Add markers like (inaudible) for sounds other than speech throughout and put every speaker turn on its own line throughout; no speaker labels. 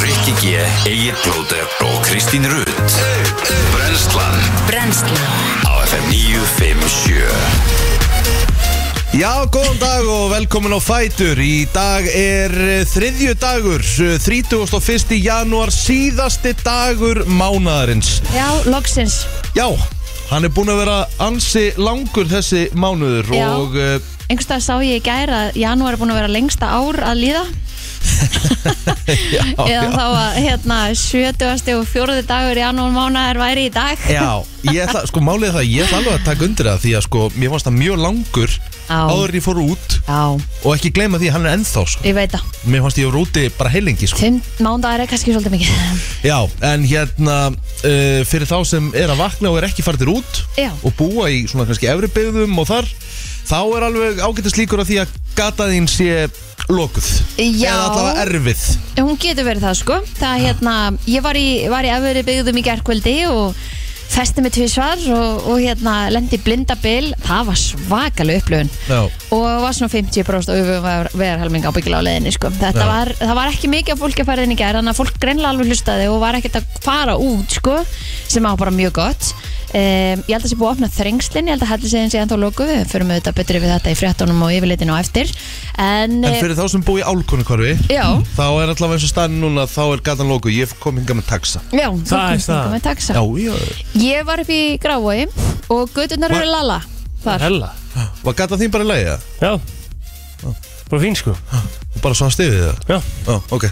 Rikki G, Egil Blóter og Kristín Rutt Brenslan
Brennslan
á FM 957
Já, góðan dag og velkomin á Fætur Í dag er eh, þriðju dagur eh, 31. janúar Síðasti dagur mánaðarins
Já, loksins
Já, hann er búinn að vera ansi langur þessi mánuður
Já.
Og
(laughs)
uh,
Einhverstað sá ég í gæra að janúar er búin að vera lengsta ár að líða
já,
Eða
já,
þá að hérna 70. og 4. dagur janúar mánar væri í dag
já Ég ætla, sko málið er það, ég ætla alveg að taka undir það Því að sko, mér fannst það mjög langur
Já.
Áður en ég fór út
Já,
Og ekki gleyma því, að hann er ennþá sko
ég veit það
Mér fannst ég voru úti bara heilingi sko
Fimm mándagar er kannski svolítið mikið
Já, en hérna uh, fyrir þá sem er að vakna og er ekki fartir út
Já.
og búa í svona kannski efri byggðum og þar, þá er alveg ágættis líkur að því að gata þín sé lokuð
Já.
eða allavega erfið
Hún getur verið það sko Það hérna, ég var í, var í efri byggðum í gærkvöldi og festi mig tvisvar og, og hérna lendi blindabil, það var svakalega upplöfun
Já.
og var svona 50% auðvöfum verðarhelming ábyggilega á leiðinni sko. þetta
Já.
var, það var ekki mikið af fólki að fara inn í gerð þannig að fólk greinlega alveg hlustaði og var ekkert að fara út sko, sem á bara mjög gott um, ég held að sé búið að opna þrengslin ég held að helli séðin sé ennþá loku við förum auðvitað betri við þetta í fréttunum og yfirleitinu á eftir en,
En fyrir þá sem búa í álkonu hvarfi
eh, já,
þá er allavega eins og staðin núna þá er gatan lokuð, ég kom hingað með taxa
já, þú
er
komst
staðan.
hingað með taxa.
Já, já,
ég var upp í Grávói og gödurnar
Var-
eru lala þar
Hella
var gata þín bara í leiða
Já Bara fín sko
og bara svona stiðið það
Já
Já, ok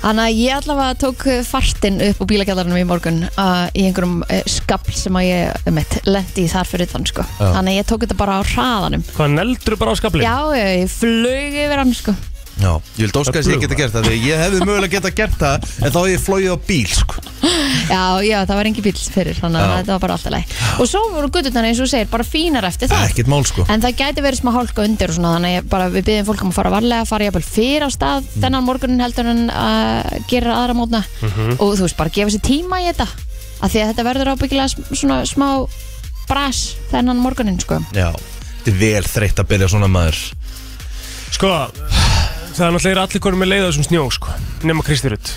Þannig að ég allavega tók fartin upp á bílakjallarunum í morgun uh, í einhverjum uh, skabl sem að ég um eitt, lendi í þar fyrir utan sko.
Já.
Þannig að ég tók þetta bara á hraðanum
Hvað neldur bara á skafli
Já, ég, ég flög yfir hann sko.
Já, ég vil dóska
Það
þess að ég geta
brugar.
gert það því ég hefði mögulega geta gert það en þá hefði ég flóið á bíl sko.
Já, já, það var engin bíl fyrir þannig að
Já.
þetta var bara alltaf leið Og svo voru guttutan eins og þú segir bara fínar eftir það
Ekkert mál sko
En það gæti verið smá hálka undir og svona þannig að ég bara, við byggjum fólk um að fara varlega, fara jafnvel fyrir á stað
Mm.
þennan morgunin heldur en að gera aðra mótna
Mhm.
og þú veist bara gefa sér tíma í þetta af því að þetta verður ábyggilega sm- svona smá bras þennan morgunin sko.
Já, þetta er vel þreytt að byrja svona maður
Sko Það er náttúrulega allir konum með leið á þessum snjó sko Nefna Kristirut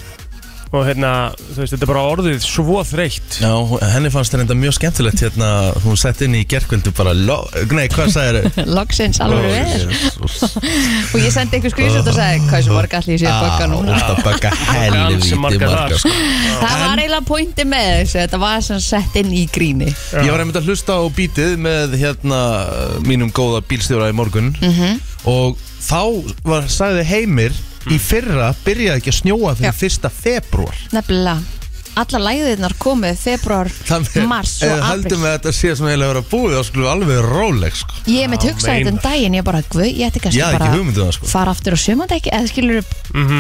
Og hérna Þú veist þetta er bara orðið Svo þreytt
Já, henni fannst þetta mjög skemmtilegt hérna, hún sett inn í gerkvöldu bara lo... Nei, hvað sagði
Loksins (laughs) alveg verður
þér?
og ég sendi einhver skvísut og sagði hvað sem morga allir sér
Ah,
baka núna
Það baka
Ansi
helviti
margar
margar
þar,
sko.
Það var eiginlega pointi með þessu, þetta var sem sett inn í gríni
Ég var einmitt að hlusta á bítið með hérna mínum góða bílstjóra í morgun
Mhm.
og þá var, sagði Heimir í fyrra byrjaði ekki að snjóa fyrir fyrsta februar
Nefnilega, alla læðirnar komið februar, mars og
eða
april
haldum við að þetta sé sem eiginlega vera búið þá skulum við alveg róleg sko.
Ég er mitt hugsaði þetta um
meinar.
daginn, ég bara, guð, ég ætti kannski
ég hafði
bara
ekki hugmyndið það sko.
fara aftur á sömandekki eða skilur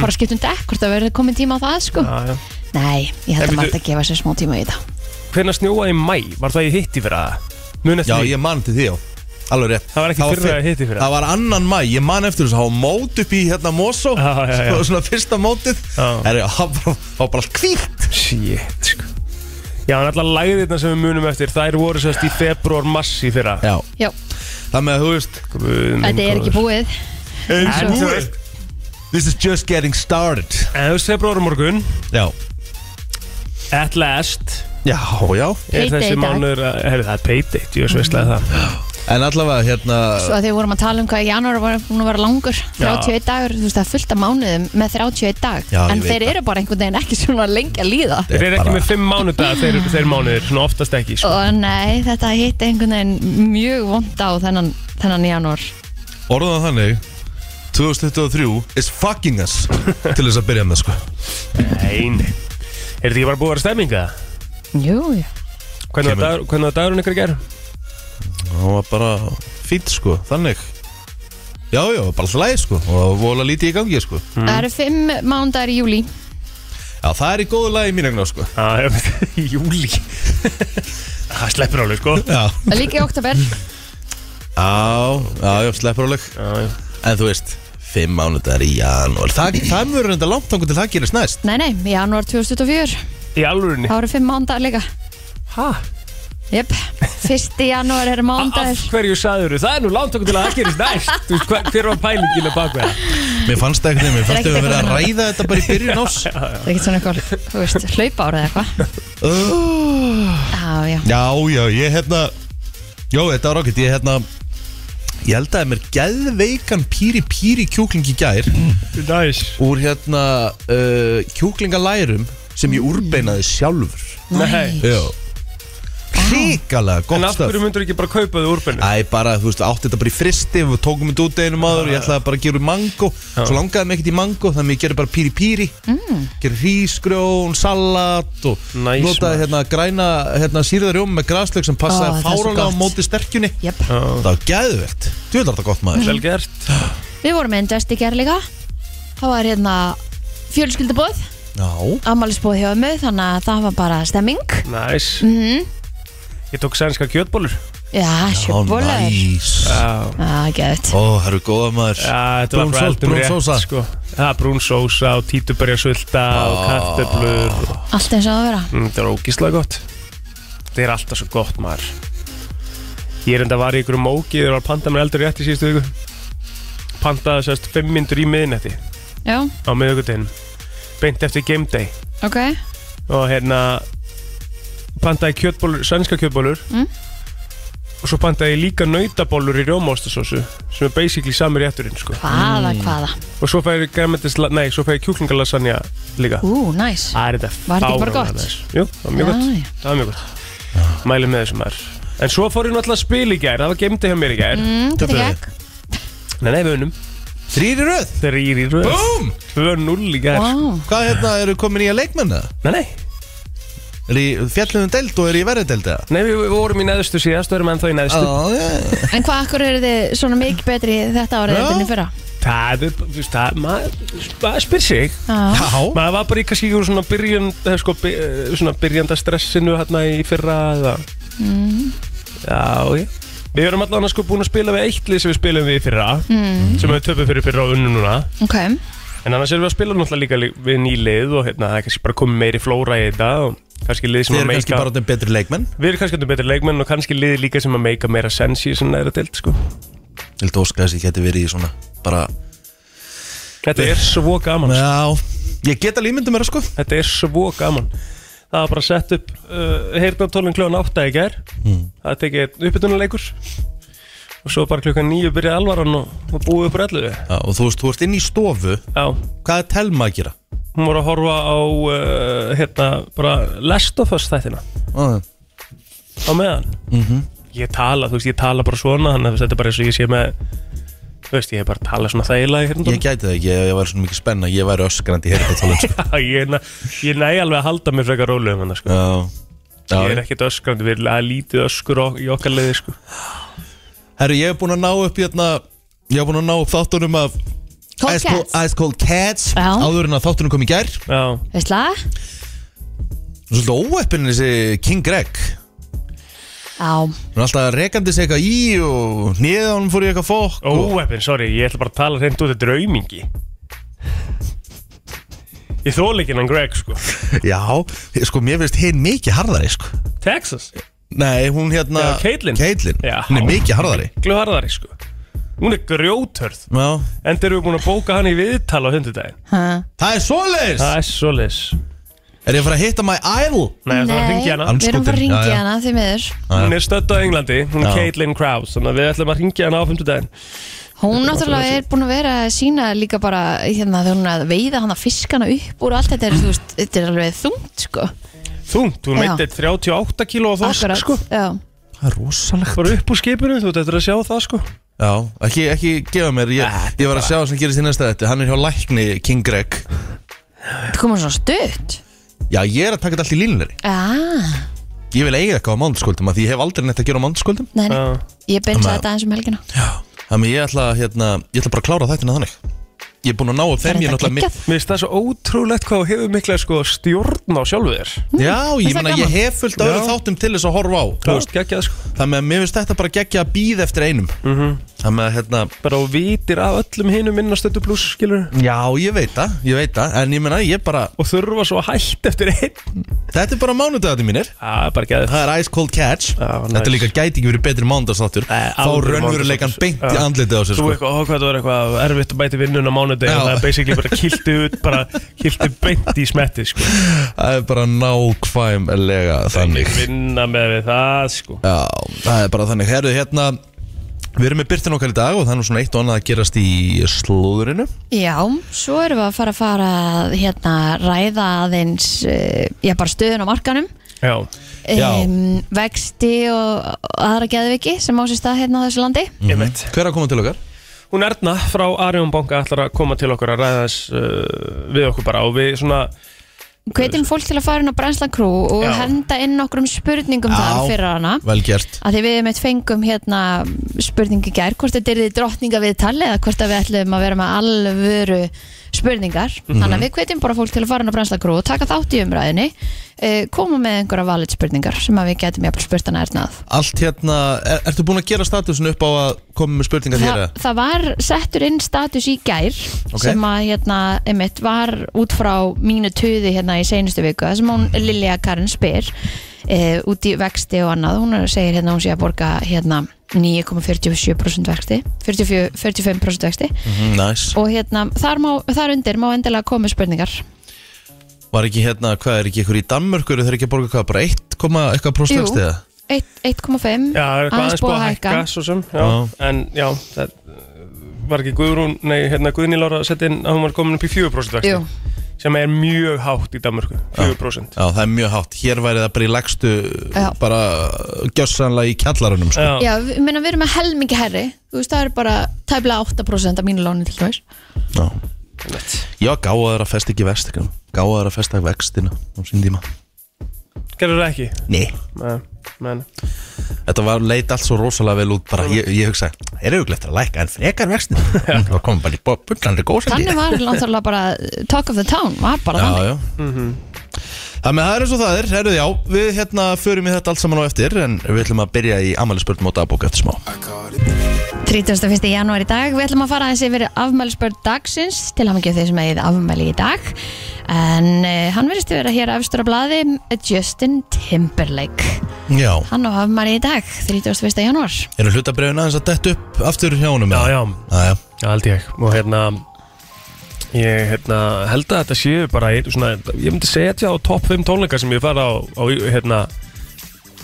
bara skipt um dekk hvort það verður komin tíma á það sko
Já, já.
Nei, ég held
En
að maður
bíddu-
ætti að gefa sér smá tíma í þetta
Hvenær snjóaði í mæ Var það í hitti fyrir það Mun eftir
Já,
því?
ég man til því, já Alveg rétt
Það var ekki fyrra
fyrr-
eða hitti fyrra.
Það var annan mæ, ég man eftir þess að hafa mót upp í hérna Mosó
Já, já,
(laughs)
já.
Svona fyrsta mótið
Já.
Það var bara- það var bara allt hvítt
Shit sko Já en allar læðirna sem við munum eftir Þær voru sérst í februar mass í fyrra
Já,
Já,
það með að þú veist
þetta er ekki búið
En
En
þú
svo-
veist
This is just getting started
En þú veist februar morgun
Já,
At last
já, já
er
Payday í
þessi
dag.
mánuður að, herri það er payday, ég sveistlega það
En allavega, hérna
Svo að því vorum að tala um hvað janúar var búin að vera langur 31 dagur, þú veist það er fullt af mánuðum með 31 dag,
Já, ég
en
veit
þeir
það.
eru bara einhvern veginn ekki svona lengi að líða
Þeir eru
bara-
ekki með fimm mánudag þeir, þeir mánuðir, svona oftast ekki sko.
Og nei, þetta hitti einhvern veginn mjög vond á þennan, þennan janúar
Orðan þannig 2023 is fucking
(laughs)
us Til þess að byrja með, sko
Nei, nei Er þetta ekki bara búið að vera stemminga?
Jú, jú
Hvernig var
Kemur.
dagur- hvernig var dagurinn ykkur að gera?
Það var bara fínt, sko, þannig Já, já, bara alltaf læg, sko Og vola lítið í gangi, sko
Hm.
Það eru fimm mánudagur í júli
Já, það er í góðu lagi í mín egnar, sko
Ah, (laughs) í júli Það sleppur alveg sko
Já
Líka í oktober
Já, já, já, sleppróleg
Já, já.
En þú veist, fimm mánudagar í janúar Það, það mjög reynda langt þangur til það gerist næst
Nei, nei, janúar 2024
Í alvörinni
Það eru fimm mánudagur líka
Hæ?
Jöp, 1. janúar er
Af
mándagur
hverju sagður það er nú langt okkur til að það gerist næst Þú veist, hver, hver var pælingin að baka það
Mér fannst það ekkert þeim, mér fannst
ekkert
þau að vera að
eitthvað
ræða þetta bara í byrjun
(laughs)
ás
Það er ekkert svona eitthvað, þú veist, hlaupa ára eða eitthvað Já, já,
Já, já, ég hérna Jó, þetta var okkur, ég hérna Ég held að mér geðveikan píri píri kjúkling í gær
Næs
Úr hérna uh, kjúklingalærum sem ég úrbeinaði sjálfur
Nei.
Næ.
Já Ríkalega gott
En af hverju
stöð
myndur ekki bara kaupa þau úrbennu?
Æ, bara, þú veist, átti þetta bara í fristi Við tókum þetta út einum aður Ég ætlaði bara að gera úr mango Svo langaði mig ekkert í mango Þannig ég gerði bara píri píri mm. Gerði hrísgrjón, salat Og
Næs, maður.
notaði hérna græna hérna, sírðarjóm með graslög Sem
Ó, það
passaði
er svo
fáralega á
gott.
móti sterkjunni
Jöp,
Það var gæðvegt Þú veist þetta gott maður
Mm.
Vel gert
við vorum með Ingest í gerð líka Það var hérna fjölskyldubóð
Já
Amalisbóð hjá ömmu, þannig að það var bara stemming
Næs
Mhm.
Ég tók sænska kjötbólur
Já, sjöbólar
næs
Já
Já, geðut
Ó, það eru góða maður
Já, þetta var
Brún
bara
sós-
eldum
brún
rétt,
sósa.
sko. Já, brún sósa og títuberjarsvölda og kartöflur og-
Allt eins og það á að vera
Mm, Þetta var ógíslega gott Þetta er alltaf svo gott maður Ég er enda var í ykkur móki þegar var að panta mér eldur rétt í síðustu viku Pantaði sérst 5 myndur í miðinetti
Já,
á miðugutinum Beint eftir game day
ok
og hérna pantaði kjötbólur, sænska kjötbólur
Mm.
og svo pantaði ég líka nautabólur í rjómaostasósu sem er basically sami rétturinn sko.
Hvaða, hvaða
og svo fæði græmetis, nei, svo fæði kjúklingalassanja líka
Ú, næs
Það er þetta
Var þetta ekki bara
fáránlega
gott?
næs. Jú, það var mjög
Já,
gott,
já.
það var mjög gott Mælið með þessum maður En svo fór ég náttúrulega að spila í gær, það var gemdi hjá mér í gær
Mm, Þetta
Töpuðu.
gekk
Nei, nei, við unum,
Þrýri röð
þrýr í röð
Búm
2-0 í gær
Vá,
Hvað hérna, eru komin í að leikmenna?
Nei, nei,
Er í fjallinu deild og er í verri deild eða?
nei, við, við vorum í neðustu síðast, við erum ennþá í neðustu
Já, já
En hvað akkur eru þið svona mikið betri þetta árið
Já.
heldur en í fyrra?
Það er, þú veist, það, maður, maður spyr sig
Já,
Já
Maður var bara í kannski ykkur svona byrjun, eh, sko, by, eh, svona byrjanda stressinu hérna í fyrra eða Já, já Við erum allan sko búin að spila við eitt lið sem við spilum við í fyrra sem við töpum fyrir í fyrra og unnum núna
ok
En annars erum við að spila náttúrulega líka lí- við nýlið og hérna, það er kannski bara komið meiri flóra í þetta og kannski lið sem
Þið
að
eru kannski
meika
bara orðin betri leikmenn
Við erum kannski betur leikmenn og kannski lið líka sem að meika meira sens í svona næra deild sko.
Ég held að óska þess að ég geti verið í svona bara
Þetta er svo gaman sko.
Já Ég get alveg ímyndum mér sko
Þetta er svo gaman Það var bara sett upp uh, heyrnartólun kljóðan átta í gær
Mm.
Það er tekið uppbytunuleikur og svo bara klukkan nýju byrjaði alvaran og, og búið upp rællu
Já, og þú veist, þú ert inn í stofu
Já,
Hvað er telma að gera?
hún voru að horfa á uh, hérna, bara Last of Us þættina
Ah,
á meðan
Mhm.
ég tala, þú veist, ég tala bara svona þannig að þetta er bara eins og ég sé með þú veist, ég hef bara talað svona þægilega hérna (laughs)
Ég gæti það ekki, ég, ég væri svona mikið spenna Ég væri öskrandi hér þetta tólum sko.
ég, næ- ég næ alveg að halda mér frekar rólu um hann sko.
Já
ég
Já
er ekkert öskrandi, við erum að lítið öskur ok- í okkar leiði sko.
Herru, ég hef búin að ná upp hérna Ég hef búin að ná upp þáttunum af
Cold
Ice Cold-
Cats.
Ice Cold Cats
Já.
Áður en að þáttunum kom í gær
já,
Veist það?
Svolítið óeppin þessi King Greg
Já,
Hún er alltaf rekandi sig eitthvað í og hniða honum fór í eitthvað fokk og...
óeppin, sorry ég ætla bara að tala hreint út þetta er aumingi ég þól ekki hann Greg sko.
Já, sko mér finnst hinn mikið harðari sko
Texas,
Nei, hún hérna
Já, Caitlyn.
Caitlyn,
Já.
hún er mikið harðari
glöðarðari sko. hún er grjóthörð
Já
enda erum við búin að bóka hann í viðtal á hundudaginn
hæ
Það er svoleiðis
það er svo leis
Er ég að fara að hitta my idol?
Nei, það er að ringja
við erum
hana
bara að
Andskotin.
ringja
Já, já.
hana því miður
Hún er stödd á Englandi, hún er
Já.
Caitlin Krause Þannig að við ætlum að ringja hana á 50 daginn
Hún náttúrulega er búin að vera að sína líka bara hérna þegar hún er að veiða hana fiskana upp úr allt þetta er, þú veist, þetta er alveg þungt sko
Þungt, hún
Já.
meitt 38 kíló á þosk sko
já.
Það er rosalegt
Bara upp úr skipinu, þú veit eftir að sjá það sko
Já, ekki, ekki gefa mér Ég, ég var að sjá sem gerist í næsta þetta Hann er hjá lækni King Greg
Það komur svona stutt
Já, ég er að taka þetta allt í línunari
ah,
Ég vil eiga eitthvað á mándaskvöldum af Því ég hef aldrei neitt að gera á mándaskvöldum
nei, nei.
Já.
Ég beinsa þetta aðeins um helgina
Þannig ég ætla, að, hérna, ég ætla bara að klára þættina þannig Ég er búin að ná upp
Það
þeim
er
ég er
þetta
náttúrulega mi-
geggjað
Mér finnst það svo ótrúlegt hvað þú hefur mikla sko stjórn á sjálfu þér
Já, ég
Finnst það
meina ég
gaman?
hef fullt
Já.
öðru þáttum til þess að horfa á
Þú veist, geggjað sko Mhm.
Þannig að mér finnst þetta bara geggja að býða eftir einum Það með að hérna
bara og vitir af öllum hinum inn á stötu pluss skilur
Já, ég veit það, ég veit það En ég menna, ég bara,
og þurfa svo að hætt eftir einn
þetta er bara mánudagarnir mínir
það er bara geðið
Það er Ice Cold Catch
Já, nice.
Þetta líka gæti ekki verið betri mánudagsnáttur
Nei,
Fá
alvöru
raunveruleikan
mánudagsþáttur.
beint í
sko. Já.
andlitið á sér
Þú
sko.
eitthvað, ó hvað það var eitthvað erfitt að bæti vinnun á mánudegi
Já.
og það er basically bara kiltu út, bara kiltu beint í smetti sko.
Það er bara nákvæmlega þannig
Vinna með við það sko.
Já, það er bara þannig Herðu, hérna Við erum með byrtin okkar í dag og það er nú svona eitt og annað að gerast í slúðurinu
Já, svo erum við að fara að fara að hérna, ræða aðeins eh, já, bara stöðun á markanum
Já,
Já.
um, vexti og og aðra geðviki sem á sér stað hérna á þessu landi
Mhm.
ég veit
Hver er að koma til okkar?
Hún Erna frá Arjón Banka ætlar að koma til okkur að ræða þess uh, við okkur bara og við svona
hvetjum fólk til að fara inn á Brænslan Crew og
Já.
henda inn nokkrum spurningum
Já.
þar fyrir hana
Vel gert
að því við meitt fengum hérna spurningi gær, hvort þetta er því drottninga við tali eða hvort að við ætlum að vera með alvöru spurningar
Mhm.
þannig að við hvetjum bara fólk til að fara inn á Brænslan Crew og taka þátt í umræðinni eh, koma með einhverja valit spurningar sem að við getum jafnvel spurt hana ernað
Allt hérna, er, ertu búin að gera statusin upp á að koma með spurningar
Þa,
þér? eða?
það var settur inn status í gær
Ok.
sem að hérna, einmitt, var út frá mínu töði hérna í seinustu viku þar sem hún Lilja Karin spyr e, út í vexti og annað hún er- segir hérna hún sé að borga hérna 9,47% vexti 44 45% vexti
Mhm, Næs
og hérna þar, má, þar undir má endilega koma með spurningar
Var ekki hérna, hvað er ekki ykkur í Danmörku eru þeir ekki að borga hvað, bara 1, koma eitthvað
Jú.
próstvækstið?
1 1,5
Já, það er eitthvað aðeins búið að hækka sko. svo sem, já.
Já.
En já, það eh, var ekki Guðrún, nei, hérna Guðni Lára að setja inn að hún var komin upp í 4% vexti
Jú,
sem er mjög hátt í Danmörku 4%
Já, það er mjög hátt, hér væri það bara í lagstu
Já.
bara gjössanlega í kjallarunum sko.
Já,
já, við, meina, við erum með helmingi herri þú veist það er bara tæplega 8% af mínu láni til þess
Já. Ég var gáðaður að festa ekki vestina gáðaður að festa vextina á sín tíma
gerur það ekki
Nei,
Nei, menn
þetta var leit allt svo rosalega vel út bara ég, ég hugsa, er auðvitað að læka en frekar vextin það kom bara í bullandi góðsandi
þannig var náttúrulega bara uh, talk of the town var bara
Já,
þannig
já Það með það er eins og það er, herruð já, við hérna förum í þetta allt saman á eftir en við ætlum að byrja í amælisbörnum á dagbók eftir smá
31. janúar í dag, við ætlum að fara aðeins yfir afmælisbörn dagsins til hann ekki þeir sem eigið afmæli í dag en uh, hann verðist að vera hér afstur á blaði eh, Justin Timberlake
Já,
hann á afmæli í dag, 31. janúar
eru hlutabrefin aðeins að dett upp aftur hjá honum?
Já,
eða?
já,
já, já.
já, held ég og hérna ég hérna, held að þetta séu bara ein, svona, ég myndi setja á topp 5 tónleika sem ég fara á, á hérna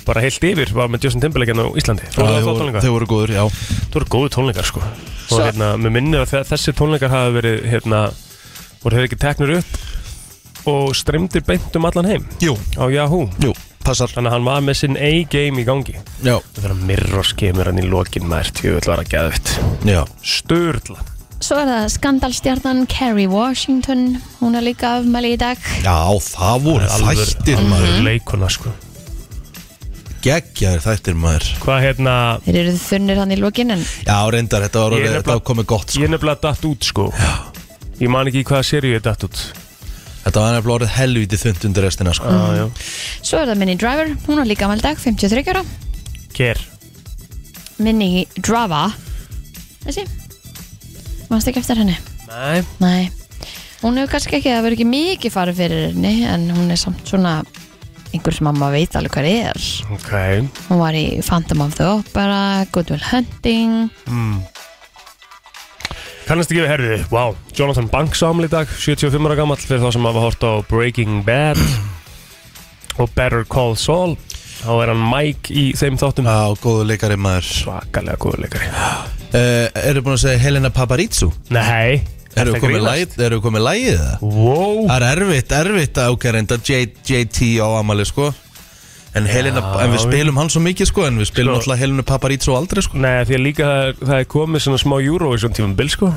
bara heilt yfir var með Justin Timberlake hérna á Íslandi þú voru
Já,
það
þau
þá
voru-
tónleika,
Þau voru góður, já
þú voru góðu tónleikar sko
Svo-
og hérna, mér minnir að þe- þessi tónleikar hafa verið hérna, voru þeir ekki teknir upp og streymdir beint um allan heim
Jú,
á Yahoo,
jú, passar
þannig að hann var með sinn A-game í gangi
Já,
Það verður að mirrors kemur hann í lokin maður tjöfull var að geðvitt
já
Sturla
svo er það skandalstjarnan Kerry Washington hún er líka afmæli í dag
Já, það voru þættir maður
Alveg leikuna sko
Geggjaðir þættir maður
Hvað hérna
þeir eru þunnir hann í lokin en
Já, reyndar, þetta var
Ég
orðið-
nefnilega-
þetta var komið gott sko.
Ég er nefnilega datt út sko Ég man ekki í hvaða seríu ég datt út
Þetta var nefnilega orðið helvítið þund undir restina sko.
ah, já.
svo er það Minnie Driver, hún er líka afmæli í dag 53 ára,
Ker
Minnie Drava þessi mannst ekki eftir henni
Nei
Nei, hún hefur kannski ekki, það verður ekki mikið farið fyrir henni en hún er samt svona einhver sem mamma veit alveg hvað er
Ok
hún var í Phantom of the Opera Good Will Hunting
Kannast ekki við herðið Vá wow. Jonathan Banks ámli í dag 75 ára gamall Fyrir þá sem hafa hort á Breaking Bad (clears throat) Og Better Call Saul Þá er hann Mike í þeim þáttum
Já, góðu leikari maður
Svakalega góður leikari
uh, Eru búin að segja Helena Paparizou?
Nei
Eru
ertu að
komið
grínast?
lagið? Eru komið lagið það?
Wow
Það er erfitt, erfitt að ákveða reynda J- JT á amali sko En, Helena,
Já.
en við spilum hann svo mikið sko En við spilum
Sko.
alltaf Helena Paparizou aldrei sko
Nei, því að líka það er, það er komið svona smá Eurovision tímum bil, sko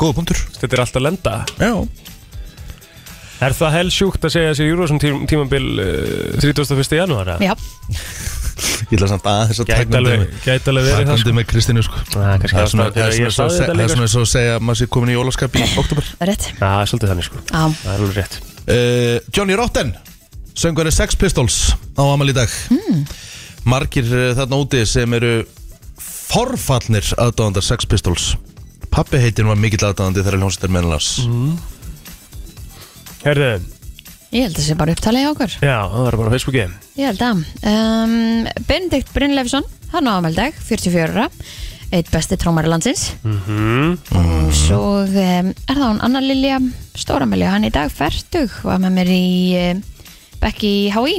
Góða punktur
Þetta er alltaf lenda
Já
Er það helsjúkt að segja þessi Eurovision tím, tímum bil uh, 31. janúar?
Já,
Ég ætla samt að þess að
Gæti
tækna
alveg,
undir-
gæti alveg verið það,
Takkandi með Kristínu sko
Ah, kannski
Það er svona-
ástæðan
það
fyrir
er
að ég
svona
sagði
se-
þetta
það er
líka,
svona svo að segja að maður sé komin í jólaskap í (laughs) oktober
það er rétt
sko Það er svolítið þannig, sko
Já.
Það er alveg rétt
uh, Johnny Rotten söngari Sex eh, Pistols á amal í dag margir uh, þarna úti sem eru forfallnir aðdáðandar Sex Pistols Pappi heitin var mikill aðdáðandi þegar hljómsveitar mennlas mm.
Herðu,
Ég held að það sé bara upptalið hjá okkur
já, það var bara á Facebooki
Ég held að um, Benedikt Brynleifsson, hann á ámeldag 44 ára, eitt besti trómari landsins
Mm-hmm. Mm.
og svo um, er það hún Anna Lilja Stóramelja, hann í dag færtug var með mér í um, Bekki HÍ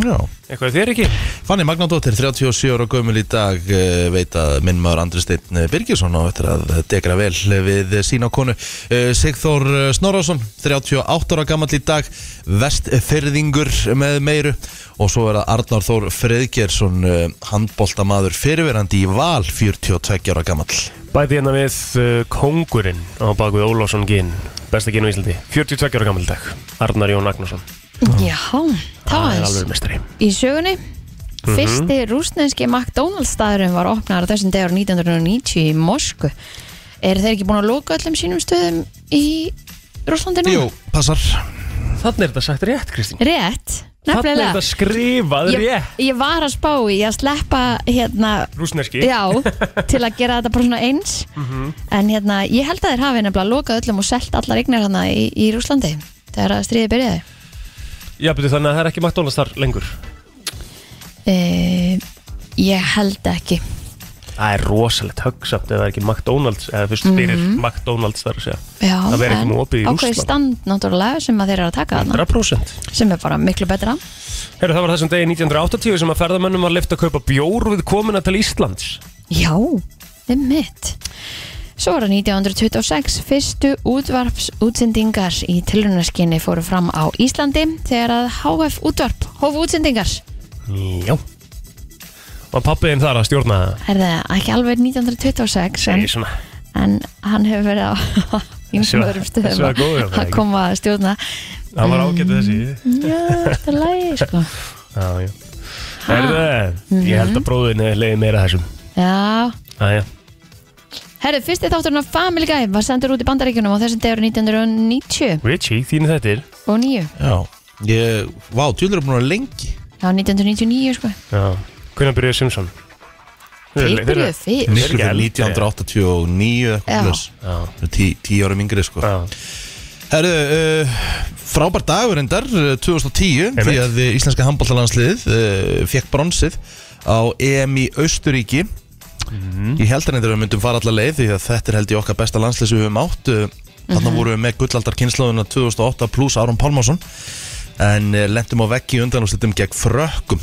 Já
Eitthvað þér ekki?
Fanny Magnadóttir, 37 ára gömul í dag eh, veit að minn maður Andri Steinn Birgjesson á eftir að degra vel við sína konu Eh, Sigþór eh, Snorrásson, 38 ára gammal í dag vestfyrðingur með meiru og svo er það Arnar Þór Freðgjersson handbóltamaður fyrirverandi í val 42 ára gammal
Bæti hérna við uh, Kongurinn á baku við Ólásson Ginn, besta Ginn á Íslandi 42 ára gammal dag, Arnar Jón Agnarsson
Já, það
Það Mm. er
aðeins
alveg mestri
í sögunni
Mhm.
Fyrsti rúsneski McDonalds staðurinn var opnaður á þessum dagur 1990 í Moskvu Er þeir ekki búin að loka öllum sínum stöðum í Rússlandi núna?
Jú, passar
Þannig er þetta sagt rétt, Kristín
Rétt,
Þannig er
nefnilega
þetta skrifað
ég,
rétt
ég var að spá í að sleppa hérna
Rúsneski
Já, til að gera þetta bara svona eins
Mhm.
En hérna, ég held að þeir hafi nefnilega lokað öllum og selt allar eignar hana í, í Rúslandi Þegar að stríði byrjaði
Já, betur þannig að það er ekki McDonalds þar lengur
e, Ég held ekki
Það er rosalegt högsamt ef það er ekki McDonalds eða fyrst fyrir McDonalds þar að segja
Mhm. Já,
Það verður ekki
en
með opið í
ákveðið
Rússlandi.
stand náttúrulega sem að þeir eru að taka þarna
100%
Sem er bara miklu betra
Herru, það var þessum degi 1980 sem að ferðamönnum var leift að kaupa bjór við komuna til Íslands
Já, við mitt Svo var það 1926 fyrstu útvarpsútsendingar í tilrunaskinni fóru fram á Íslandi þegar að HF útvarp hóf útsendingar
Já Var pappiðin þar að stjórna það?
er það ekki alveg 1926 en,
Segir svona
en hann hefur verið á (laughs)
Þessi
ýmsum
var-
öðrum
þessi
stöðum
var góður, var það
að
ekki?
koma að stjórna
Það var ágætið þessi
Já, þetta er lægi sko
Já, já Herðu,
Mm.
ég held að bróðin er leiði meira þessum
Já,
Æja
herru, fyrsti þátturinn af Family Guy var sendur út í bandaríkjunum á þessum degur 1990
Richie, þínu þettir
og 9
Já, ég, vá, tjúlur er búin að vera lengi
Já, 1999 sko
Já Hvernig byrjuði Simpson?
Þeir byrjuðu fyrr
Miklu fyrir 1989
Já.
eitthvað plus.
Já.
Tí- Tíu árum yngri sko
Já
Herru, uh, frábært dagur endar 2010
Einmitt.
því að eh, íslenska handbóltalandsliðið uh, fekk bronsið á EM í Austuríki Ég held að neyndar við myndum fara alla leið því að þetta er held ég okkar besta landslið sem við höfum átt Eh, Þarna vorum við með gullaldar 2008 pluss Áron Pálmásson en uh, lentum á veggi undanúslitum gegn frökkum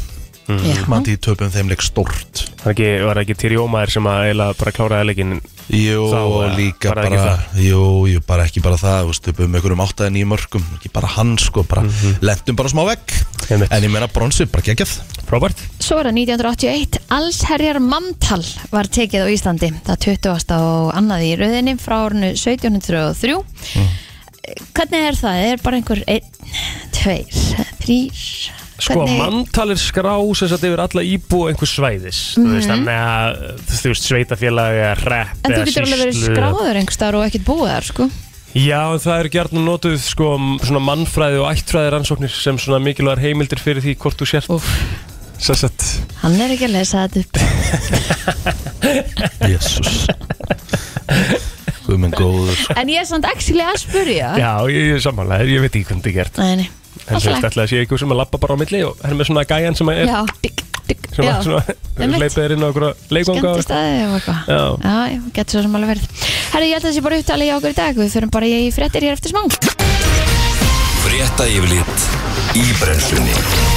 Mm.
Já.
Mandi töpum þeim leik stort
Það ekki, var ekki Tyri Ómaður sem að eiginlega bara kláraði leikinn
Jú,
Þá,
og
eh,
líka
bara
bara,
ekki
Jú, jú, bara ekki bara það Þú veist, upp um einhverjum átta eða nýjum mörgum Ekki bara hann, sko, bara mm Lentum bara smá vekk
Mhm. Einmitt.
En ég meina bronsið, bara geggjað
Robert
Svo er það 1981, allsherjar manntal var tekið á Íslandi, það 20. og annað í rauðinni frá árinu 1703.
Mm.
Hvernig er það? Er bara einhver einn, tveir, þrýr?
Sko, manntal er skrá sem sagt yfir alla íbú einhvers svæðis Þú veist, þannig að þú veist, sveitafélag eða hrepp
Mhm. En þú
eða
getur alveg verið
sýslu.
skráður einhvers staðar og ekkert búið þar, sko.
Já, en það eru gjarnan notuð sko svona mannfræði og ættfræði rannsóknir sem svona mikilvægar heimildir fyrir því hvort þú sért
Úf,
Sessett
hann er ekki að lesa þetta upp.
(laughs)
Jésús Guð minn góður sko.
En ég er samt actually að spurja.
Já, ég er sammála, ég veit ekki hvernig þetta er gert
Nei, nei,
En þú veist,
Ah. alltaf.
ætlaði að sé eitthvað sem að lappa bara á milli og er með svona gæjan sem að er
Já, digg, digg,
sem
já.
að svona,
Einmitt.
leipið er inn á okkur leikvanga
Skemmtist aðeins og eitthvað.
Já.
Já, já, getur svo sem alveg verið. Herri, ég held að þessi bara upptalið hjá okkur í dag. Við förum bara í fréttir hér eftir smá.
Frétta yfirlit í brennslunni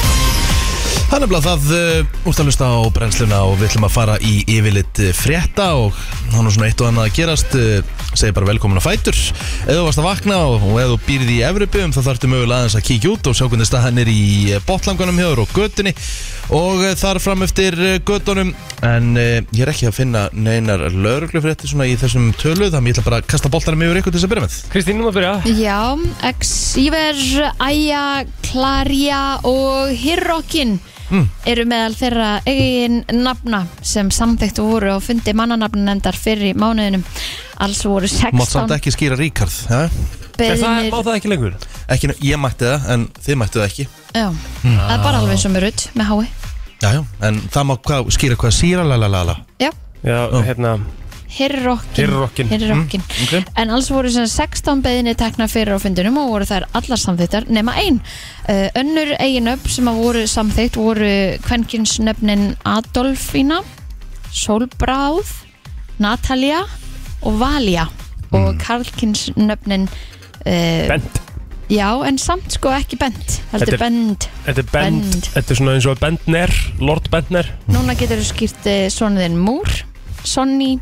Það er nefnilega það uh, Úst að hlusta á brennsluna og við ætlum að fara í yfirlit eh, frétta og hann er svona eitt og annað að gerast uh, segi bara velkomin að fætur eða þú varst að vakna og, og eða þú býrði í Evropum þá þarftu mögulega aðeins að kíkja út og sjá hvernig staðan er í eh, botlangunum hjóður og götunni og uh, þar fram eftir uh, götunum en uh, ég er ekki að finna neinar lögreglufrétti svona í þessum tölu þannig ég ætla bara að kasta boltanum yfir ykkur til þess að byrja með
Kristín, nú maður byrja
Já, Xíver, Æja, Klarja og Hirrokin
Hmm.
eru meðal þeirra eigin nafna sem samþykkt voru og fundi mannanafnendar fyrir mánuðinum. Alls voru
Mátt samt
16
ekki skýra Ríkard ja?
Er það, má
beðinir.
það ekki lengur?
ekki, Ég mætti það en þið mættu það ekki
Hmm.
Já, það er bara alveg eins og með rutt með hái.
Já, já, en það má hvað, skýra hvað síra la la la la
Já,
Já, hérna
hirrokkin
Hirrokkin. Mm, ok.
En alls voru sem sagt 16 beðinni tekna fyrir á fundunum og voru þær allar samþýttar nema ein uh, Önnur eiginöfn sem að voru samþýtt voru kvenkinsnöfnin Adolfína Solbráð Natalia og Valja
Mm.
og karlkinsnöfnin uh,
Bend
Já, en samt sko ekki bent
Þetta
heldur
er-
bend
Þetta er Bend,
Bend.
Þetta er svona eins og Bendner Lord Bendner
Núna getur þú skýrt uh, svona þinn Múr, Sonny,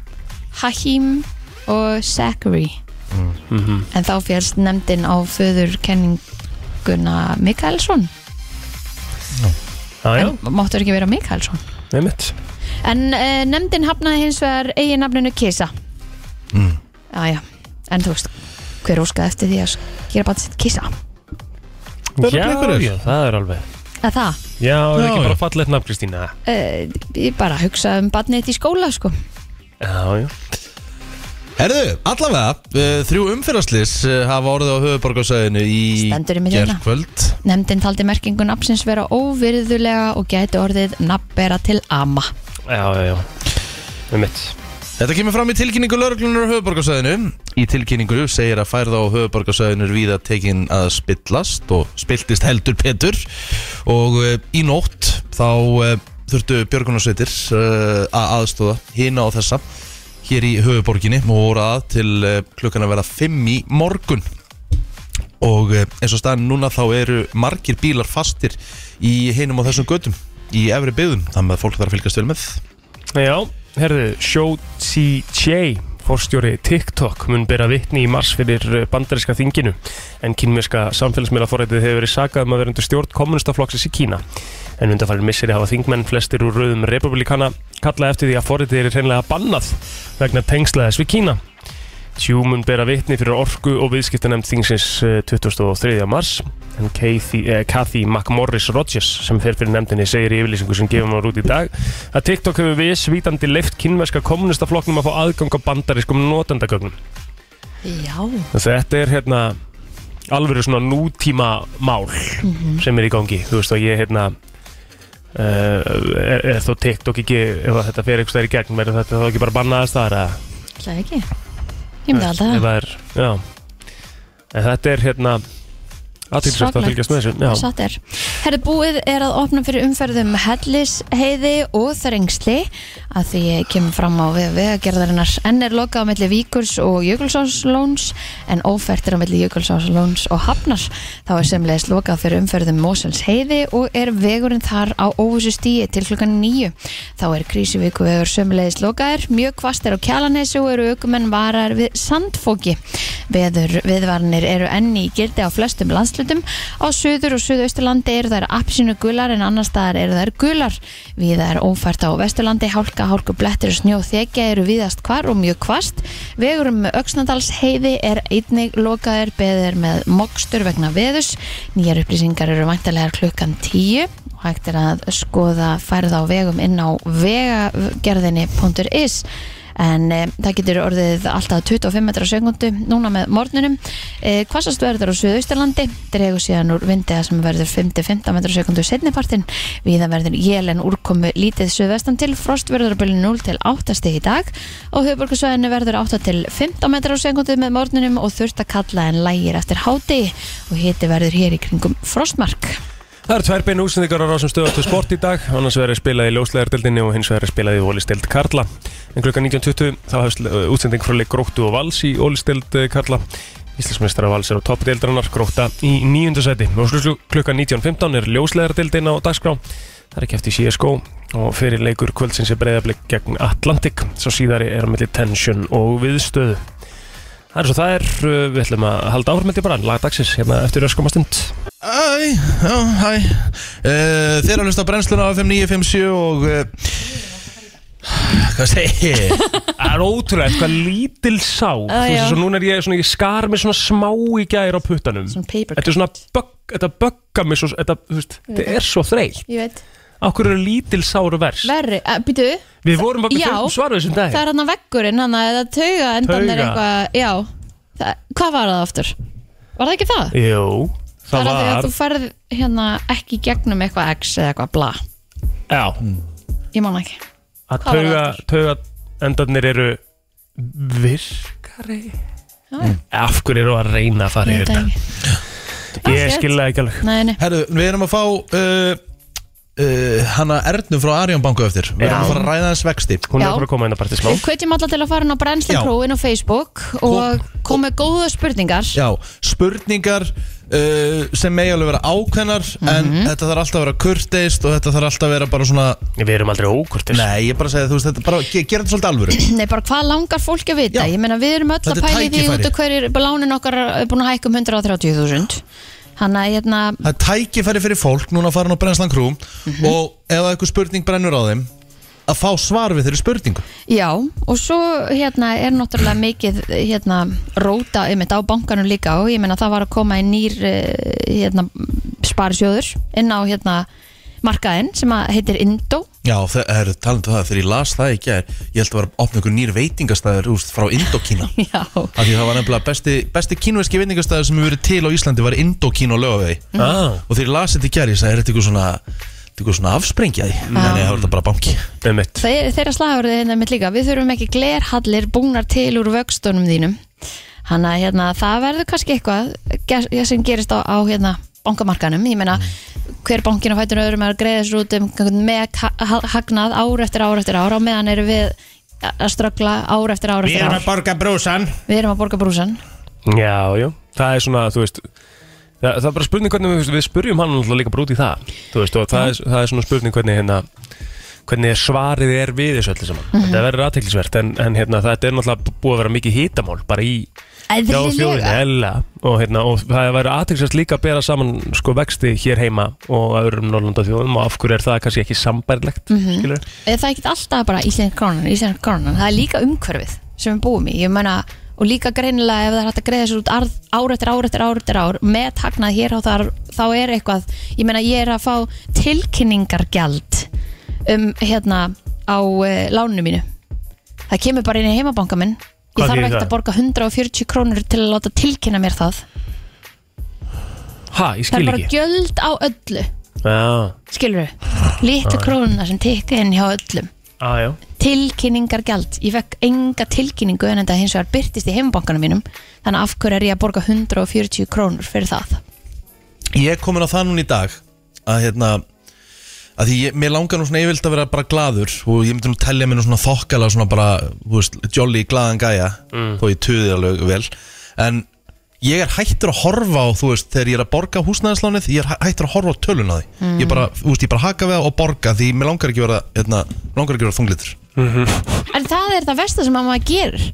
Hahim og Zachary En þá félst nefndin á föður kenninguna Mikaelsson
Ah, Já, já,
En máttu ekki vera Mikaelsson
nefnitt
En uh, nefndin hafnaði hins vegar eigin nafninu Kisa Jæja, en þú veist hver óskaði eftir því að gera bara sitt Kisa
eru blikkurir.
já, það er alveg
Að það,
Já, er
Já,
ekki
já.
bara fallegt nafn Kristína
uh, ég bara hugsaði um badneitt í skóla sko
Já, já
Herðu, allavega, uh, þrjú umferðarslis uh, hafa orðið á höfuborgarsæðinu í
Stendur í miðjuna.
gærkvöld.
Nefndin taldi merkingu nafnsins vera óvirðulega og gæti orðið nafnbera til ama.
Já, já, já Nefnitt
Þetta kemur fram í tilkynningu lauruglunar á höfuborgarsæðinu Í tilkynningu segir að færða á höfuborgarsæðinu er víða tekin að spillast og spiltist heldur Petur og uh, í nótt þá uh, þurftu björgunarsveitir uh, að aðstóða hina og þessa hér í höfuborginni og voru að til uh, klukkan að vera 5 í morgun og eh, eins og staðan núna þá eru margir bílar fastir í hinum og þessum götum í efri byggðum, þannig að fólk þarf að fylgast vel með
Já, herðu, Shou J Forstjóri TikTok mun bera vitni í mars fyrir eh, bandaríska þinginu en kínverska samfélagsmiðlaforrætið hefur verið sakað um að vera undir stjórn kommunistaflokksins í Kína en undanfælir misseri hafa þingmenn flestir úr rauðum republikana kalla eftir því að forrætið er hreinlega bannað vegna tengslaðis við Kína Tjú mun bera vitni fyrir orku og viðskiptanemnd þingsins eh, 23. mars en Kathy, eh, Kathy McMorris Rogers sem fer fyrir nefndinni segir í yfirlýsingu sem gefum hann út í dag að TikTok hefur viðsvítandi leift kynverska kommunistaflokknum að fá aðgang á bandarískum notendagögnum
Já.
Þetta er hérna alveg svona nútíma mál sem er í gangi þú veist og ég hérna uh, er, er þó TikTok ekki ef að þetta fer eitthvað þær í gegn er þetta þá ekki bara bannaðast þar að
Það ekki. Ég myndi alltaf það.
Ef það er, já En þetta er hérna aðtilsvægt að
Svakalegt.
fylgjast með þessu Já,
Satt er. Herðu búið er að opna fyrir umferðum hellisheiði og þrengsli að því kemur fram á við vegagerðarinnar. Enn er lokað á milli Víkurs og Jökulsáslóns en ófært er á milli Jökulsáslóns og Hafnar. Þá er semlegis lokað fyrir umferðum Moselsheiði og er vegurinn þar á óvissu stíi til klukkan nýju. Þá er krísuvíku vegur sömulegis lokaðir, mjög kvast er á kjalanessi og eru aukumenn varar við sandfóki. Veður viðvarnir eru enni í gildi á flestum landslutum. Á suður og suðausturlandi eru þær apsinu gular en annar staðar eru þær gular. Víða er ófært á vesturlandi, hálka, hálku blettir og snjó þekja eru víðast hvar og mjög kvast. Vegur um Öxnadals heiði er einnig lokaðir beðir með mokstur vegna veðus. Nýjar upplýsingar eru vantalegar klukkan 10 og hægt er að skoða færð á vegum inn á vegagerðinni.is en e, það getur orðið alltaf 25 metrar á sekundu núna með morgunum e, hvassast verður á Suðausturlandi dregur síðan úr vindiða sem verður 5-15 metrar á sekundu setnipartin viða verður jél en úrkomu lítið suðvestan til frost verður að byrja 0 til 8 stig í dag og höfburgarsvæðinu verður 8 til 15 metrar á sekundu með morgunum og þurft að kalla en lægir eftir háti og hiti verður hér í kringum frostmark
það eru tvær beinu útsendingar á rásum stöðu til sport í dag annars verður spilað í ljóslegardeldinni og hins vegar er spilað í ólisteld Karla en klukkan 19.20 þá hefst eh, útsending frá leik Gróttu og Vals í ólisteld Karla Íslandsmeistara Vals er á toppdeildrarnar Grótta í nýjunda sæti og slúslu klukkan 19.15 er ljóslegardeldin á dagskrá það er ekki eftir CSGO og fyrir leikur kvöldsins er breyðablið gegn Atlantik svo síðari er á milli tension og viðstöðu Það er svo það er, uh, við ætlum að halda áfram held ég bara, lagdagsins, hérna eftir öskoma stund.
Æ, já, hæ uh, Þeir eru að hlusta á brennsluna á FM 957 og uh, Hvað segi ég?
Það er ótrúlega, eitthvað lítil sá Þú
Ah,
veist,
já.
svo núna er ég, svona, ég skar mig svona smá í gæri á puttanum
Svona paper
Þetta er svona, bögg, þetta bögga mig svo, þetta, þú veist, þetta er svo þreytt
Ég veit
Akkur eru lítil sár vers
Verri, að, býtu
Við vorum bara
Já.
með svara þessum dag
Það er hann að veggurinn, hann að það tauga endan er
Tauga.
eitthvað Já, það, hvað var það aftur? Var það ekki það?
Jú,
Það
það
er að því að
var
þú færð hérna ekki í gegnum eitthvað x eða eitthvað bla
Já,
Ég man það ekki
að
Hvað var
tauga,
það
tauga endarnir eru virkari
Já, já,
Mm,
Af hverju eru að reyna að fara
ég
yfir
veit það
þetta?
ekki.
Ég
Shit.
skilja ekki alveg
Nei, nei,
Herru, við erum að fá uh, uh, hana Ernu frá Arjón banku eftir Við erum
Já.
að fara að ræða hans vexti
Hún
Já.
er bara að koma inn að partí smá
við hvetjum alla til að fara inn á
Já.
brennslupróin á Facebook og koma með góða spurningar
Já, spurningar uh, sem megi alveg vera ákveðnar En þetta þarf alltaf að vera kurteist Og þetta þarf alltaf að vera bara svona
Við erum aldrei ókurtis
Nei, ég bara segi þú veist Þetta bara, ge- gera þetta svolítið alvöru
Nei, bara hvað langar fólk að vita?
Já.
Ég meina, við erum öll að
Þetta er
pæli því
tækifæri.
út af hverjir lánin okkar er búin að hækka um 130.000 Þannig að, hérna,
Það er tækifæri fyrir fólk núna að fara á Brenslan Krú Og ef það eitthvað spurning brennur á þeim Að fá svar við þeirri spurningu
já, og svo hérna er náttúrulega mikið hérna, róta um á bankanum líka og ég meina það var að koma í nýr eh, hérna, sparisjóður inn á hérna markaðinn sem að heitir Indó
Já, það er talandi um það, þegar ég las það í gær Ég held að vera að opna ykkur nýr veitingastæður úst, frá Indokína
Já,
Af því það var nefnilega besti, besti kínuverski veitingastæður sem hefur verið til á Íslandi var Indokín og lögavegi
ah,
Og þegar ég las þetta í gær, ég sagði, er þetta ykkur svona Þetta ykkur svona afsprengjaði Nei, nei, það var þetta bara banki
einmitt.
Þeir, þeirra slagurðið hérna mitt líka Við þurfum ekki glerhallir búnar til úr vöxtunum þínum Hanna hérna, það verður kannski eitthvað ger- sem gerist á, á hérna bankamarkanum, ég meina hver bankin á fætur öðrum er að greiða sér út um einhvern meg ha- ha- hagnað ár eftir ár eftir ár á meðan erum við að ströggla ár eftir ár eftir ár
borga brúsan
Við erum að borga brúsan
Já, já, það er svona, þú veist Það, það er bara spurning hvernig við, við spurjum hann alltaf líka bara út í það Þú veist, og það, er, það er svona spurning hvernig hérna hvernig svarið er við þessu öllu saman
Mhm.
Þetta verður aðteklisvert en, en hérna, þetta er náttúrulega búið að vera mikið hítamál bara í hjá þjóðinni
Eðlilega
ella og, hérna, og það verður aðteklisvert líka að bera saman sko vexti hér heima og öðrum Norrlanda þjóðum og af hverju er það kannski ekki sambærilegt
Mhm.
mm
Er Það er ekkert alltaf bara íslensk krónan, íslensk krónan Það er líka umhverfið sem við búum í Ég meina, og líka greinilega ef það er hægt að greiða sér út arð, ár eftir ár eftir ár eftir ár með taknað hér og þar þá er eitthvað, ég meina ég er að fá tilkynningargjald um hérna á uh, láninu mínu það kemur bara inn í heimabanka minn ég
Hvað
þarf
þýðir
ekkert
það?
að borga 140 krónur til að láta tilkynna mér það
Ha,
það
ég skil
er bara
ekki
gjöld á öllu
Já,
skilur
(sighs)
þau, litlu krónuna sem tekka inn hjá öllum
já, Ah, já
tilkynningargjald ég fekk enga tilkynningu en þetta hins vegar byrtist í heimbankanum mínum þannig að af hverju er ég að borga 140 krónur fyrir það
Ég er komin á það núna í dag Að hérna að því ég, mér langar nú svona yfirlt að vera bara gladur og ég myndi nú tellja mér nú svona þokkala svona bara, þú veist, jolly glaðan gæja þó ég tuði alveg vel en ég er hættur að horfa á þú veist, þegar ég er að borga húsnæðislánið ég er hæ- hættur að horfa á töluna á því
Mm.
ég bara, þú veist, ég bara haka við það og borga því mér langar ekki að vera, hérna, langar ekki að vera þunglitur
en það er það versta sem að maður gerir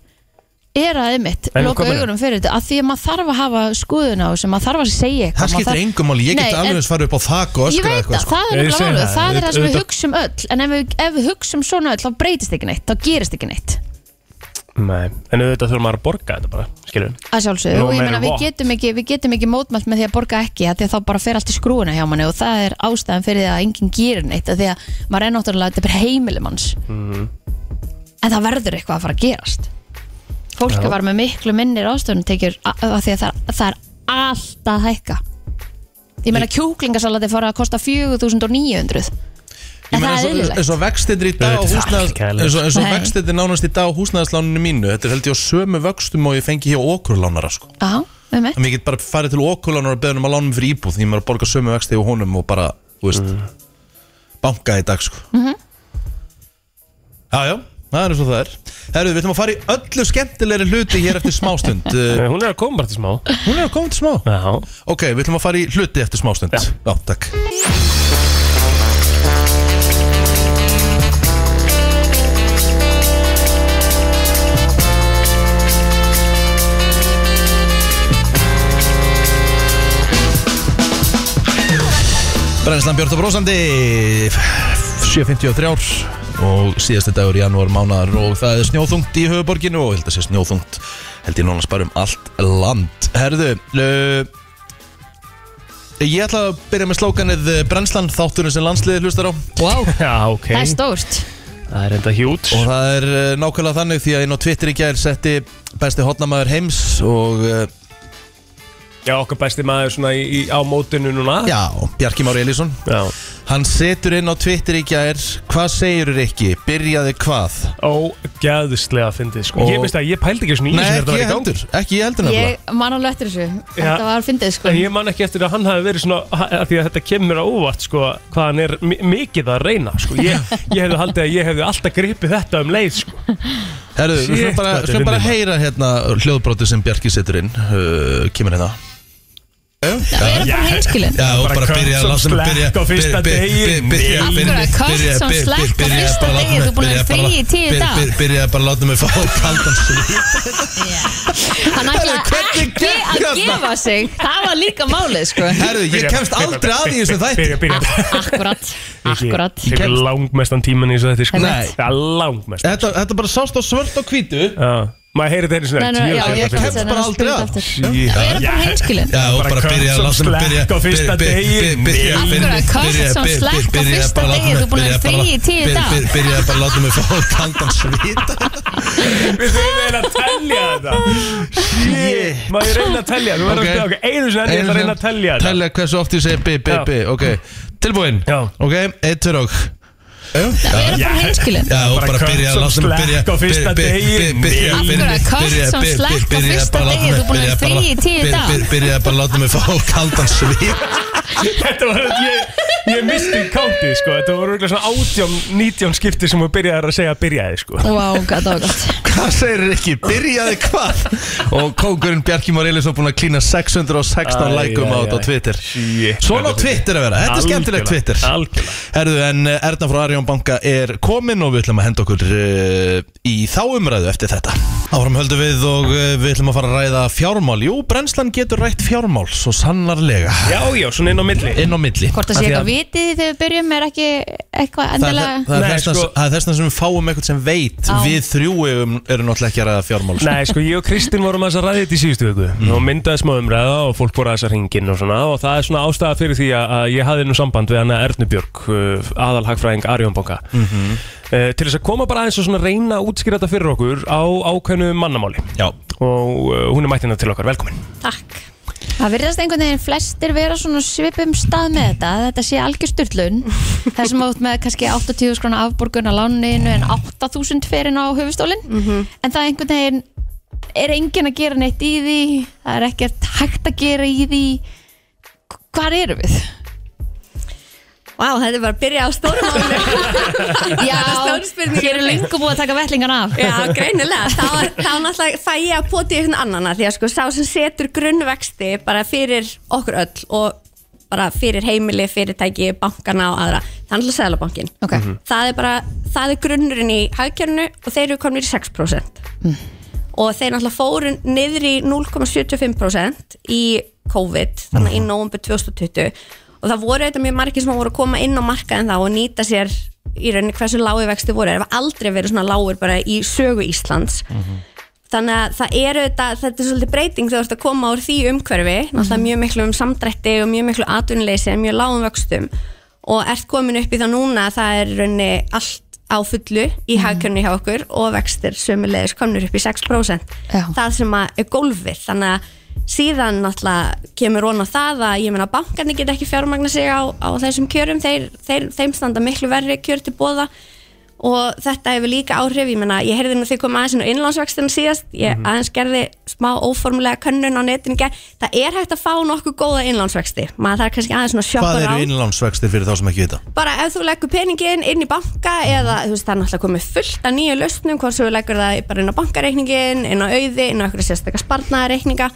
er að einmitt
En
loka
hvað meinar?
augunum fyrir þetta að því að maður þarf að hafa skoðun á sem maður þarf að segja eitthvað
það
maður
skiptir
þarf-
engum máli, ég
Nei,
get
en-
alveg eins farið upp á þak og
Ég
öskra
veit
eitthvað
það,
sko.
það er
Ég
nefnilega
segi
málið,
það,
það er það sem við
auðvitað-
hugsum öll en ef við, ef við hugsum svona öll þá breytist ekki neitt, þá gerist ekki neitt
Nei, en auðvitað þurfum maður að borga þetta bara, skilur
að sjálfsögðu
No
og ég
matter
meina við
what.
getum, ekki, við getum ekki mótmælt með því að borga ekki að því að þá bara fer allt í skrúuna hjá manni og það er ástæðan fyrir því að enginn gerir neitt að því að maður er náttúrulega þetta er bara heimilum hans
Mhm.
en það verður eitthvað að fara að gerast fólk
Já.
var með miklu minni ástöðun tekjur a- af því að það, er- það er allt að hækka ég meina kjúklingasalati fór að kosta 4.900
Ég
en
meina,
það er
eins og-
eðlilegt
eins og vextindir í dag á
Auðvitað, það er
húsnæðis-
ekki eðlilegt.
eins og- eins og
Nei.
vextindir nánast í dag á húsnæðisláninu mínu þetta er held ég á sömu vöxtum og ég fengi hjá okurlánara sko.
Já, um mitt
þannig að ég get bara farið til okurlánara og beðið um að lánum fyrir íbúð því ég maður að borga sömu vexti hjá honum og bara, þú veist
Mm.
banka í dag sko.
Mhm.
já, já, það er eins og það er Herru, við ætlum að fara í öllu skemmtilegri hluti hér eftir smástund
(laughs)
Uh,
Hún er að koma bara til smá
hún er að koma til smá
Já,
ok, við ætlum að fara í hluti eftir smástund
Já.
já takk Brennslan Björn og Brósandi 7.53 ár og síðasti dagur í janúar mánar og það er snjóþungt í höfuborginu og ég held að sé snjóþungt held ég nánast bara um allt land Herðu uh, Ég ætla að byrja með slókanið eh, Brennslan, þátturinn sem landsliðið hlustar á wow.
já ok
Það er stórt
Það er enda hjút
og það er eh, nákvæmlega þannig því að inn á Twitter í gær setti besti hotnamaður heims og uh,
Já, okkar besti maður svona í, í, á mótinu núna
já, Bjarki Már Elísson
Já,
Hann setur inn á Twitter í gær Hvað segir Rikki? Byrjaði hvað?
Ógæðislega fyndið sko
Og-
Ég veist að ég pældi ekki svona í
Nei,
þessu þegar
ekki
þetta
ég
var í gangi.
heldur Ekki ég heldur nefnilega
Ég man alveg eftir þessu
Já.
Þetta var fyndið sko
En ég man ekki eftir að hann hafi verið svona að því að þetta kemur á óvart sko hvað hann er mi- mikið að reyna sko ég, ég hefði haldið að ég hefði alltaf gripið þetta um leið sko
Herru, við
Shit,
skulum bara,
hvað þetta er
skulum bara
fyndið,
heyra hérna hljóðbróti sem Bjarki setur inn uh, Kemur hérna
Það er bara hinskilin
Já, og
Bara
bara byrja að
cut
láta
some
mig byrja
slack á fyrsta
byrja-
degi.
byrja- byrja- byrja-
Nei.
Af hverju að
byrja-
cut some
byrja-
slack á
byrja-
fyrsta
bara láta
degi?
mig-
Þú búin að
byrja-
vera
bara
frí í
láta-
tíu
byrja-
daga.
byrja- Byrja bara að láta
(laughs)
mig fá kaldan svið
Hann ætlaði
hvernig
ekki
gekk
að
hérna?
gefa sig Það var líka málið sko
Herru, ég kemst aldrei að í þessu þætti
Byrja, byrja, byrja
Akkurat, akkurat
Ég er langmestan tíman í þessu þætti sko
Nei.
Það er langmestan
Þetta, þetta bara sást á svört og hvítu
Já. Maður heyrir þetta einu
Nei,
svona
nei, já, ég
kemst
kemst
bara hérna aldrei að.
Það er bara hinskilin
Já, og
Bara
bara
cut
byrja að
some
láta mig
slack
byrja
á fyrsta
byrja- byrja-
degi.
byrja-
Af
byrja-
hverju að cut
byrja-
some
byrja-
slack á
byrja-
fyrsta
bara láta
degi?
mig-
Þú búin að vera
byrja-
frí
bara-
í tíu
byrja-
daga.
byrja- Byrja bara að láta mig fá kaldan svita
Við þurfum eiginlega að tellja þetta Shit Má ég reyna að tellja Þú verður
Ok.
að spila okkur Einu sinni en ég ætla að reyna að tellja þetta
Tellja hversu oft ég segi bi, bi,
Já.
bi Ok, tilbúin
Já.
Ok, eitt, tver og
Það er bara hinskilin
Já, og
Bara
bara
cut
byrja að
some
láta mig byrja
slack á fyrsta
byrja- byrja-
degi.
byrja-
Af
hverju að cut
byrja-
some
byrja-
slack á
byrja-
fyrsta
bara láta
degi?
mig-
Þú búin að
byrja-
vera
bara-
frí í tíu
byrja-
daga.
byrja- Byrja bara að láta mig fá kaldan svita
Þetta var Ég, ég misti kántið sko Þetta voru örugglega svona 18 19 skipti sem þú byrjaði að segja að byrjaði sko
Vá, hvað það var gott
Hvað segir ekki? Byrjaði hvað? Og kókurinn Bjarki Már Elísson búin að klína 616
Æ,
lækum á
æ,
þetta á
æ.
Twitter
Shit,
Svona á
þetta er
Twitter að vera, þetta er skemmtilegt
Algjörlega,
Twitter
algjörlega.
Herðu en eh, Erna frá Arjón Banka er komin og við ætlum að henda okkur uh, í þá umræðu eftir þetta Áfram höldum við og uh, við ætlum að fara að ræða fjármál Jú, brennslan getur rætt fjármál, svo sannarlega
Já, já, svona inn á milli
Inn á milli
Hvort að
Af
sé
því
eitthvað
að-
vitið þegar við byrjum er ekki eitthvað
Það
endilega
er, það,
Nei,
er þessna,
sko-
það er þessna sem við fáum eitthvað sem veit
Á.
Við þrjú erum, erum náttúrulega ekki að ræða fjármál sko.
Nei, sko, ég og Kristinn vorum aðeins að ræða þetta í síðustu viku og myndaði smá umræða og fólk voru aðeins að ringin og svona og það er svona ástæða fyrir því að, að ég hafði nú samband við hana Ernubjörg, uh, aðalhagfræðing Arjónbanka mm til þess að koma bara aðeins og svona reyna að útskýra þetta fyrir okkur á ákveðnu mannamáli
Já,
og uh, hún er mættina til okkar, velkomin
Takk Það virðast einhvern veginn flestir vera svona á svipum stað með þetta að Þetta sé algjör styrlun Það sem átt með kannski 80 skrona afborgun á láninu en 8000 ferinn á höfustólin En það einhvern veginn er enginn að gera neitt í því Það er ekkert hægt að gera í því Hvar eru við?
Vá, þetta er bara að byrja á
(laughs)
stórmálinu.
Já,
stór spurning.
hér er lengur búið að taka vellingan af
Já, greinilega. Þá, þá náttúrulega fæ ég að poti einhvern annan að því að sko sá sem setur grunnvexti bara fyrir okkur öll og bara fyrir heimili, fyrirtæki, bankana og aðra. Það er náttúrulega Sæðalabankin.
Ok,
Það er bara, það er grunnurinn í hagkjörnu og þeir eru komin í 6%. Og þeir náttúrulega fóru niður í 0,75% í COVID, þannig að í nóvumbu 2020. Og það voru eitthvað mjög margir sem voru að koma inn á markaðin þá og nýta sér í rauninni hversu lági vexti voru. Það var aldrei verið svona lágur bara í sögu Íslands. Þannig að það eru þetta, þetta er svolítið breyting þegar þú ert að koma úr því umhverfi, náttúrulega mjög miklu um samdrætti og mjög miklu atvinnuleysi en mjög lágum vöxtum og ert komin upp í það núna að það er í rauninni allt á fullu í hagkjörni hjá okkur og vextir sömulegis komnir upp í 6%.
Já.
Það sem að er gólfið, þannig að síðan náttúrulega kemur ón á það að ég meina bankarnir get ekki fjármagna sig á, á þessum kjörum, þeir, þeir, þeim standa miklu verri kjör til bóða og þetta hefur líka áhrif, ég meina ég heyrði nú þau koma aðeins inn á innlánsvextina síðast ég aðeins gerði smá óformulega könnun á netinu, í gær. það er hægt að fá nokkuð góða innlánsvexti, maður þarf kannski aðeins svona
hvað
sjoppar á,
eru innlánsvextir fyrir þá sem ekki vita?
bara ef þú leggur peningin inn í banka eða þú veist það er náttúrulega komið fullt af nýju lausnum, hvort svo þú leggur það bara inn á bankareikningin, inn á auði inn á einhverja sérstakar sparnareikninga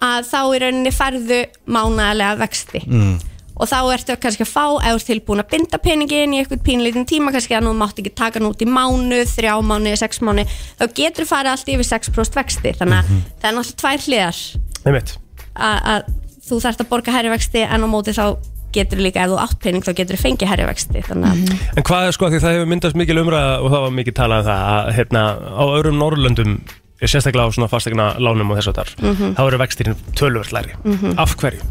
að þá í rauninni færðu mánaðarlega vexti mm. og þá ertu kannski að fá, ef þú ert tilbúin að binda peningin í eitthvað pínlítinn tíma kannski að nú mátt ekki taka hann út í mánu þrjá mánu, sex mánu, þá getur farið allt yfir 6% vexti, þannig að það er náttúrulega tvær hliðar
Einmitt.
að að þú þarft að borga herri vexti en á móti þá getur líka ef þú átt pening þá getur þú fengið herri vexti þannig að
En hvað er sko, af því það hefur myndast mikil umræða og það var mikið talað um það að hérna, á öðrum Norrlöndum sérstaklega á svona fastegna lánum og þess að þar þá eru vextirinn tölvöld læri af hverju?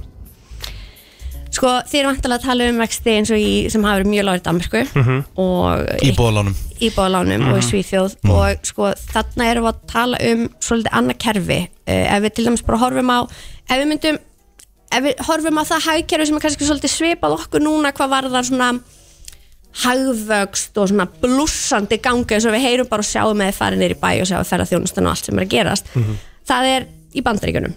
sko þið erum vantilega að tala um vexti eins og í, sem hafa verið mjög lágur í Danmarku og
Íbúðalánum
íbáðalánum og í Svíþjóð og sko þarna erum við Eh, að tala um svolítið annað kerfi uh, ef við til dæmis bara horfum á ef við myndum ef við horfum á það hagkerfi sem er kannski svolítið svipað okkur núna hvað var það svona hagvöxt og svona blússandi gangi eins og við heyrum bara og sjáum eða farið niður í bæ og sjáum ferða þjónustan og allt sem er að gerast það er í bandaríkjunum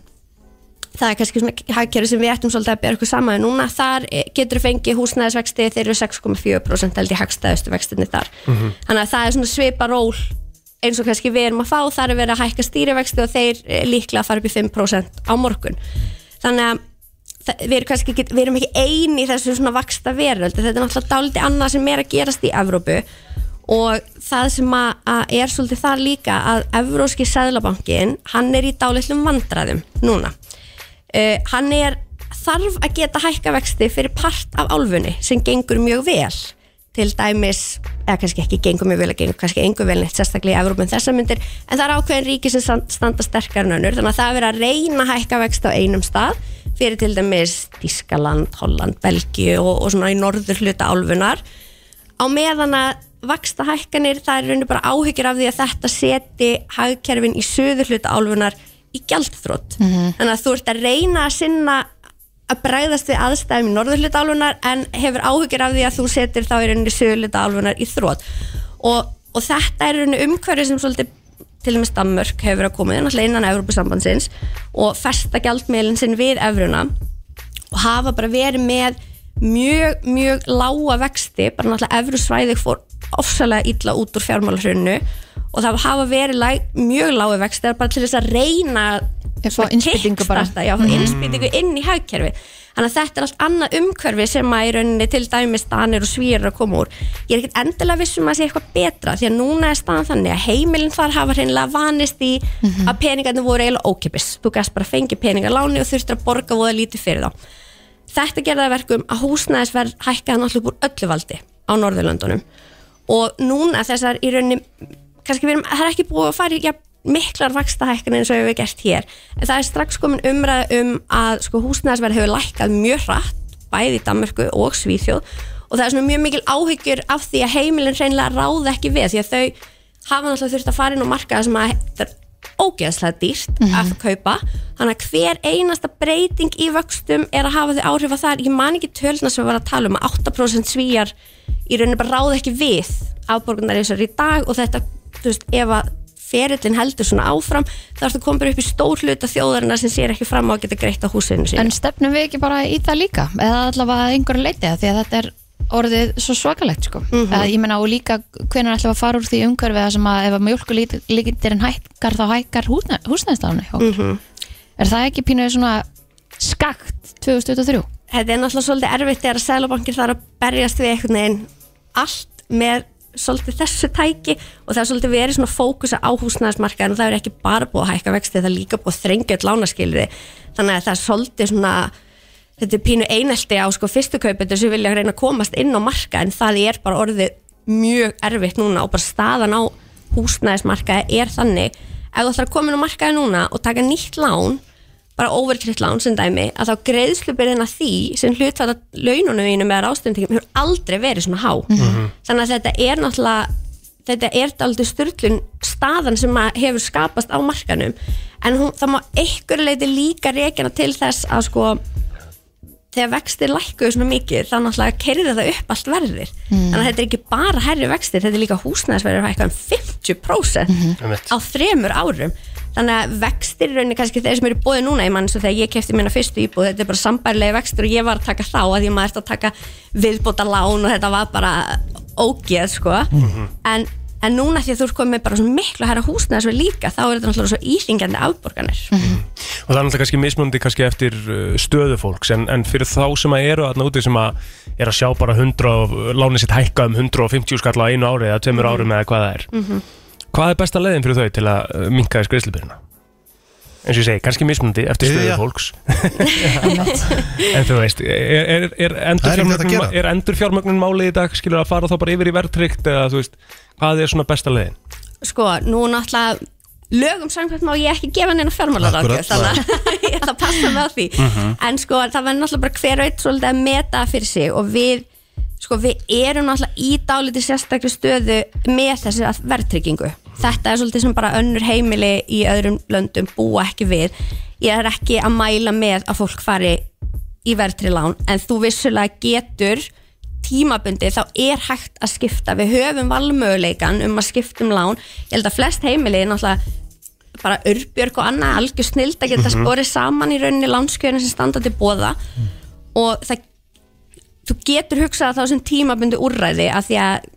það er kannski svona hagkerfi sem við ættum svolítið að bera okkur saman við núna þar getur fengið húsnæðisvexti þeir eru 6,4% held í hagstæðustu vextinni þar þannig að það er svona svipa ról eins og kannski við erum að fá þar er verið að hækka stýrivexti og þeir eh, líklega að fara upp í 5% á morgun þannig að það- við erum kannski ekki, við erum ekki eini í þessu svona vaksta veröld þetta er náttúrulega dálítið annað sem er að gerast í Evrópu og það sem að, að er svolítið þar líka að Evróski sæðlabankin hann er í dálitlum vandræðum núna uh, hann er þarf að geta hækka vexti fyrir part af álfunni sem gengur mjög vel til dæmis, eða kannski ekki gengur mjög vel að gengur kannski engu vel neitt sérstaklega í Evrópum þessar myndir, en það er ákveðin ríki sem stan- standa sterkar en önnur, þannig að það er verið að reyna að hækka vexti á einum stað fyrir til dæmis Þískaland, Holland, Belgíu og, og svona í norður hluta álfunar á meðan að vaksta hækkanir, það er rauninu bara áhyggjur af því að þetta seti hagkerfin í söður hluta álfunar í gjaldþrótt. Þannig að þú ert að reyna að sinna að bregðast við aðstæðum í norður hluta álfunar en hefur áhyggjur af því að þú setir þá í rauninu söður hluta álfunar í þrótt. Og, og þetta er rauninu umhverju sem svolítið til og með Stammörk hefur verið að koma inn, náttúrulega innan Evrópusambandsins og festa gjaldmiðlinn sinn við Evruna og hafa bara verið með mjög, mjög lága vexti bara náttúrulega efru svæði fór ofsalega illa út úr fjármálhrunnu og það hafa verið læg, mjög lága vexti bara til þess að reyna
Ég fá innspýtingu bara.
kickstarta, já, mm. innspýtingu inn í hagkerfi þannig að þetta er allt annað umhverfi sem að í rauninni til dæmis danir og svýrar að koma úr ég er ekkert endilega viss um að það sé eitthvað betra því að núna er staðan þannig að heimilin þar hafa hreinlega vanist í
Mhm.
að peningarnir voru eiginlega ókipis þú gæst bara fengið peningar að láni og þurftir að borga voða lítið fyrir þá þetta gerði það að verkum að húsnæðisverð hækkaði náttúrulega úr öllu valdi á Norðurlöndunum og núna þessar í rauninni kannski við erum, það er ekki búið að fara í ja, miklar vaksta hækkan eins og við gert hér en það er strax komin umræða um að sko, húsnæðisverð hefur lækkað mjög hratt bæði í Danmörku og Svíþjóð og það er svona mjög mikil áhyggjur af því að heimilin reynilega ráða ekki við því að þau hafa náttúrulega þurft að fara inn á markaða sem að þetta er ógeðslega dýrt að kaupa þannig að hver einasta breyting í vöxtum er að hafa þau áhrif að það ég man ekki tölna sem við varum að tala um að 8% svíjar í rauninni bara ráða ekki við afborgunar þessar í dag og þetta, þú veist, ef að ferillin heldur svona áfram þá ertu komin bara upp í stór hluta þjóðarinnar sem sér ekki fram á að geta greitt á húsinu sínu
En stefnum við ekki bara í það líka eða allavega að einhverju leiti af því að þetta er orðið svo svakalegt sko mm ég meina og líka hvenær ætlum við að fara úr því umhverfið það sem að ef að mjölkulíkindirinn hækkar þá hækkar húsnæðslánu mm er það ekki pínuð svona skakt 2023
þetta er náttúrulega svolítið erfitt þegar að Sælabankin þarf að berjast við einhvern veginn allt með svolítið þessu tæki og það er svolítið verið svona fókusa á húsnæðismarkaðin og það er ekki bara búið að hækka vexti það er líka búið að þrengja öll lánaskilri þannig að það er svolítið svona þetta er pínu einelti á sko fyrstu kaupendur sem vilja reyna að komast inn á marka en það er bara orðið mjög erfitt núna og bara staðan á húsnæðismarkaði er þannig ef þú ætlar að koma inn á markaði núna og taka nýtt lán bara overkritt lán sem dæmi að þá greiðslubyrðin að því sem hlutfæða laununum þínum eða rástendingum hefur aldrei verið svona há þannig að þetta er náttúrulega þetta er daldið styrlun staðan sem að hefur skapast á markanum en hún, það má einhverju leiti líka reikina til þess að sko þegar vextir lækkuðu svona mikið þá náttúrulega kerði það upp allt verðir þannig að þetta er ekki bara herri vextir þetta er líka húsnæðisverður hækka um 50%
Einmitt.
á þremur árum þannig að vextir í rauninni kannski þeir sem eru bóðið núna í mann svo þegar ég kefti minna fyrstu íbúð þetta er bara sambærlega vextur og ég var að taka þá að ég maður eftir að taka viðbóta lán og þetta var bara ógeð sko en, en núna því að þú ert komið með bara svona miklu herra húsnæðisverð líka þá er þetta náttúrulega svo íþingjandi afborganir
og það er náttúrulega kannski mismunandi kannski eftir uh, stöðu fólks en, en fyrir þá sem að eru þarna úti sem að er að sjá bara 100 og- uh, lánið sitt hækka um 150 skall á einu ári eða tveimur árum eða hvað það er hvað er besta leiðin fyrir þau til að minka þess greiðslubyrjuna? eins og ég segi, kannski mismunandi eftir stöðu
Biðja. (laughs)
fólks (laughs) en þú veist er, er, er,
Það er ekkert að
endurfjármögnun-
gera.
er endur fjármögnun málið í dag skilur að fara þá bara yfir í verðtrykt eða þú veist, hvað er svona besta leiðin?
sko, nú náttúrulega lögum samkvæmt má ég ekki gefa neina fjármálaráðgjöf
Akkurat,
þannig að (laughs) ég ætla að passa með því en sko, það verður náttúrulega bara hver og eitt svolítið að meta fyrir sig og við sko, við erum náttúrulega í dálítið sérstakri stöðu með þessi að- verðtryggingu þetta er svolítið sem bara önnur heimili í öðrum löndum búa ekki við ég er ekki að mæla með að fólk fari í verðtri lán en þú vissulega getur tímabundi þá er hægt að skipta við höfum valmöguleikan um að skipta um lán ég held að flest heimili náttúrulega bara örbjörg og annað algjör snild að geta sporið saman í rauninni lánskjöðinu sem standa til bóða og það þú getur hugsað þá sem tímabundi úrræði af því að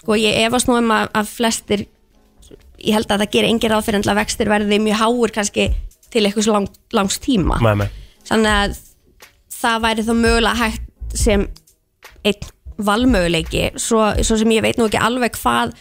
sko ég efast nú um að, að flestir ég held að það gerir engin ráð fyrir að vextir verði mjög háur kannski til eitthvað lang, langs tíma
Nei, nei.
þannig að það væri þá mögulega hægt sem einn valmöguleiki svo, svo sem ég veit nú ekki alveg hvað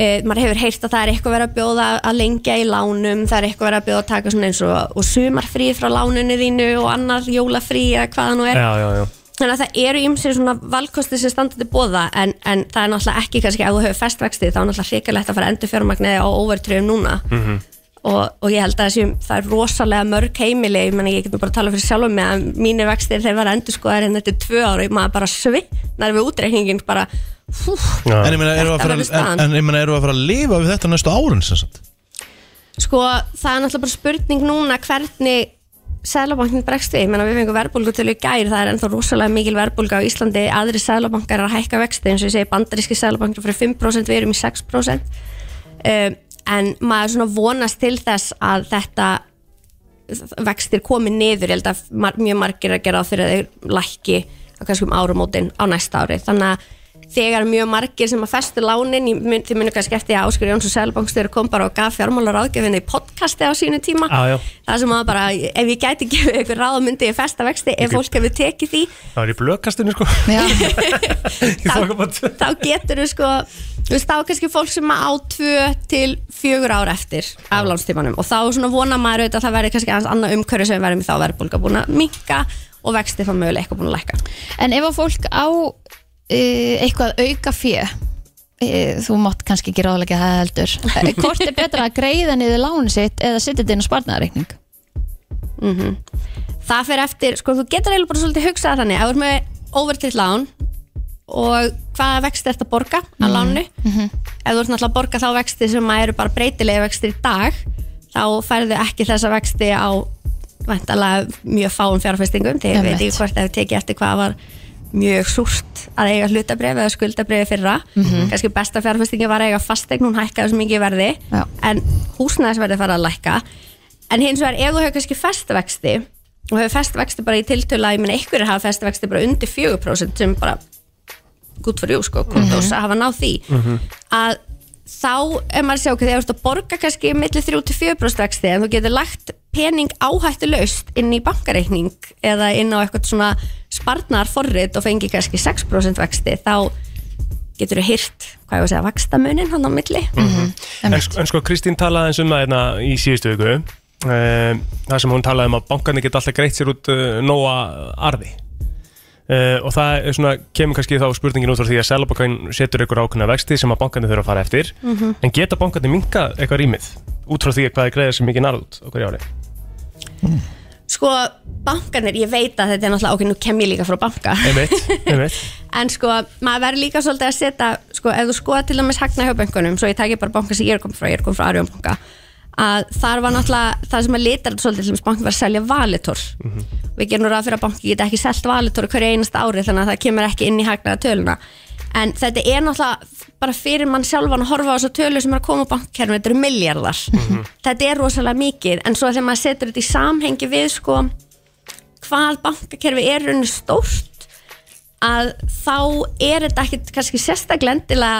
e, maður hefur heyrt að það er eitthvað verið að bjóða að lengja í lánum það er eitthvað verið að bjóða að taka svona eins og, og sumarfrí frá lánunni þínu og annar jólafrí eða hvað það nú er
Já, já, já
þannig að það eru ymsir svona valkosti sem standa til bóða en, en það er náttúrulega ekki kannski ef þú hefur festvexti þá er náttúrulega hrikalegt að fara endur fjármagnið á overtröðum núna -hmm. og, og ég held að þessum það er rosalega mörg heimili ég, meni, ég get nú bara að tala fyrir sjálfum mig að mínir vextir þeir var endur skoðar en þetta er tvö ára og maður bara svitnar við útreikningin bara hú,
En ég meina, eru að
Þetta
fara,
verður staðan.
en, en ég meina, eru að fara að lifa við þetta næstu árun sem sagt?
sko það er náttúrulega bara spurning núna hvernig Sælabankin bregst við, ég menna við fengum verðbólgu til í gær, það er ennþá rosalega mikil verðbólga á Íslandi, aðri sælabankar er að hækka vexti eins og ég segi bandaríski sælabankar fyrir 5% við erum í 6% um, en maður svona vonast til þess að þetta vextir komi niður, ég held að mar mjög margir að gera á fyrir að þeir lækki á kannski um árumótin á næsta ári þannig að þegar mun- mjög margir sem að festu lánin, ég mun, þið munum kannski eftir að Áskur Jónsson Sælbankstöður kom bara og gaf fjármálar ágjöfinni í podcasti á sínu tíma
Já, já.
það sem að bara, ef ég gæti gefið ykkur ráð myndi ég festa vexti, ef fólk hefur tekið því
Það var í blökastinu sko
Já,
(laughs) Í þokkabót
þá getur þú sko þú veist, þá er kannski fólk sem á 2 til 4 ár eftir aflánstímanum og þá svona vona maður auðvitað að það verði kannski aðeins annað umhverju sem við verðum í þá verðbólga búin að minka og vexti þá mögulega eitthvað búin að lækka
en ef að fólk á uh, eitthvað auka fjö þú mátt kannski ekki ráðlega það heldur Eh, hvort er betra að greiða niður lánu sitt eða setja þetta inn á sparnareikning
það fer eftir, sko þú getur eiginlega bara svolítið hugsað þannig, ef þú ert með overtill lán og hvaða vexti ert að borga að lánu ef þú ert náttúrulega að borga þá vexti sem að eru bara breytilegi vextir í dag þá færðu ekki þessa vexti á vantalega mjög fáum fjárfestingum þegar ég veit
Einmitt.
ekki hvort ef tekið eftir hvað var mjög súrt að eiga hlutabrif eða skuldabrifi fyrra kannski besta fjárfestingi var að eiga fastegn hún hækkaði svo mikið í verði
Já.
en húsnæðisverði farið að lækka en hins vegar ef þú hefur kannski festvexti og hefur festvexti bara í tiltölu að ég menn einhverjir hafa festvexti bara undir 4% sem bara gútt fyrir jú sko, kontos að hafa náð því að þá er maður að sjá okkur þegar þú ert að borga kannski millir 3-4% vexti en þú getur lagt pening áhættu laust inn í bankareikning eða inn á eitthvað svona sparnar forrið og fengi kannski 6% vexti þá getur þú hýrt hvað ég var að segja, vakstamunin hann á milli
En, sko- en sko Kristín talaði eins um það hérna í síðustu viku um, Það sem hún talaði um að bankarni geta alltaf greitt sér út uh, nóa arði uh, og það er svona, kemur kannski þá spurningin út frá því að selabankan setur ykkur ákveðna vexti sem að bankarni þurfa að fara eftir en geta bankarni minka eitthvað rýmið út frá því að hvað er greiðið sem mikið narð út okkur í ári
sko, bankanir, ég veit að þetta er náttúrulega ok, nú kem ég líka frá banka
Einmitt,
(laughs)
einmitt
en sko, maður verður líka svolítið að setja sko, ef þú skoða til dæmis hagna hjá bönkunum svo ég tæki bara banka sem ég er komið frá, ég er komið frá Arjón banka að þar var náttúrulega það sem að litar þetta svolítið til þess bankin var að selja valitor við gerum nú ráð fyrir að banki geta ekki selt valitor á hverju einasta ári þannig að það kemur ekki inn í hagnaða töluna en þetta er náttúrulega bara fyrir mann sjálfan að horfa á þessa tölu sem er að koma á bankkerfum, þetta eru miljardar þetta er rosalega mikið en svo þegar maður setur þetta í samhengi við sko hvað bankakerfi er rauninu stórt að þá er þetta ekkit kannski sérstaklega endilega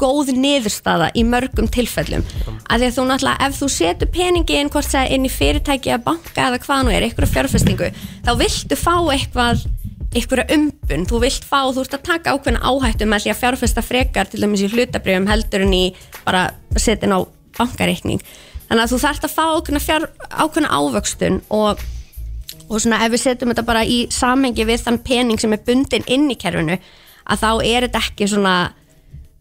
góð niðurstaða í mörgum tilfellum að því að þú náttúrulega ef þú setur peningi inn hvort það er inn í fyrirtæki að banka eða hvað nú er, einhverja fjárfestingu þá viltu fá eitthvað einhverja umbun, þú vilt fá, þú ert að taka ákveðna áhættu með því að fjárfesta frekar til dæmis í hlutabrifum heldur en í bara setin á bankareikning þannig að þú þarft að fá ákveðna, fjár, ákveðna ávöxtun og og svona ef við setjum þetta bara í samhengi við þann pening sem er bundin inn í kerfinu að þá er þetta ekki svona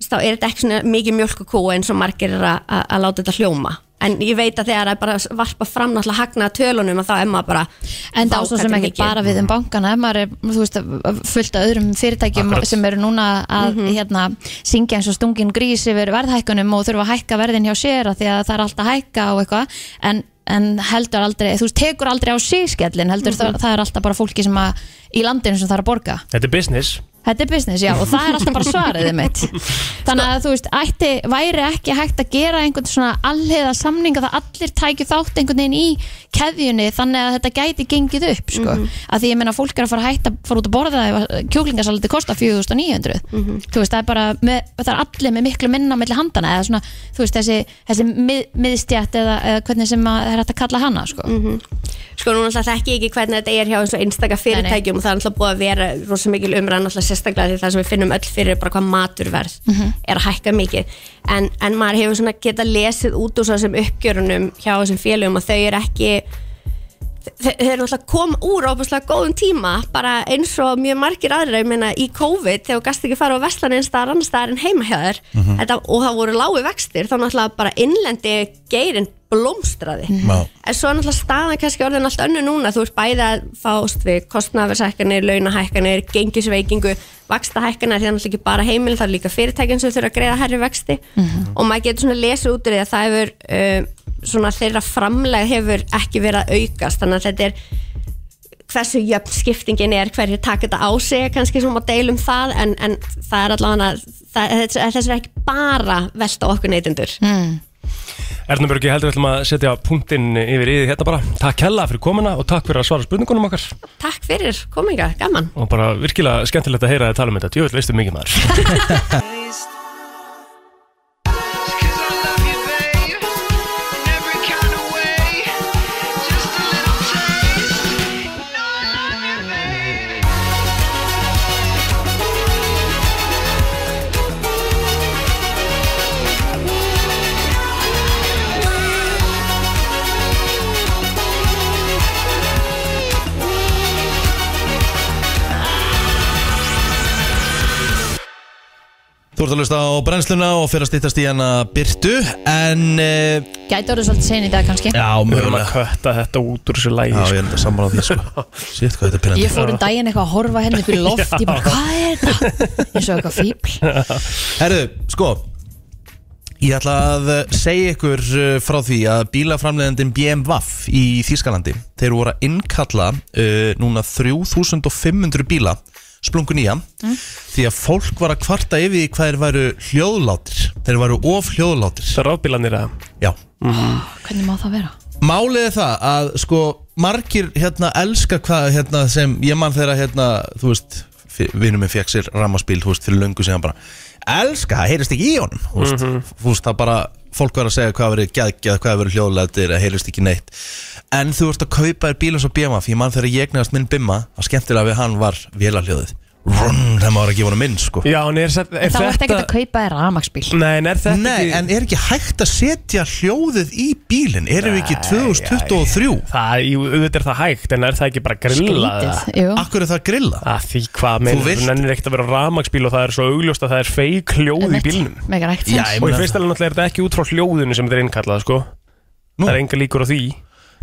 þá er þetta ekki svona mikið mjölkukú eins og margir er að, að, að láta þetta hljóma en ég veit að þegar það er bara að varpa fram náttúrulega hagnaða tölunum að þá er maður bara
En það
Vá,
á svo
hvað
sem
þetta er
ekki
mikið.
bara við um bankana ef maður er, þú veist, fullt af öðrum fyrirtækjum
Akkurat.
sem eru núna að
Mhm.
hérna, syngja eins og stungin grís yfir verðhækkunum og þurfa að hækka verðin hjá sér af því að það er alltaf hækka og eitthvað en en heldur aldrei, þú veist, tekur aldrei á sig skellin, heldur
Mhm.
það, það er alltaf bara fólki sem að, í landinu sem það er að borga
Þetta er business
Þetta er business, já, og það er alltaf bara svariðið mitt Þannig að þú veist, ætti, væri ekki hægt að gera einhvern svona allheiða samninga það allir tækju þátt einhvern veginn í keðjunni þannig að þetta gæti gengið upp, sko að því ég meina fólk er að fara að hætta, fara út að borða ef að kjúklingasalati kosta 4900 þú veist, það er bara, með, það er allir með miklu minna milli handana eða svona, þú veist, þessi, þessi mið, miðstjætt eða, eða hvernig sem að er hægt að kalla hana, sko
sko núna alltaf þekki ég ekki hvernig þetta er hjá eins og einstaka fyrirtækjum og það er alltaf búið að vera rosa mikil umræðan alltaf sérstaklega því það sem við finnum öll fyrir er bara hvað maturverð er að hækka mikið en, en maður hefur svona geta lesið út úr svo þessum uppgjörunum hjá þessum félögum og þau eru ekki þau þau eru alltaf kom úr óbúslega góðum tíma bara eins og mjög margir aðra ég meina í COVID þegar þú gast ekki fara á veslan eins staðar annars staðar en heima hjá þér þetta, og það voru lágu vextir þá náttúrulega bara innlendi geirin blómstraði
Já.
En svo er náttúrulega staðan kannski orðin allt önnu núna, þú ert bæði að fást við kostnavershækkanir, launahækkanir, gengisveikingu, vakstahækkanir, því það er náttúrulega ekki bara heimil, það er líka fyrirtækinn sem þurfa að greiða herri vexti og maður getur svona lesið út úr því að það hefur, uh, svona þeirra framleg hefur ekki verið að aukast, þannig að þetta er hversu jöfn skiptingin er, hverju taka þetta á sig, kannski sem má deilum það, en, en það er allavega, þess er ekki bara velta á okkur neytendur.
Ernaburg, ég heldur við ætlum að setja punktinn yfir í því hérna bara. Takk hella fyrir komuna og takk fyrir að svara spurningunum okkar
Takk fyrir, kominga, gaman.
og bara virkilega skemmtilegt að heyra þið tala um þetta. Jú, veistu mikið maður.
Þú ert að hlusta á brennsluna og fyrir að stýttast í hana Byrtu En, e,
Gæti orðið svolítið sein í dag kannski
já,
Við erum að
mögulega
kötta þetta út úr þessu lægi.
Já,
sko.
ég er þetta sammála
(laughs)
því, sko Sitt, hvað þetta er
Ég
pinnandi
fór um daginn eitthvað að horfa henni upp í loft Ég bara, hvað er þetta? Ég svo eitthvað fíbl
Herðu, sko Ég ætla að eh, segja ykkur uh, frá því að bílaframleðandin BMW í Þýskalandi þeir voru að innkalla uh, núna 3500 bíla splungu nýja því að fólk var að kvarta yfir því hvað þeir væru hljóðlátir þeir væru of hljóðlátir
Það er rafbílanir að...
Já.
Hvernig má það vera?
Málið er það að sko margir hérna elska hvað hérna sem ég mann þeirra hérna þú veist vinnum minn fekk sér rammaspíl þú veist fyrir löngu sem hann bara elska það heyrist ekki í honum þú veist, þú veist það bara fólk var að segja hvað verið gæðgjað hvað verið hljóðlættir að heyrist ekki neitt en þú ert að kaupa þér bíl eins og bíma fyrir mann þegar ég nefnast minn bimma að skemmtilega við hann var vélarhljóðið runn þegar maður var að gefa honum minn sko
Já, en er, set- er
Þá ertu ekkert
þetta...
að kaupa þér rafmaksbíl
Nei, en er þetta
Nei,
ekki...
en er ekki hægt að setja hljóðið í bílinn? Erum við ekki 2023?
Það, jú, auðvitað er það hægt, en er það ekki bara grillað?
Skrítið,
eða?
jú
Akkur er það að grilla?
Að því hvað meina,
vilt-
þú nennir ekkert að vera rafmagsbíl og það er svo augljóst að það er feik hljóð í bílnum.
Megar ekkert
Já,
sens
ég
Og í
meina
fyrsta
það.
alveg náttúrulega er þetta ekki út frá hljóðinu sem þetta er innkallað, sko.
Nú.
Það er enga líkur á því.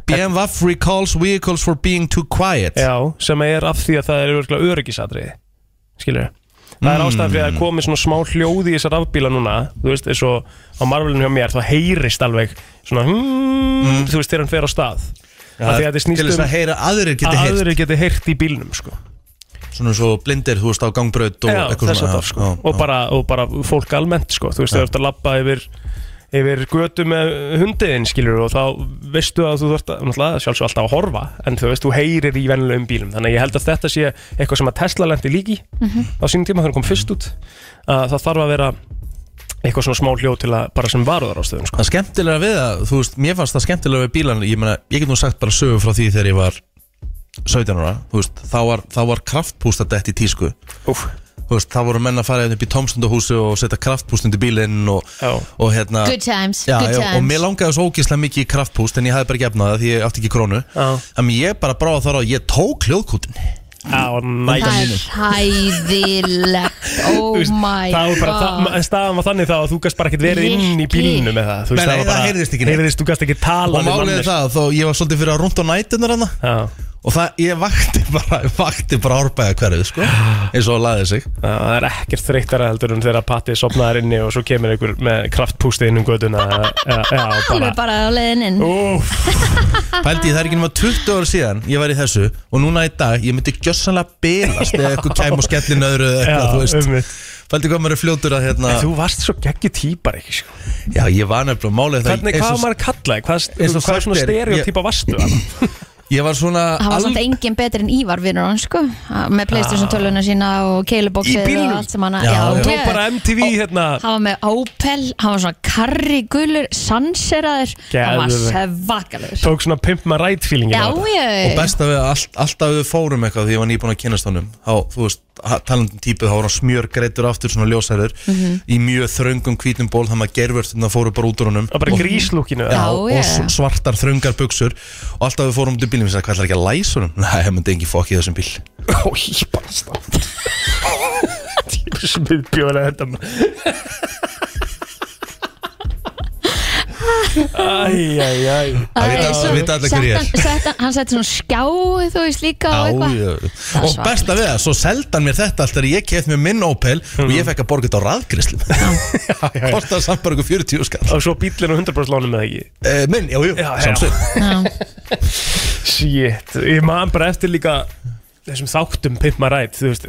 BMW recalls vehicles for being too quiet
Já, sem er af því að það er örgulega öryggisatriði. Skilur Það
Mm.
er ástæðan fyrir að það komi svona smá hljóð í þessar rafbíla núna, þú veist, eins og á marvelinu hjá mér, þá heyrist alveg svona, hmm, þú veist, þegar hann fer á stað. Ja, því að þetta
Mm. Til
snýst
þess
um
að heyra aðrir geti
að
heyrt
aðrir geti heyrt í bílnum, sko.
Svona svo blindir, þú veist, á gangbraut og
Já,
eitthvað
þess að
svona,
það sko
já,
og,
já.
bara, og bara fólk almennt sko Þú veist, þú ert að labba yfir, yfir götu með hundiðin skilur og þá veistu að þú þurft að náttúrulega sjálfsög alltaf að horfa en þú veist, þú heyrir í venlegum bílum þannig að ég held að þetta sé eitthvað sem að Tesla lendi líki mm
Mhm.
á sínum tíma þegar hún kom fyrst út að það þarf að vera eitthvað svona smá hljóð til að bara sem varuðar ástöðum sko
Það skemmtilega við það, þú veist, mér fannst það skemmtilega við bílan Ég meina, ég get nú sagt bara sögu frá því þegar ég var 17 ára Þú veist, þá var, þá var kraftpústa dætt í tísku
Úf,
Þú veist, þá voru menn að fara hérna upp í tómstundahúsi og setja kraftpúst undir bílinn og,
Já.
og hérna
Good times,
Já,
good
já, og
times
mér langaði svo ógeðslega mikið í kraftpúst en ég hafði bara ekki efnað það því ég átti ekki krónu
Já.
Þannig ég bara bráði þar á, ég tók hljóðkútin
á, næs
Það er hæðilegt Oh
(laughs) Þú veist,
my
það var bara,
god
það, staðan var þannig þá að þú gast bara ekkert verið inn í
Rikki.
bílinu með það þú
Nei, nei,
var
það
bara-
heyrðist ekki neitt.
heyrðist, þú gast ekki
Og
talað við
málið er
manneskju.
það, þó ég var svolítið fyrir að runda á nætunar hana
Já.
hérna, Og það, ég vakti bara, (laughs) vakti bara árbæða hverju, sko Eins og laðið sig
Það er ekkert þreyttara heldur en þegar Patti sopnaðar inni og svo kemur einhver með kraftpústi inn
(laughs)
um göduna Já, bara
Alveg bara á leiðin inn
Úf,
Pældi, ég, það er ekki nema 20 ára síðan ég var í þessu Og núna í dag, ég myndi gjössanlega
(laughs)
bilast Eða eitthvað kæm og skellin öðru eða
já,
eitthvað, þú veist
ummitt
Pældi hvað maður er fljótur að hérna
Þú varst svo geggi típar ekki sko.
Já, ég var nefnilega málið það
Hvernig,
eins
hvað
og-
var maður kallaði? Hvað,
eins og
hvað
sagt
svona
er,
stereotypa varstu? þarna?
Ég var svona
Það var
al-
samt enginn betri en Ívar vinnur hann sko með Playstation töluna sína og
Ah. Í
keiluboksið
bílnum?
og allt sem hann
Já, já.
hann
Tók
geðveikt.
bara MTV hérna
Hann var með Opel, hann var svona karri gulur, sanseraður Hann var
Geðveikt.
svakalegur
Tók svona pimp maður rætt fílingin
Já,
Og
ég
best að við all, alltaf við fórum eitthvað því ég var nýbúin að kynast honum þá, þú veist, ha- talandi um típu, þá var hann smjörgreitur aftur svona ljósæður
Mhm.
í mjög þröngum hvítum ból þannig að gerverðurna fóru bara út úr honum
Og bara gríslúkinu
Já.
og
ég.
s- svartar þröngar buksur og alltaf við fórum út í bílum og sagði, hvað ætlar ekki að læsa honum? (laughs) Nei, það myndi engi fokk í þessum bíl
Ó, ég bara stað Típur sem við bjóðlega þetta
(laughs)
maður. Æj, æj, æj
Það vita- það vita allir hver ég er.
er Hann sett svona skjá, þú veist líka og
Á,
eitthvað
ég-
Það er
og best að við það, svo seldan mér þetta alltaf þegar ég keft mér minn Opel
Mhm.
og ég fekk að borga þetta á
(laughs)
raðgrislum Kostaði samt bara ykkur 40 skall
Og svo bílinu 100% lónum með ekki
Eh, Minn, jú, jú,
Já, já.
samsveit
Shit, ég man bara eftir líka þessum þáttum Pimp My Ride þú veist,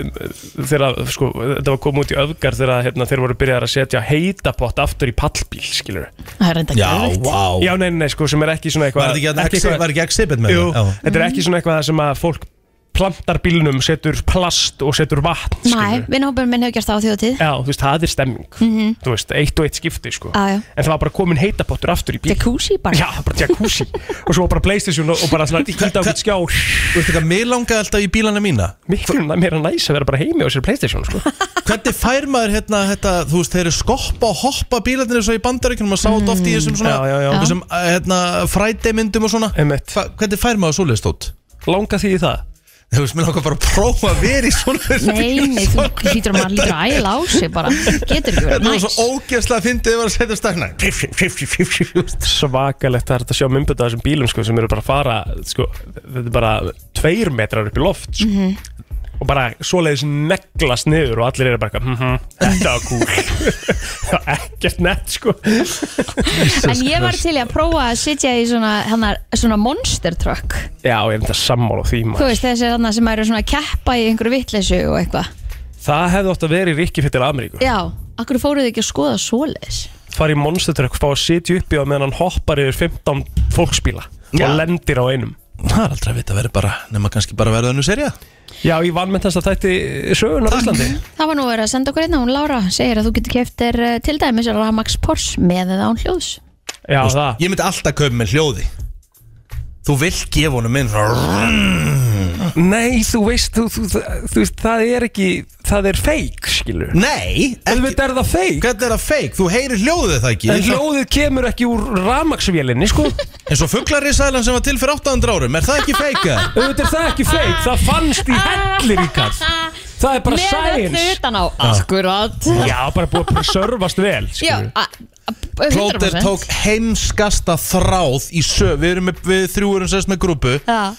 þegar sko, þetta var komið út í öfgar þegar hérna, þeir voru byrjað að setja heitapott aftur í pallbíl, skilur
Það er reynda
Já,
gæðvikt
vá
Já, nei, nei, nei, sko, sem er ekki
Var
svona eitthvað
þetta ekki, ekki, ekki, var ekki exhibit með
Jú,
það?
þetta er ekki svona eitthvað sem að fólk plantar bílnum, setur plast og setur vatn,
Næ,
skilur
vinnhópurinn minn hefur gert það á þjóðtíð
Já, þú veist, það er stemming -hmm. Þú veist, eitt og eitt skipti, sko
Já, já.
En það var bara komin heitapottur aftur í bíl
Jacuzzi bara
Já, bara jacuzzi Og svo var bara Playstation og og bara svona Hvíta á
hva-
hvít skjá
Þú veist eitthvað, mér langaði alltaf í bílana mína
miklu næ- meira næs að vera bara heimi á sér Playstation sko.
Hvernig fær maður hérna, þetta, þú veist, þeir eru skoppa og hoppa bílarnir eins og í bandaríkjunum og sá þetta oft í þessum svona,
Mm, Já, já, já.
þessum eh, hérna, frædæmyndum og svona
Einmitt.
Hva, Hvernig fær maður svoleiðist út?
langa því í það
Þú veist, mér langar bara að prófa að vera í svona
Nei, nei, þú hlýtur að maður lítur að æla á sig bara Getur ekki verið
Þetta var
næs
svo ógeðslega fyndið ef að setja stakna
svakalegt það er þetta að sjá myndbönd af þessum bílum sko, sem eru bara að fara sko, þetta er bara tveir metrar upp í loft sko.
Mhm.
og bara svoleiðis neglast niður og allir eru bara mm -hmm, þetta var cool (laughs) Já, ekkert nett sko
En ég var til í að prófa að sitja í svona, hana, svona monster truck
já, ég er þetta sammála því maður.
Þú veist þessi hana sem eru svona að keppa í einhverju vitleysu og eitthvað
það hefði ótt að vera í Rikki fyrir til Ameríku
Já, akkur fóruð þið ekki að skoða svoleiðis
fara í Monster Truck og fá að sitja uppi og meðan hann hoppar yfir 15 fólksbíla
Já.
og lendir á einum
Það er aldrei að vita að vera bara, nema kannski bara verða önnu serja
já, ég vanmyndast að þætti sögun á Íslandi
Það var nú verið að senda okkur einna, hún Lára segir að þú getur keftir til dæmis Ramax Porsche með eða án hljóðs
já, það
Ég myndi alltaf kaupa með hljóði Þú vilt gefa honum inn
Nei, þú veist, þú, þú, þú, þú veist, það er ekki, það er fake, skilur
Nei,
Elvita er það fake
Hvernig er það feik? Þú heyrir hljóðið það ekki?
En hljóðið kemur ekki úr ramaksvélinni, sko
Eins og fugglarísælan sem var til fyrir 800 árum, er það ekki feika?
Auðvitað er það ekki fake, það fannst í hellir í kall Það er bara
Með öllu
science
utan á, akkurat
Já, bara búið að preservast vel,
Já,
skilur
a- a- 100%
Plóter tók heimskasta þráð í sög, við erum með, við þrjú erum sérst með grúpu
Já.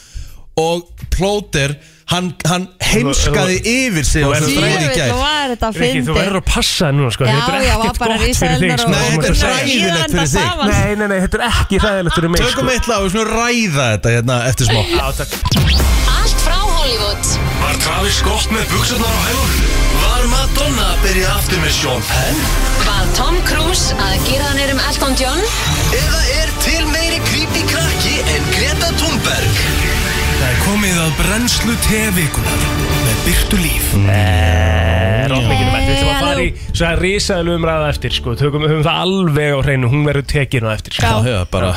og Plóter, hann, hann heimskaði yfir sig á
Þú
þessu
ert-
þræði í
Djöfull
gær.
var þetta
Riki, þú verður
fyndi
að passa það núna, sko
Já,
Þetta er
já, var
ekkert
bara
gott
rísa
fyrir þig,
elnar
sko
og-
Nei,
þú
þetta er
mátt að segja.
hræðilegt.
ræðilegt fyrir þig.
Nei, nei, nei, þetta er ekki ræðilegt fyrir mig, sko
Tökum eitt lag og við svona ræða þetta hérna eftir smá.
Já, takk
Allt frá Hollywood
Var Travis gott með buksunar á hægur? Var Madonna að byrja aftur með Sean Penn?
Var Tom Cruise að gera hann erum Elton John
Eða er til meiri creepy krakki en Greta Thunberg? Það er komið að brennslu tevikunar með Byrtu Líf.
Mm.
Róðmikið mætt, við ætlum um að
Hey,
fara í svo að risaðlu umræða eftir sko, tökum höfum það alveg á hreinu, hún verður tekin á eftir sko.
Já, já, bara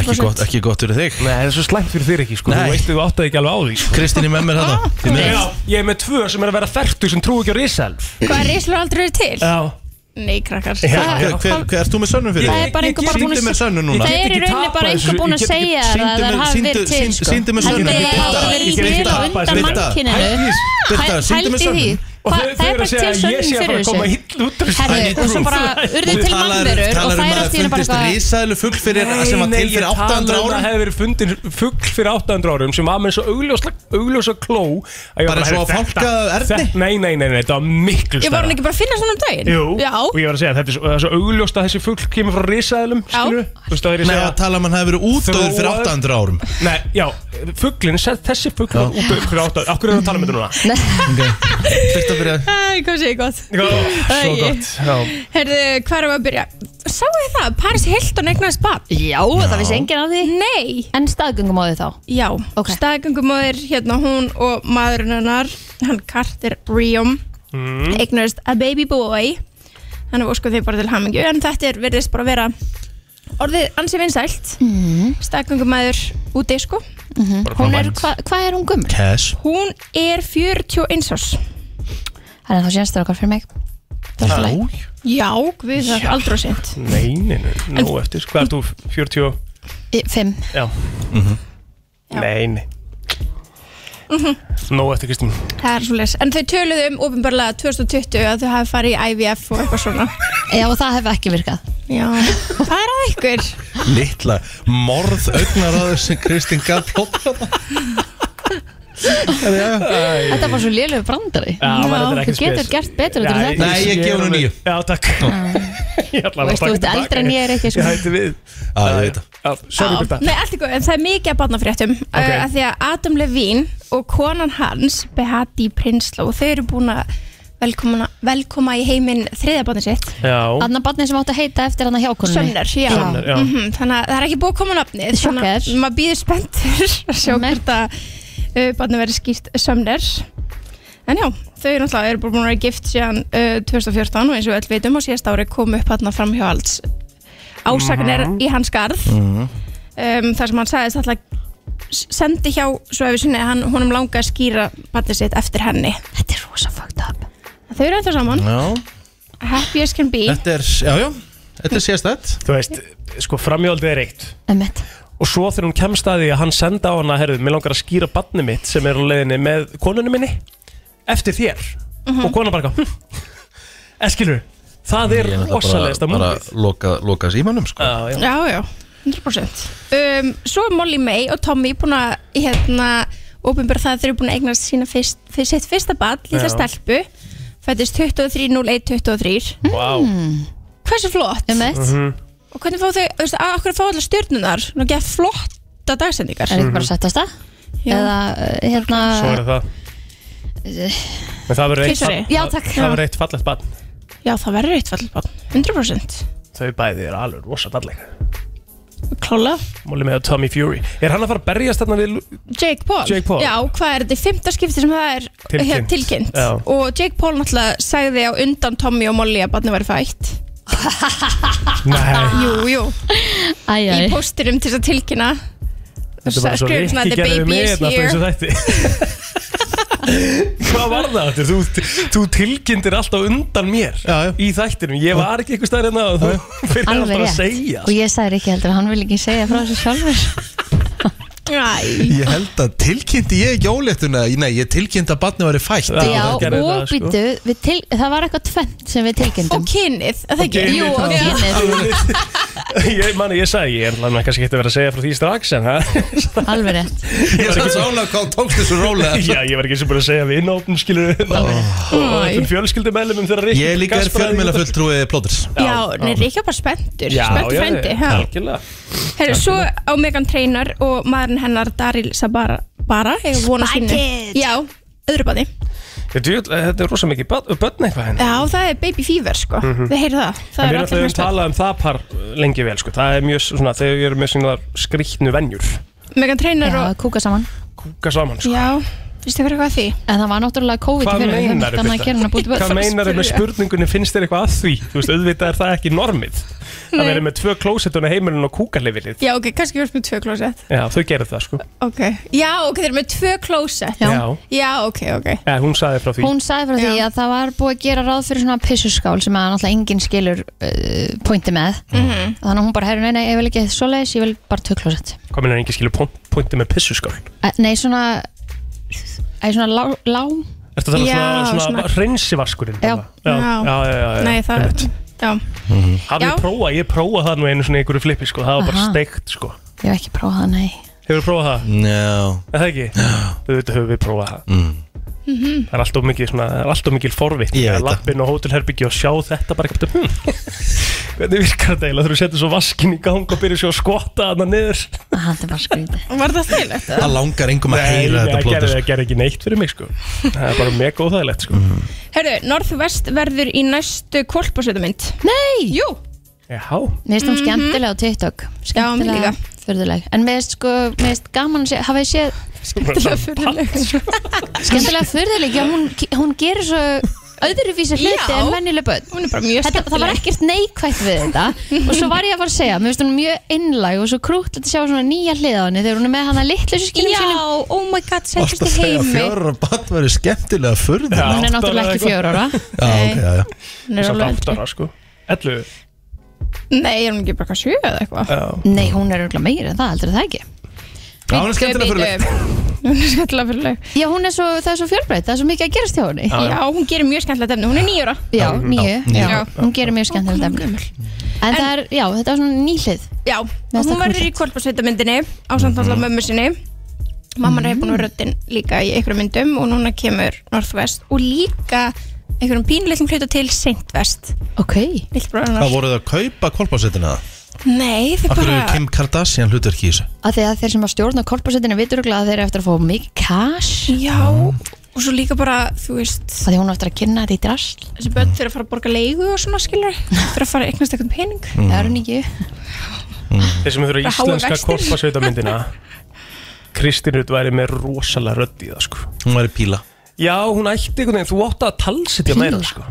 ekki gott, ekki gott fyrir þig.
Nei, það er svo slæmt fyrir þér ekki sko,
Nei.
þú veist þú áttaði ekki alveg á því sko.
Kristín í með mér
Ah,
hérna. því miður.
Já, ég er með tvö sem er að vera færtu sem trú ekki á risaðlu
Hvað rislur aldrei eru til?
Já,
Nei, krakkar
Hver, hver, hver, ert þú með sönnum fyrir
Það er
þig?
bara einhver bara búin
Sýndu mér
að
sönnum núna.
Það
Ég
er í
get ekki
rauninni
tapað
bara einhver
þessu, ég
búin að
get ekki-
segja þér að
sýndu
það
mér-
hafi
sýndu-
verið til
sýndu-
sko.
sýndu mér
En
sönnun.
það
Birta,
hafi verið
ég get
til á
ekki tapað þessu.
undan
Birta,
mannkyninu
Birta,
Pæ-
sýndu mér
pældu í því.
sönnun.
Hva- það
Og þau- þau
er
eru
bara
að
til sönnun
segja að ég sé að
fyrir
fara að koma
þessu.
illa út úr þessu.
Herðu,
I need
og svo
proof.
bara urðu til mannverur og það
um
er allt í henni
Talar um að það fundist
bara eitthvað
risaðilu fugg fyrir sem var til fyrir
ég tala
800
um að
árum
Það hefur verið fundin fugl fyrir 800 árum sem var með svo augljósa, augljósa kló að ég var
Bara eins og að
"Herru, þetta-
fálka erni?"
þetta- Nei, nei, nei, nei, þetta var miklu
Ég var hann ekki bara að finna svona um daginn
Jú,
Já,
og ég var að segja þetta er svo, það er svo augljóst að þessi fugl kemur frá risaðilum
Já.
skilur, þú veist það er ég að
Nei,
segja
að tala um að hann hefur verið útdöður fyrir
Þróaður.
800 (laughs) árum
Nei, já, fuglin, þessi fugl var út fyrir 800, af hverju erum við að tala um þetta núna?
Fyrst að byrja
Æ, hvað sé ég gott
Já, Svo
Æi.
gott, já
Herðu, hvað erum við að byrja? Sáu þið það? Paris Hilton eignaðist barn
Já, það vissi enginn af því
Nei
En staðgöngum á því þá
Já,
Ok.
okay. staðgöngumóðir hérna hún og maðurinn hennar hann Carter Breum
Mm.
eignast a baby boy þannig að óskum þið bara til hamingju en þetta er verðist bara að vera orðið ansi vinsælt mm. staðgöngumæður úti sko
Hún er, hva- Hvað er hún gömul?
Cash
hún er 41 árs
Það er þá sést það okkar fyrir mig Það er alltaf leið
Já, við það er aldrei sent
Nei, nei, nei, nú eftir, hvað ert þú, 40 og-
Fimm
Já
Mhm.
Nei, nei Nó eftir Kristín
Það er svolítið, en þau töluðu um ofinbarlega 2020 að þau hafi farið í IVF og eitthvað svona
Já, og það hefur ekki virkað
Já, það er að ykkur
Littla morð augnar á þessu Kristín gaf plótt
Þetta var svo lélegu brandari
Já, maður, þetta er ekki
Þú getur
spes.
gert betur út úr
Já,
þetta
Nei, ég gef henni níu.
Já, takk (laughs) Ég ætla
Veist, Þú
að taka
veist
þetta
eldri
baka.
en ég er ekki
Ég
sko.
hætti við
Já, ég veit það
Já, Sorry, Birta
Nei, allt ykkur, en það er mikið að barnafréttum okay. uh, að Því að Adam Levine og konan hans Behati Prinsló, þau eru búin að velkoma, velkoma í heiminn þriðja barni sitt
Já,
Þannig að barnið sem átt að heita eftir hann að hjákunni
Sönner, já,
Sönner, já.
Mhm, Þannig að það er ekki búið að koma nafnið Þannig að
Shocker.
maður býður spenntur (laughs) að sjá
Nei.
hvort að uh, barni verið skýrt Sönner En já, þau eru náttúrulega eru búin að vera gift síðan uh, 2014 og eins og við öll veitum og síðast ári kom upp hann fram hjá alls ásakanir í hans garð um, þar sem hann sagðist alltaf sendi hjá svo ef við sinni hann honum langa að skýra barnið sitt eftir henni
Þetta er rosa fucked up
Þau eru ennþá saman,
Já,
happy as can be
þetta er, já, já Þetta er sérstætt
þú veist, sko framjóldi er eitt
Emmett
Og svo þegar hún kemst að því að hann senda á hana Herðu, mér langar að skýra badni mitt sem er á leiðinni með konunni minni Eftir þér Og konan bara hm. Eskilur, það er rosalegasta múlið
Loka, loka símanum, sko
Já, já
Já, já, 100% um, Svo er Molly May og Tommy búin að hérna, opinbara það að þau eru búin að eignast sína fyrst, fyrst, sitt fyrsta ball, lilla
Já.
stelpu fættist 23.01.23
Vá,
Hversu flott
Emmett
Mhm.
Er
og hvernig fá þau, þú veist, að okkur fá allar stjörnunar og geða flotta dagsendingar
þetta ekki bara að setja stað?
Já.
Eða uh, hérna
svo er það En það verður eitt,
Kissari.
Já, takk.
það verður eitt fallegt badn
Já, það verður eitt fallbarn, 100%
Þau bæði er alveg rosa fallega
Klála
Móli með Tommy Fury Er hann að fara að berjast þarna við
Jake Paul.
Jake Paul.
Já, hvað er þetta í fymta skipti sem það er
Tilkynnt.
hér- tilkynnt.
Já.
og Jake Paul náttúrulega sagði á undan Tommy og Molly að barnið væri fætt
Nei,
Jú, jú í
Æjæj
pósturum til þess að tilkynna
þetta er bara svo
skrifum svona,
rikki
"The
gerði við
baby
mig
is
hérna alltaf eins og þetta
(laughs)
Hvað var það aftur? Þú, þú tilkynndir alltaf undan mér
Já, já.
í þættinum Ég var ekki eitthvað staðar hérna og þú fyrir alltaf
Alveg
að
rétt
segja
Og ég sagði ekki heldur Hann vil ekki segja frá þessu sjálfur
Æ,
Ég held að tilkynnti ég ekki óléttuna Nei, ég tilkynnti að badni væri fætt
Já,
Já,
það gerði
og
það, sko.
býttu við til- Það var eitthvað tvent sem við
og
tilkynntum
kynið, er það ekki?
kynið,
Jú,
já.
og kynir
(laughs) Ég mani, ég sagði, ég er hann kannski ekki að vera að segja frá því strax en það (laughs)
Alveg rétt
Ég sann sána hvað tókst þessu rólega
Já, ég var ekki sem bara að segja við innópum skilur
Alveg rétt
og
Mm.
öllum fjölskyldumellum þegar Rikki
Ég líka er fjölmjöla fulltrúi plóters
Já, neður ekki bara spenntur spenntur frendi
algjörlega
Herru, svo á Megan Trainor og maðurinn hennar Daryl Sabara bara, ég vona sínu
Spiked.
Já, öðru báði
Ég djú- Þetta er rosa mikið börn börn eitthvað hérna. henni
Já, það er baby fever sko, við heyrðum það
Mhm.
Það
En
er
við
allir
erum
með
að tala um það par uh, lengi vel sko. Það er mjög svona, þau eru með svona skrýtnu venjur
spennt. Megan Trainor
Já,
og
kúka saman
Kúka saman sko.
Já, finnst ykkur eitthvað að því?
En það var náttúrulega COVID
Hvað
fyrir
meinar
Þannig að gera hann að búti
Hvað meinar með spurningunni finnst þér eitthvað að því? Þú veist, auðvitað er það ekki normið Það verður með tvö klósetuna heimilin og kúkalifilið
Já, ok, kannski við erum með tvö klósett
Já, þau gerir það sko
Ok, já, ok, þeir eru með tvö klósett
Já.
Já, ok, ok
Eh, Hún sagði frá því
Hún sagði frá því
Já.
að það var búið að gera ráð fyrir svona pissuskál sem að náttúrulega enginn skilur uh, pointi með
Mhm.
Þannig að hún bara herri, nei, nei, ég vil ekki svoleiðis, ég vil bara töklósett
Hvað meinar engin skilur punktið með pissuskál
Nei, svona Æ, svona lá, lá
Er Ertu að tala um
Já,
svona, svona,
svona-
hreinsivaskurinn?
Já.
Já,
Já.
já, já, já, já.
Nei, það
Einmitt.
Já,
Hafið
Já.
þið prófað, ég prófað það nú einu svona í einhverju flippi sko, það var bara
Aha.
steikt sko
Ég hef ekki prófað það, nei
Hefur þið prófað það?
Já
Er það ekki? Auðvitað höfum við prófað það
Mm.
Mhm.
Það er alltof mikið svona, það er alltof mikil forvitt
Ég veit það.
Lappin og hótelherbyggi og sjá þetta bara ekki hm. (laughs) Hvernig virkar þetta eiginlega? Þú setur svo vaskin í gang og byrjar svo að skotta þarna niður
Ah, Það er bara skrítið
var það þægilegt?
Það langar engum að
Nei,
heyra
nei,
þetta
það gerði,
plótur
það gerði ekki neitt fyrir mig sko Það er bara mega óþægilegt sko
Herðu, Norðvest verður í næstu kvolpasveitamind
Nei!
Jú,
Já,
Mér finnst hún skemmtilega á TikTok
Mhm. mér líka.
Skemmtilega, fyrðuleg En mér finnst sko, mér finnst gaman að sé Hafið ég séð
skemmtilega fyrirlega
skemmtilega fyrðuleg Já, hún, hún gerir svo öðruvísi hluti
Já.
en vennileg börn
Hún er bara mjög
Þetta, það var
skemmtileg
ekkert neikvætt við þetta og svo var ég að fara að segja, mér finnst hún mjög innlæg og svo krútlegt að sjá svona nýja hlið á henni þegar hún er með hana litlu sískinum
Já,
sínum
oh my god,
Alltaf
sættist í
þegar
heimi
fjórar bann verið skemmtilega furða
Já.
hún er náttúrulega ekki fjör ára
Já, ok, já, já
Hún er
samt
alveg eldri.
áttara sko Ellu,
Nei, er hún ekki bara eitthvað sjö eða eitthvað?
já
Nei, hún er örgulega meira en það, heldur það ekki
Já, hún er skemmtilega furða
(laughs) Hún er skemmtilega fyrirleg
Já, hún er svo, það er svo fjörbreytt, það er svo mikið að gerast hjá henni Já,
Já, hún gerir mjög skemmtilega efni, hún er nýjur
nýju, já,
níu.
hún gerir mjög skemmtilegt efni
gömul
En það er, já, þetta er svona ný hlið
Já,
Mér finnst
hún
það
verður í kvolpasveitamyndinni á samtalda
Mhm.
mömmu sinni Mamman hefur búin að vera röddinn líka í einhverjum myndum og núna kemur Northwest og líka einhverjum pínleitum hluta til Saint-West
Ok,
Hvað voruð það að kaupa kolbásettina?
Nei, þau
Af hverju er
bara
Kim Kardashian hlutverki í þessu?
að því að þeir sem að stjórna korporsettinu vitur örgulega að þeir eru eftir að fá mikið cash
Já, og svo líka bara, þú veist
að því hún er eftir að kynna þetta í drasl
þessi börn fyrir að fara að borga leigu og svona skilur fyrir að fara að eignast eitthvað pening
Mhm.
Það er hún ekki
Þeir sem þurfa
Bara háir
íslenska
vextir.
korpasveitamyndina
(laughs)
Kristín Rutt væri með rosalega rödd í það sko
Hún var í píla
Já, hún ætti einhvern veginn, þú átti að talsitja meira sko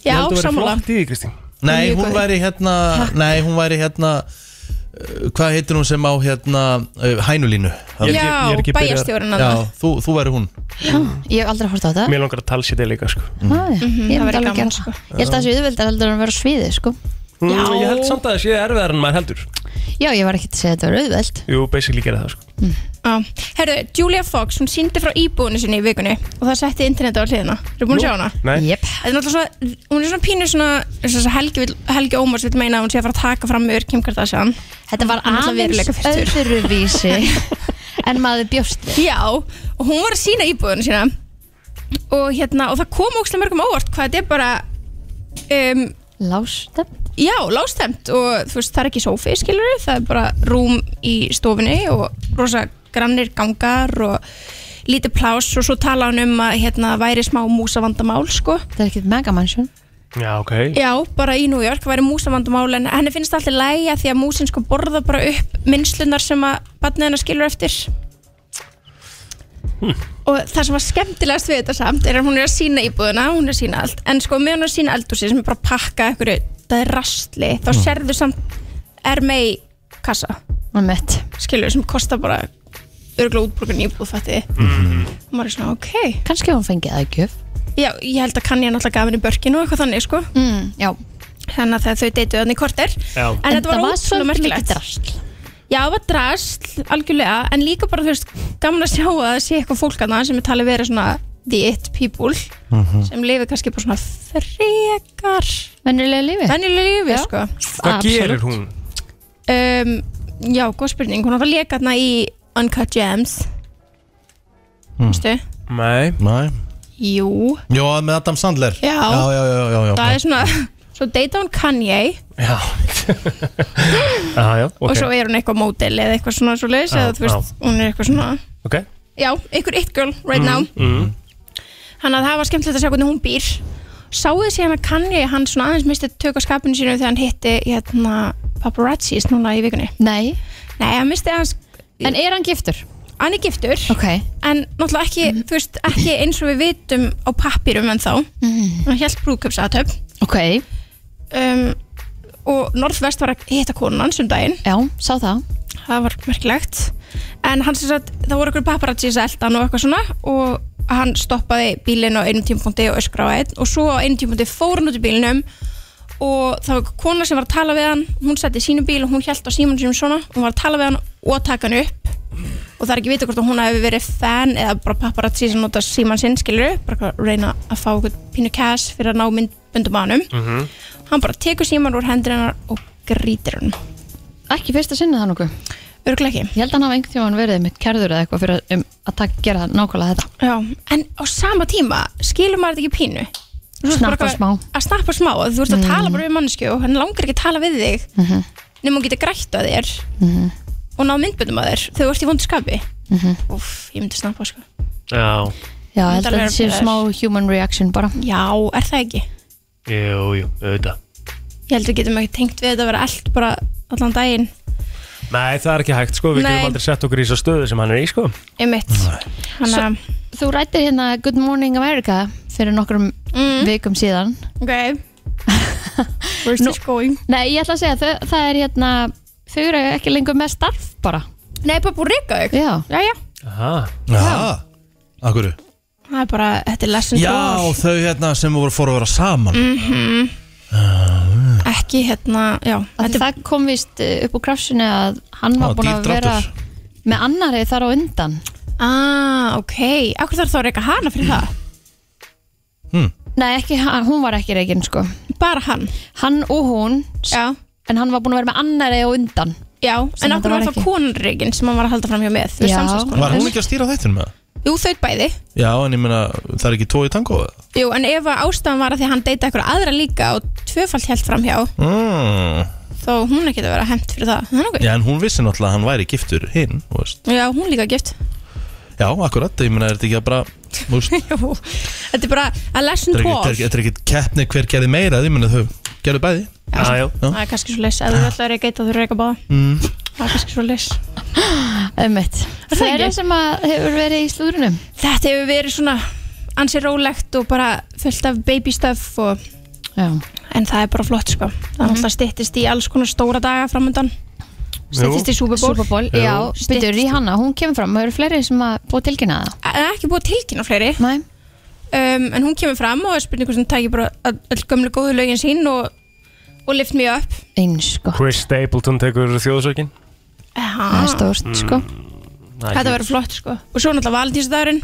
Já,
Ég held að
sammála
Þú verið flott í því, Kristín
Nei,
Mjög
hún
góð.
væri hérna Nei, hún væri hérna uh, Hvað heitir hún sem á hérna uh, Hænulínu?
Ég er ekki- ég
Já,
er ekki byrjaður-
bæjarstjórinn
Já,
annað
þú, þú væri hún
Ég hef aldrei hort á þetta
Mér langar að talsitja líka sko
Ah, Ég
Mhm, það
myndi
væri
alveg
gaman, sko.
gera það Ég held að það sé auðveldar heldur en að vera á sviði sko.
mm,
Já.
Ég held samt að það sé erfiðar en maður heldur
Já, ég var ekkert að segja að þetta var auðveld
Jú, basically gera það sko
Já. Herru, Julia Fox, hún síndi frá íbúinu sinni í vikunni og það setti internetið á hliðina Eru búin að sjá hana?
Nei,
Jep,
Þetta er náttúrulega svona, hún er svona pínu svona, svona Helgi, vill, Helgi Ómars vil meina að hún sé að fara að taka fram mjög Kim Kardashian
þetta var
Hann er alltaf veruleika
aðeins
fyrstur. (laughs)
öðruvísi en maður bjóst við
Já, og hún var að sína íbúðinu sína og hérna, og það kom ókslega mörgum á óvart hvað þetta er bara um,
Lástöfn
já, lástemt og þú veist, það er ekki sófi, skilur það er bara rúm í stofinni og rosa grannir gangar og lítið pláss og svo tala hann um að hérna væri smá músavandamál, sko
Það er ekkert megamansjón
já, ok
Já, bara í New York væri músavandumál en henni finnst alltaf lægja því að músin sko borða bara upp minnslunar sem að barnið hennar skilur eftir og það sem var skemmtilegast við þetta samt er að hún er að sína íbúðuna hún er að sína allt, en sko með hún er að sína eldúsi sem er bara að pakka einhverju, það er rastli þá serðu samt RMA kassa,
Það mitt
skilur sem kostar bara örgla útbrukun íbúð fætti mm. og maður er svona, ok
Kannski hún fengið það í gjöf
Já, ég held að kann ég náttúrulega gaf henni börkinu og eitthvað þannig sko
mm, Já,
þannig að þegar þau deytuðu hann í korter
Já.
en, þetta var ótrúlega
svolítið mikið
merkilegt
drasl
já, það var drasl, algjörlega en líka bara, þú veist, gaman að sjá að það sé eitthvað fólk að sem er talið verið svona the it people,
Mhm.
sem lifi kannski bara svona frekar
Venjulega lífi
venjulega lífi,
Já.
sko
Hvað gerir hún?
um, já, góð spurning, hún var að leka þarna í Uncut Gems
Hmm.
veistu?
Nei
Nei
Jú,
Jó, með Adam Sandler
Já.
já, já, já, já, já.
það er svona svo deyta hún Kanye
(laughs) Já Já, já, ok
og svo er hún eitthvað mótil eða eitthvað svona svo leis,
Já,
eða þú veist, hún er eitthvað svona
Ok
já, einhver it girl right now
mm.
Þannig að það var skemmtilegt að sjá hvernig hún býr Sáuðu síðan að Kanye, hann svona aðeins misti tök á skapinu sínu þegar hann hitti hérna, paparazzis núna í vikunni
Nei,
Nei, hann misti aðeins
en er hann giftur?
Hann er giftur,
Ok
en náttúrulega ekki, þú veist, ekki eins og við vitum á pappirum en þá Hann held brúðköpsatöp
Ok,
um, Og Norðvest var að hitta konan sem daginn
já, sá það
það var merkilegt en hann sem sagt, það voru ykkur paparazzi sem eldan og eitthvað svona og hann stoppaði bílinn á einum tímpunkti og öskraði á einn og svo á einum tímpunkti fór hann út í bílinnum og það var einhver kona sem var að tala við hann hún setti sínu bíl og hún held á síman sínum svona hún var að tala við hann og taka hann upp og það er ekki vita hvort að hún hafi verið fan eða bara paparazzi sem nota síman sinn skilur bara eitthvað að reyna að fá eitthvað pínu cash fyrir að ná myndbundum á hannum hann bara tekur síman úr hendur hennar og grítir hann
Ekki fyrst að sinna það nokkuð.
örglega ekki
Ég held að hann hafa einhvern tíma verið mitt kærður eða eitthvað fyrir að- um, að taka, gera nákvæmlega þetta.
Já, en á sama tíma skilur maður þetta ekki pínu Þú veist
Snappa
bara hvað-
smá. Mm.
Að snappa smá, að þú ert að tala bara við mannesku og hann langar ekki að tala við þig
Mhm.
nema hún getur grætt að þér og náð myndböndum að þér þegar þú ert í vondu skapi
Mhm.
Úff, ég myndi snappa sko
Já,
Já, ég
Þetta
held að
er
þetta sé
verið-
smá human reaction bara.
Já, er það ekki?
jú, jú, auðvitað
Ég held að getum ekki tengt við þetta að vera allt bara allan daginn
Nei, það er ekki hægt, sko, við
Nei.
getum aldrei sett okkur í svo stöðu sem hann er í, sko
einmitt Þannig að,
Þú rættir hérna Good Morning America fyrir nokkrum vikum síðan.
ok
(laughs)
Where's this going?
Nei, ég ætla að segja, þau, það er hérna, þau eru ekki lengur með starf bara.
Nei, bara búið að reyka þig
Já,
Jæja,
Aha.
Já, akkur
það er bara, þetta er lesson
Já,
for all.
þau hérna sem voru fóru að vera saman
Mm. Ekki hérna, já
þetta... það kom vist uh, upp úr krafsinu að hann
Á,
var búin að
dýr
vera
dráttur.
með annari þar á undan.
Ah, ok. Akkur þarf þá að reyka hana fyrir það?
Nei, ekki, hann- hún var ekki reygin sko.
Bara hann?
Hann og hún, s-
Já.
en hann var búin að vera með annari á undan.
Já,
Sem
en
þetta
akkur
var
var
ekki.
það konurreygin sem hann var að halda fram hjá með?
Já.
Við
Var hún ekki að stýra þættunum með það?
Jú, þaut bæði.
Já, en ég meina, það er ekki tói tango
Jú, en ef að ástæðan var að því að hann deyta eitthvað aðra líka og tvöfalt held fram hjá,
mm.
þá hún er ekki að vera hent fyrir það. Það er nokkuð.
Já, en hún vissi náttúrulega að hann væri giftur hinn þú veist.
Já, hún líka gift. (laughs)
Já, akkurat, ég meina, er þetta ekki að bara þú veist,
Jú, þetta er bara a lesson
Þetta er
to
ekki- þetta er ekki- þetta er
all.
ekkert keppni hver gerði meira, ég meina þau gerðu bæði
Já, já,
Það er kannski svo les. Ef þú ætlaði að reyka eitt og þú reyka báða.
Ah. Mm.
Það er kannski svo les.
Ömmit.
Er það
Það er
ekki?
það sem að hefur verið í slúðrunum.
Þetta hefur verið svona ansi rólegt og bara fullt af baby stuff og
Já.
en það er bara flott sko það mm -hmm. styttist í alls konar stóra daga framöndan styttist í Super Bowl
Superból, já, byrju Rihanna, hún kemur fram, það eru fleiri sem að búið að tilkynna það.
það er ekki búið að tilkynna fleiri
Nei,
um, en hún kemur fram og er spurningu sem tækir bara öll öll gömlu góðu lögin sín og, og lift me up
eins sko.
Chris Stapleton tekur þjóðsökin
Það er stórt
Mm,
sko.
þetta verður flott sko og svo náttúrulega valentínsdagurinn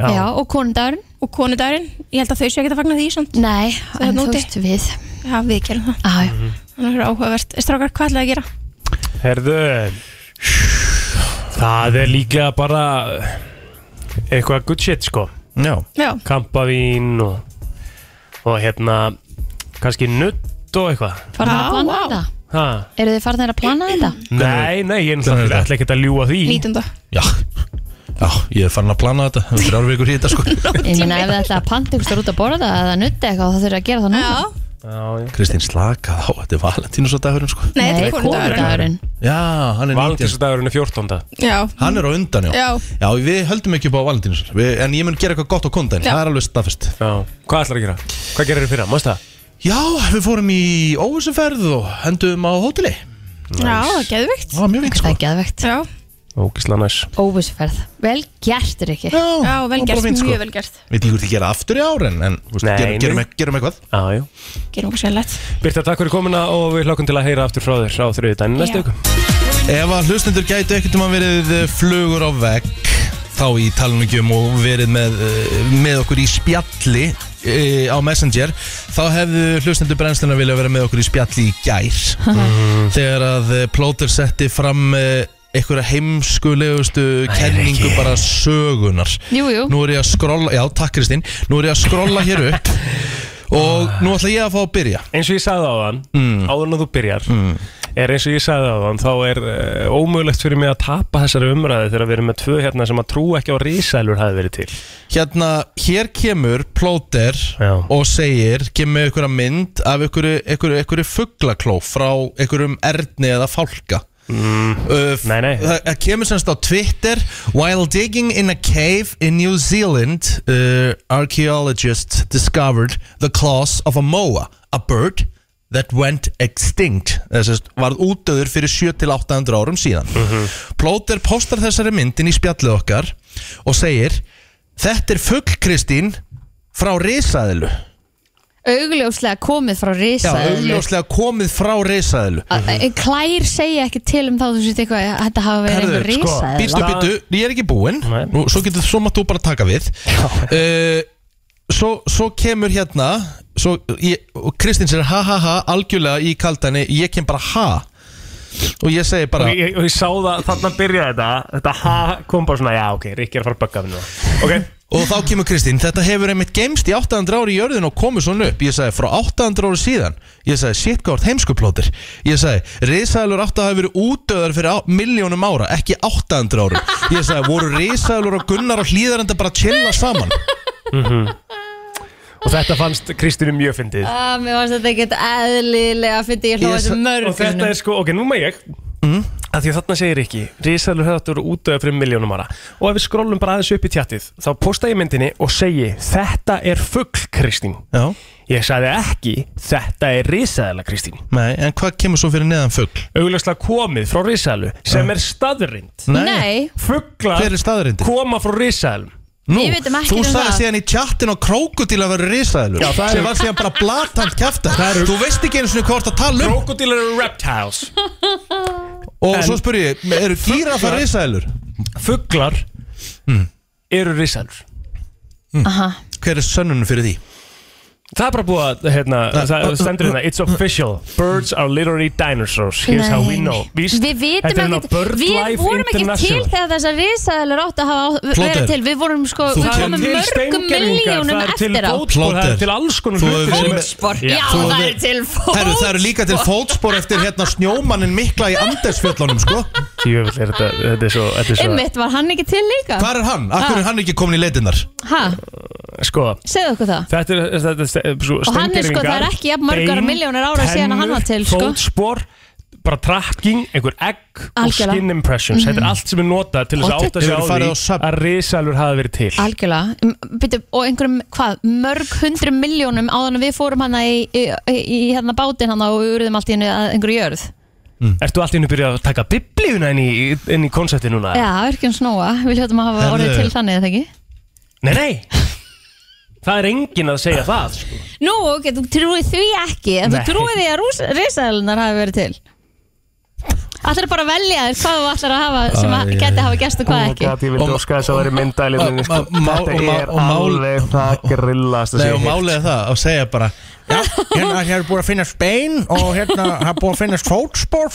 Já, og konundagurinn.
og konudagurinn ég held að þau séu ekki að fagna því samt
Nei, en
þarna
þú
úti.
veist við.
já við gerum það
Ah,
Mhm.
þannig að það er áhugavert strákar hvað ætlaði að gera
Herðu Það er líklega bara eitthvað good shit sko
Já,
já
Kampavín og, og hérna kannski nutt og eitthvað
Farnar
Vá,
að plana
vá.
þetta?
ha.
Eru þið farnar að plana þetta?
Nei, nei, ég
Hvenær er
er náttúrulega
þetta?
ætla ekkert að ljúa því
nýtunda
já Já, ég er farin að plana þetta, það er þrjár vikur í þetta sko
Ég meina ef þið ætla að panta ykkur út að borða eða nutta eitthvað þá þurfið að gera það núna.
já
Já, já.
(laughs) Kristín slakað á, þetta er valentínusadagurinn sko
nei þetta er konudagurinn
konudagurinn.
Já, hann er 19
Valendísdagurinn er 14.
já
Hann er á undan, já
Já.
við höldum ekki upp á valentínus En ég mun gera eitthvað gott á kondan,
Já.
það er alveg staðfest
Já. Hvað ætlar að gera? Hvað gerir þér fyrir það? Mást það?
Já, við fórum í óvissuferð og hendum á hóteli
já það er geðvikt
Það var mjög veit
Það
sko
er geðvegt.
já
Ógislega næs
Óvisferð. Vel gert er ekki.
já vel gert mjög vel gert
sko. Við líkur til að gera aftur í ár en, en þú veist,
Nei,
gerum,
nei.
gerum, ek- gerum eitthvað
Já, já
gerum okkur sérlegt
Birta, takk fyrir komuna og við hlokkum til að heyra aftur frá þér á þriðudaginn næstu
Já.
viku
Ef að hlustendur gætu ekkert um að verið eh, flugur á vegg þá í talunugjum og verið með, eh, með okkur í spjalli eh, á Messenger þá hefðu hlustendur brennsluna vilja vera með okkur í spjalli í gær þegar að eh, Plóter setti fram eh, einhverja heimskulegustu kenningu bara sögunar
Jú, jú.
Nú er ég að skrolla, já takk Kristín Nú er ég að skrolla hér upp og nú ætla ég að fá að byrja
eins og ég sagði á þann, áður en að þú byrjar er eins og ég sagði á þann þá er uh, ómögulegt fyrir mig að tapa þessari umræði þegar við erum með tvö hérna sem að trú ekki á rísælur hafi verið til
Hérna, hér kemur plóter
Já.
og segir, kemur einhverja mynd af einhverju, einhverju, einhverju fugglakló frá einhverjum erni eða fálka Uh, f-
Nei, nei.
Það það kemur semst á Twitter While digging in a cave in New Zealand uh, Archaeologists discovered the claws of a moa A bird that went extinct Það semst varð útöður fyrir 7-800 árum síðan
Mhm.
Plóter postar þessari myndin í spjallið okkar Og segir Þetta er fugg Kristín frá risaðilu
augljóslega komið frá
Já,
risaðilu
augljóslega komið frá risaðilu
Mhm.
En Klær segja ekki til um þá þú veist eitthvað að þetta hafa verið
Herðu,
einhver
sko,
risaðil
býttu, býttu, ég er ekki búinn
Nei.
Nú, Svo getur svo maður þú bara taka við uh, svo, svo kemur hérna svo, ég, og Kristinn sér ha ha ha algjörlega í kaldani, ég kem bara ha og ég segi bara
Og ég, og ég sá það, þarna byrjaði þetta Þetta ha kom bara svona, já ok, Rikki er að fara að bögga minna Ok,
og þá kemur Kristinn, þetta hefur einmitt gemst í 800 ári í jörðin og komið svona upp ég sagði, frá 800 ári síðan ég sagði, shit gárt heimskuplótir ég sagði, risaðlur átt að hafa verið útöðar fyrir á- milljónum ára, ekki 800 árum ég sagði, voru risaðlur og gunnar og hlýðarenda bara að chilla saman
og þetta fannst Kristínu mjög fyndið
Ah, Mér fannst þetta ekkert eðlilega fyndi ég hlóða
Ég
þessu
sa-
mörg
Og þetta er sko, ok, nú maður ég
Mm.
að Því að þarna segir ekki Rísalur höfðat voru útöða fyrir miljónum ára Og ef við skrólum bara aðeins upp í tjattið Þá posta ég myndinni og segi Þetta er fuggl, Kristín
já,
Ég sagði ekki, þetta er risaðala Kristín
nei, en hvað kemur svo fyrir neðan fuggl?
Augljóslega komið frá risaðalu Sem er staðrind
Nei,
Fugglar
hver er staðurindi?
koma frá risaðalum
Nú,
Við vitum ekkert
þú
um
sagði
það.
síðan í tjattin og krókudíla að vera risaðlur
Já, það er-
sem var síðan bara blatant kæfta þú veist ekki einu svona hvað þú ert að tala um
Krokodil eru reptiles
og
En-
svo spyr ég, eru gírafar risaðlur?
Fugglar
Hmm.
eru risaðalur
aha
Hver er sönnunum fyrir því?
Það er bara búið að, hérna, það stendur hérna It's official,
(laughs)
birds are literally dinosaurs Here's how we
Nei.
know Víst,
Við vitum
þetta er hérna
ekkert, við
BirdLife
vorum ekki til
International.
þegar þessar risaðilur átt að hafa
Plóter.
verið til Við vorum sko,
Þú
við
kemur-
komum
Til
mörgum
steingervingar,
miljónum
það er til
eftir á
fótspor, Það
Plóter.
er til alls konar
Þú
hluti
hefur verið með-
Fótspor, já
Þú
það
hefur-
er til
Herru, það
fótspor
eru líka til fótspor eftir hérna snjómannin mikla í Andesfjöllunum, sko
Jöfull, er þetta, þetta er svo, þetta er svo
Einmitt, var hann ekki til líka?
Hvar er hann?
Ah.
Akkur er hann ekki komin í leitinnar?
Ha,
Sko,
segðu okkur það
þetta er, þetta er svo,
Og hann er sko, það er ekki jafn margar
bein,
milljónir ára síðan að hann var til,
tennur,
sko.
Fótspor, bara tracking, einhver egg og
Algjörlega. Mhm.
skin impressions Þetta er allt sem er notað til þess að átta sig
Hefurðu farið á
á því
söfn?
að risalur hafa verið til
Algjörlega, M- byrju, og einhverjum, hvað, mörg hundrum miljónum áðan en við fórum hana í, í, í, í hérna bátinn hana og við urðum allt í hennu að einhverju jörð
Ertu allt í hennu byrjað að taka biblíuna inn í, inn í konsepti núna?
Já, virkjum snóa, við hljóttum að hafa
Herðu.
orðið til þannig, eða ekki?
Nei, nei Það er enginn að segja það sko.
Nú, ok, þú trúið því ekki En
Nei.
þú trúið því að risaðalunar hafi verið til Ætlar bara að velja þér hvað þú ætlar að hafa
Ah,
sem að
Æ,
geti hafa gæst og
oh
hvað ekki
Ég
Og-
vildi óska þess að það væri myndælið minni sko.
Ma- ma-
Þetta
og ma-
er
og mál-
alveg það grillast
Nei, og málega það og segja bara Já, hérna hér er búið að finnast bein og hérna er búið að finnast fótspor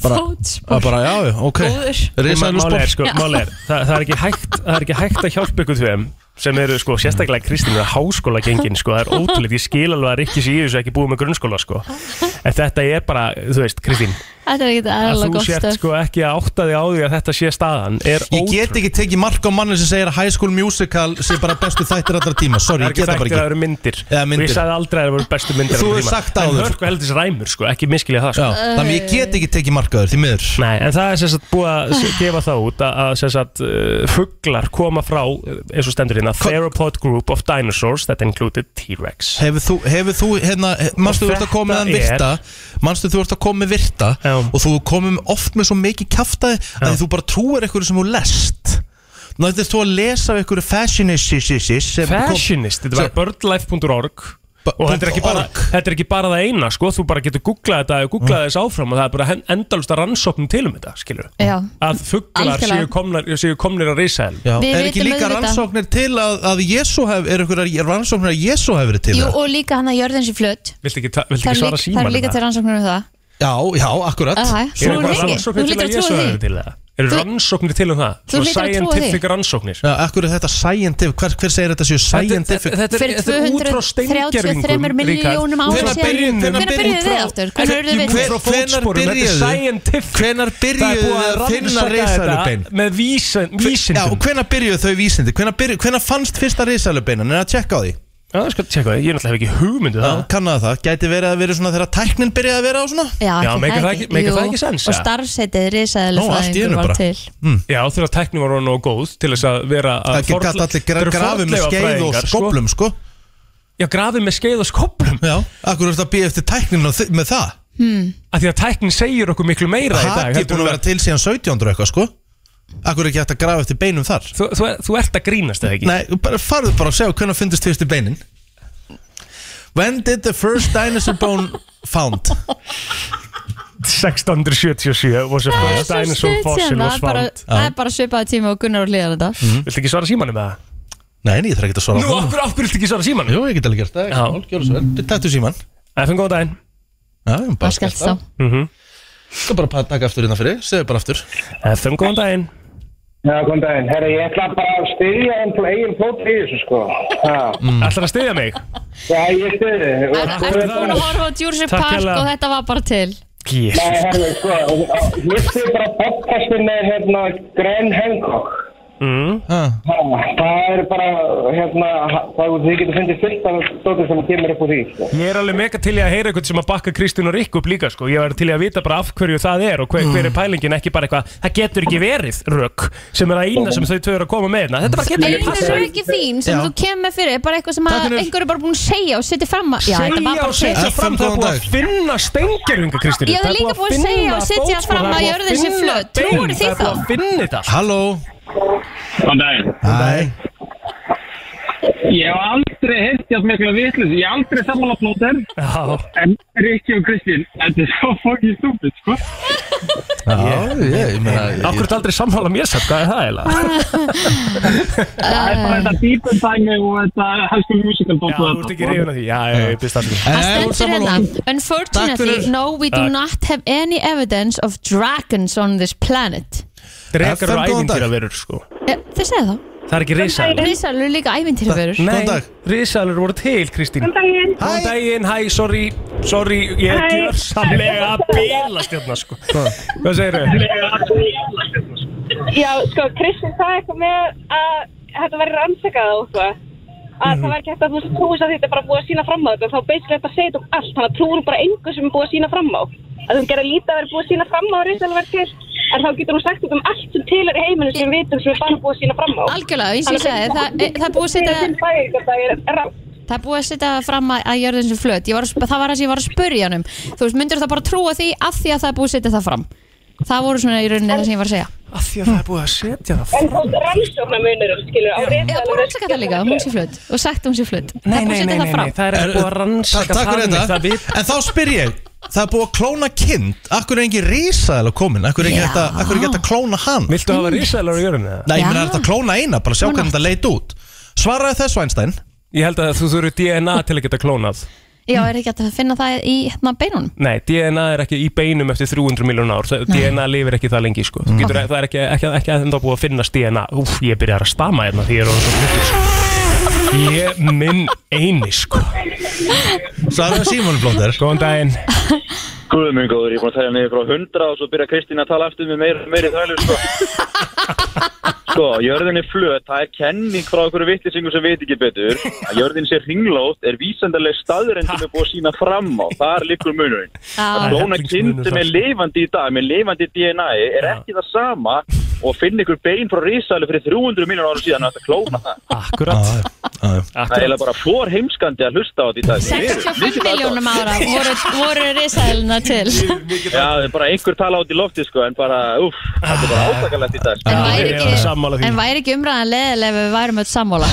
Fótspor.
Bara, já, já, ok
Góður.
Málega er,
Risaðlurspor
sko, málega er það, það er ekki hægt Það er ekki hægt að hjálpa ykkur þeim sem eru sko, sérstaklega Kristín er háskóla gengin sko, það er ótrúlegt, ég skil alveg að Rikki sé í þessu ekki búið með grunnskóla sko. en þetta er bara, þú veist, Kristín
Þetta er ekkert
að
aðalega
þú
gott
sért
stöf
sko ekki að átta þig á því að þetta sé staðan er
Ég get ekki tekið mark á manni sem segir að High School Musical sé bara bestu þættir allra tíma Sorry, ég
Það er ekki
get það
þættir að það
bara
eru myndir.
Eða myndir.
Og ég sagði aldrei að það voru bestu myndir
Þú hefur
allra tíma.
sagt áður.
En hörku heldis ræmur sko, ekki miskilja það
ekki
sko
Já, Þannig ég get ekki tekið mark á þér, því miður
Nei, en það er sem sagt búið að s- gefa það út að, að sem sagt uh, fugglar koma frá, uh, eins og stendur hérna Theropod Group of Dinosaurs, that included T-Rex
Hefur þú, hefur þú, hérna, mannstu þú ert að koma með hann
þetta
virta Mannstu þú ert að koma með virta
Já.
Og þú komum oft með svo mikið kjaftaði Að þú bara trúir eitthvað sem þú lest Náttúrulega þú að lesa af eitthvað fashionistis
Fashionist, þetta var birdlife.org
B-
og þetta er, ekki bara,
.org.
þetta er ekki bara það eina sko, þú bara getur googlað þetta og
Mm.
googlað þess áfram og það er bara endalust að rannsóknum til um þetta, skilur
Já,
að fugglar
Algjörlega.
séu komnar, séu komnir að reysa
Já,
Við
er ekki
vitum
líka
auðvitað.
rannsóknir til að, að Jésu hef, er einhverjar rannsóknir að Jésu hef verið til
Jú,
það?
og líka hann að jörðin sé flött
Viltu ekki, ta- viltu
Það
ekki
eru
svara
líka, það
síman
eru líka til rannsóknir um það
Já, já, akkurat
Aha,
Eru
Þú
einhverjar
hlýtur- þú
rannsóknir til
hlýtur
að
að
Jésu
trúa
hefur
því
til það? Eru rannsóknir til um það?
Þú
Svona
hlýtur að trúa því.
Scientific rannsóknir
Já, akkurat þetta scientific, hver, hver segir þetta séu scientific?
Þetta er-
Fyrir
þetta er út frá
233
steingervingum,
milljónum
Ríkharð.
ára
Hvenær byrjuðu- hvenær
síðan Hvenær
byrjuðu-
byrjuðu þið aftur? Hvenær
Hver-
urðu við
hver-
til?
frá fótsporum, þetta er scientific.
Hvenar
Það er
byrjuðu
búið
að finna
rannsaka
risalubein?
þetta Með vísin-
Já, og
vísindum
hvenna byrjuðu þau vísindi? Hvenna, byrju, hvenna fannst fyrsta risalubeinin? Er að tjekka á því?
Já, það skal tjekka það, ég er náttúrulega hef ekki hugmyndu
Já,
það
kannaði það. Gæti verið að verið svona þegar tæknin byrjaði að vera á svona?
Já,
Já,
ætli
meikar það ekki- meikar
Jú,
það ekki sens,
Og
eða?
starfseitið
Nú, allt í
risaðilegfræðingur
einu
var
bara.
til
Já, þegar tækni var orðin og góð til þess að vera að
Það gæti allir gra
Þetta eru
grafið með skeið og
fornleifafræðingar, sko.
skoblum, sko.
Já, grafið með skeið og skoblum
Já, akkur er þetta að býja eftir tæknin og þi- með það?
Af því að tækni segir okkur miklu meira í dag
Haki er
heldur
búin
en
að vera til síðan 1700 eitthvað, sko. Akkur er ekki hægt að grafa eftir beinum þar?
Þú, þú, þú ert að grínast eða ekki?
Nei, bara, farðu bara og segja hvernig fundist fyrstu beinin When did the first dinosaur bone found?
1677 was a first dinosaur fossil Mm.
Það
was
er hérna, bara-
found
það er bara svipaði tíma og Gunnar og Hlíðan þetta
Viltu ekki svara símanum með það?
Nei, nei, ég þarf ekki að svara
Hm? Nú,
honum.
okkur, okkur viltu ekki svara símanum?
Jú, ég get alveg gert það,
Já.
ekki mál, gjörðu svo vel Takk til síman
FN, góðan daginn
Já, ég
Það skellt þá
Skal bara pa- taka aftur innan fyrir, segðu bara aftur
FN, góðan daginn
Já, góðan daginn. Herra, ég ætla bara að styðja hann til eigin fót í þessu, sko. Ha.
Ætlar að styðja mig?
Já, ég styði þið. Og
Er-
sko,
Ertu búin að
þetta-
horfa á Jurassic
Takk
Park
hérlega.
og þetta var bara til
Nei,
Jesus
herra, sko, ég styði bara podcastin með, hérna, Glenn Hancock.
mm.
Ha,
Ha, Það er bara, hérna, ha- það þið getur fundið fullt af stótið sem kemur upp úr því, sko.
Ég er alveg mega til í að heyra eitthvað sem að bakka Kristín og Rikk upp líka sko. Ég er til í að vita bara af hverju það er og hver, hver er pælingin ekki bara eitthvað Það getur ekki verið rök sem er að ína sem þau tvö eru að koma með hérna. Þetta bara getur ekki
Einu
passa
röki þín sem
Já.
þú kemur með fyrir er bara eitthvað sem að
Takk fyrir.
einhver er bara búin að segja og setja fram að Já, þetta var
Segja og
bara til
setja
FM,
fram það er
góðan
búið að
dag.
finna stengeringa Kristín
Ég hefði líka búið að segja og setja fram að jörðin sé flöt. Trúirðu því
Það er búið að
þá?
finna þetta
Halló
Góðan daginn.
Hæ
Ég hef aldrei heilt ját mikla vitlis. Ég hef aldrei samanlagt nóter.
Já,
En Rikki og Kristín, þetta er svo fokkin stúpid, sko.
Já, ég, ég meina ég-
Akkur er aldrei sammála mér satt, hvað er það eiginlega?
Það er bara þetta deeper dæmi og þetta high school musical
Já, þú ert ekki reyðun af því, já, já, ég byrst allir
En
Það
ef þú
stendur
sammála
hérna
honum- Takk
Unfortunately,
fyrir.
no, we do
Takk.
not have any evidence of dragons on this planet
Drekar
FM,
eru
góðan dag.
ævintýra verur, sko
Eh, Þið segja þá
Það er ekki risaðalur
Rísalur er líka ævintýrverur
Góðan
Nei,
dag.
risaðalur voru til, Kristín
Góðan daginn.
Góðan daginn, hæ, sorry, sorry Ég er
Hæ.
gjörsamlega að bílast hérna, sko Hvað segir þau?
Já, sko, Kristinn sagði eitthvað með að þetta væri rannsakað og eitthvað. Að það væri ekki hægt að þú sem trúist að þetta er bara búið að sína fram á þetta. Þá basically þetta segir þetta um allt. Þannig að trúir hún bara engu sem er búið að sína fram á. Að þú gerir lítið að vera búið að sína fram á að risalega verið til. En þá getur hún sagt þetta um allt sem til er í heiminu sem við vitum sem er bara búið að sína fram á.
Algjörlega, eins og ég segi það, eh, það er búið að setja
setja...
Það er búið að setja fram að, að jörðin sem flöt Ég var, að sp- Það var það sem ég var að spurja hann um Þú veist, myndur það bara trúa því af því að það er búið að setja það fram Það voru svona í rauninni það sem ég var að segja
Af því að það er búið að setja það
En þú rannsóknarmunurinn, skilur, á
Ég var
risalega
búið að rannsaka það líka, að hún sé flöt Og sagt að hún sé flöt Það
Nei,
er búið
nei,
að setja
nei, nei,
það
nei,
fram
það er
Er-
búið að rannsaka
Takk fyrir
þannig, það
þetta
við-
En þá spyr ég Það er búið að klóna kind Akkur er engin risaðal að komin Akkur er ekki
Já.
hægt að- akkur er ekki hægt að klóna hann
Viltu hafa risaðalur á jörðinu?
Nei, ég meina
Já.
er þetta að klóna eina Bara sjá
Klóna.
hvernig þetta leit út Svaraði þessu Einstein
Ég held að þú þurfur DNA til að geta klónað
Já, er ekki hægt að finna það í hérna beinunum
Nei, DNA er ekki í beinum eftir 300 miljón ár Þa- DNA lifir ekki það lengi sko. Þú getur, Það er ekki, ekki, ekki enda búið að finnast DNA Úf, ég byrjar að stama hérna því ég er orðin svo hlutur sko. Ég minn eini sko.
Svaraði Simon
(laughs)
Blóter
Góðan daginn
Guð minn góður, ég er búin að tala niður frá 100 og svo byrja Kristín að tala eftir með meira, meiri þvælu, sko. sko, jörðin er flöt, það er kenning frá okkur vittisingu sem veit ekki betur. Að jörðin sé ringlótt er vísendaleg staður sem er búið að sína fram á. Þar liggur munurinn.
Já,
Klóna kind sem er lifandi í dag, með lifandi DNA, er ekki það sama og finna ykkur bein frá risalu fyrir 300 miljonar ára síðan að þetta klóna það.
Akkurat,
Ah,
Það er eiginlega bara fór heimskandi að hlusta á þetta í dag.
65 miljónum ára voru, voru risaðilina til
Já, það er bara einhver tala át í lofti, sko, en bara, uff, þetta er bara átakalegt í dag, sko.
En
Já,
væri
ég er alveg sammála
ekki,
því.
en væri ekki umræðan leðileg ef við værum öll sammála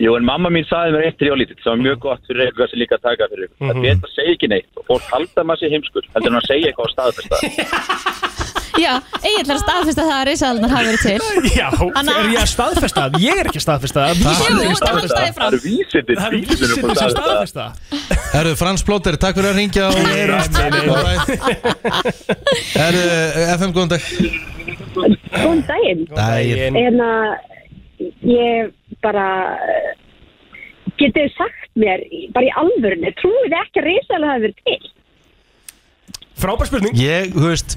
Jú, en mamma mín saði mér eitt þegar ég var lítið, sem var mjög gott fyrir eitthvað sem líka að taka fyrir ykkur. Það er betra að segja ekki neitt og fólk halda maður sér heimskur, heldur en að segja eitthvað á (laughs) staðfesta.
Já, eiginlega staðfist að það að risaðilina hafi verið til
Já,
Anna-
er ég að staðfesta það? Ég er ekki að staðfesta það
Takk.
Jú,
Það
þetta er alltaf
Vísindin-
fram
eru vísindin,
Það er
vísindin upp á
vísindin sem
staðfesta.
staðfesta það.
Herru, Frans Blóter, takk fyrir að ringja og við erum Herru, FM, góðan dag
Góðan daginn.
Dægir
En að ég bara eh, getið þið sagt mér í- bara í alvörinu, trúið þið ekki að risalega hafi verið til.
Frábær spurning
Ég, þú veist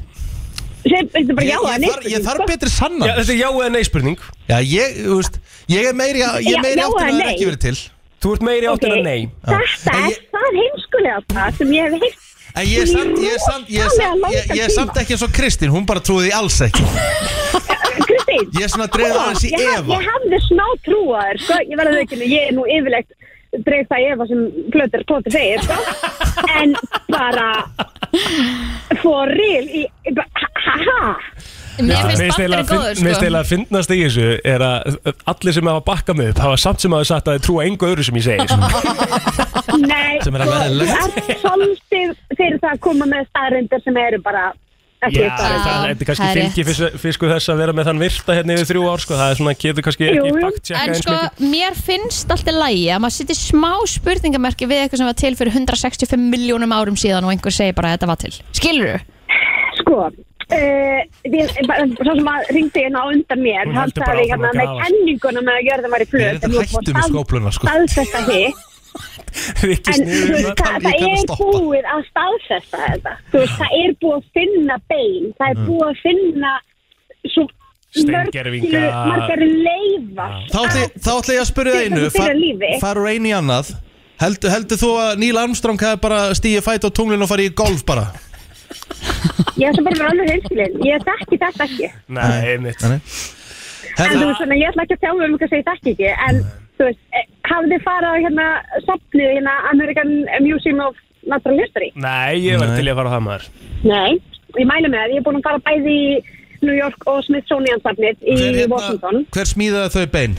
Sem, þetta er bara
Ég,
já sko. að
ég, þarf,
neitt.
ég þarf betri sannan
Já, þetta er já eða nei spurning
Já, ég, þú veist Ég er meiri, ég
Já,
er meiri
já
áttur að
eða
það er
nei?
ekki verið til
Þú ert meiri áttin að nei
Þetta
En
er
ég-
það heimskulega það sem ég hef heilt.
En ég er samt, ég er samt, ég er samt, ég, ég er samt ekki eins og Kristín, hún bara trúði því alls ekki.
Kristín,
Ég er svona að dreða aðeins í
ég, haf-
Eva.
ég hafði smá trúaður, sko, ég verði veikinu, ég er nú yfirlegt dreif það Eva sem plötur plötur segir,
(laughs)
sko, en bara for real, í, bara, ha, ha, ha,
Mér
Mér
finnst
finnst
bandurinn góður sko.
eiginlega að finnast í þessu er að allir sem hafa bakkað mig upp hafa samt sem hafa sagt að þið trúa engu öðru sem ég segi sko.
(laughs) Nei,
Sem er alveg
sko,
eðlilegt.
þú ert svolítið fyrir það að koma með staðrindir sem eru bara ekki
Já, það,
staðrindir.
það er kannski
það er rétt.
fylgifisku þess að vera með þann virta hérna yfir þrjú ár sko. það er svona, getur kannski
Jú,
ekki
jú.
baktsjaka
En
eins
sko,
mikið
mér finnst alltaf lægi að maður sittir smá spurningamerki við eitthvað sem var til fyrir 165 miljónum árum síðan og einhver segir bara að þetta var til. Skilur þú?
Sko, uh, við, bara, svo sem að ringdi hérna á undan mér,
Hún
hann
heldur bara
sagði
áfram
hérna
að
með
grafa.
kenninguna með að jörðin var í
Ég er
flöt.
þetta hættu með skópluna sko
Staðfesta hitt,
(laughs) Rikki um
en þú veist, það, það
ég kann
sniður
að
er
stoppa.
búið að staðfesta þetta. Þú veist, það er búið að finna bein, það
Mm.
er búið að finna svo
Steingervinga.
mörglu- margar leifar.
Þá ætla ég- þá ætla ég að spyrja þig einu
Fyrir lífi.
far- Fara úr einu í annað Heldur, heldur þú að Neil Armstrong hefði bara stíði fæt á tunglinu og farið í golf bara?
Ég ætla bara að vera alveg hinskilinn, ég þekki þetta ekki.
Nei, einmitt
Nei.
En þú
Herðu,
veist svona, ég ætla ekki að tjá mig um hvað segið ekki ekki, en þú veist, eh, hafið þið farað á hérna safnið, hérna American Museum of Natural History?
Mm.
Nei, ég var
Nei.
til í að fara á það maður
Nei. Ég mælu með það, ég er búin að fara bæði í New York og Smithsonian safnið í
hver,
Washington.
hérna, hver smíðaði þau bein?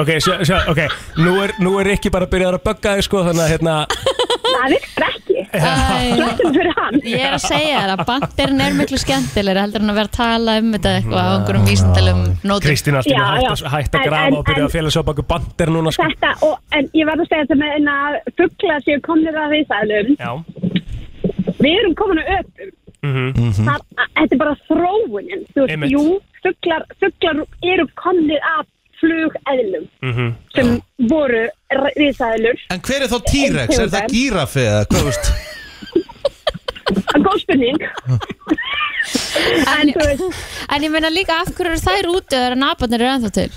Ok, sjá, sjá, ok, nú er, nú er Rikki bara að byrja að bögga þig sko, þannig að hérna
(laughs) Það virkar
(laughs)
ekki.
Æ,
Þetta er fyrir hann.
Ég er að segja þér að bandirinn er miklu skemmtilegri heldur en að vera að tala um þetta eitthvað á einhverjum vísindalum nótum.
Mm. Kristín allt í
Já,
einu hætt
já.
að- hætt að
En-
grafa
en-
og byrja
en-
að fela svo baku bandir núna sko.
Þetta, og, en ég verð að segja þetta með eina fuggla sem komnir að reysaðlum.
Já,
Við erum komin að öpum.
mhm,
Það, að- þetta er bara þróunin. Þú veist,
Einmitt.
jú, fugglar, fugglar eru komnir af flugeðlum.
mhm
sem voru risaðilur
En hver er þá T-Rex? Er það gírafi eða hvað veist?
að góð
(laughs)
spurning en þú veist
En ég meina líka af hverju eru þær úti þegar nabarnir eru ennþá til?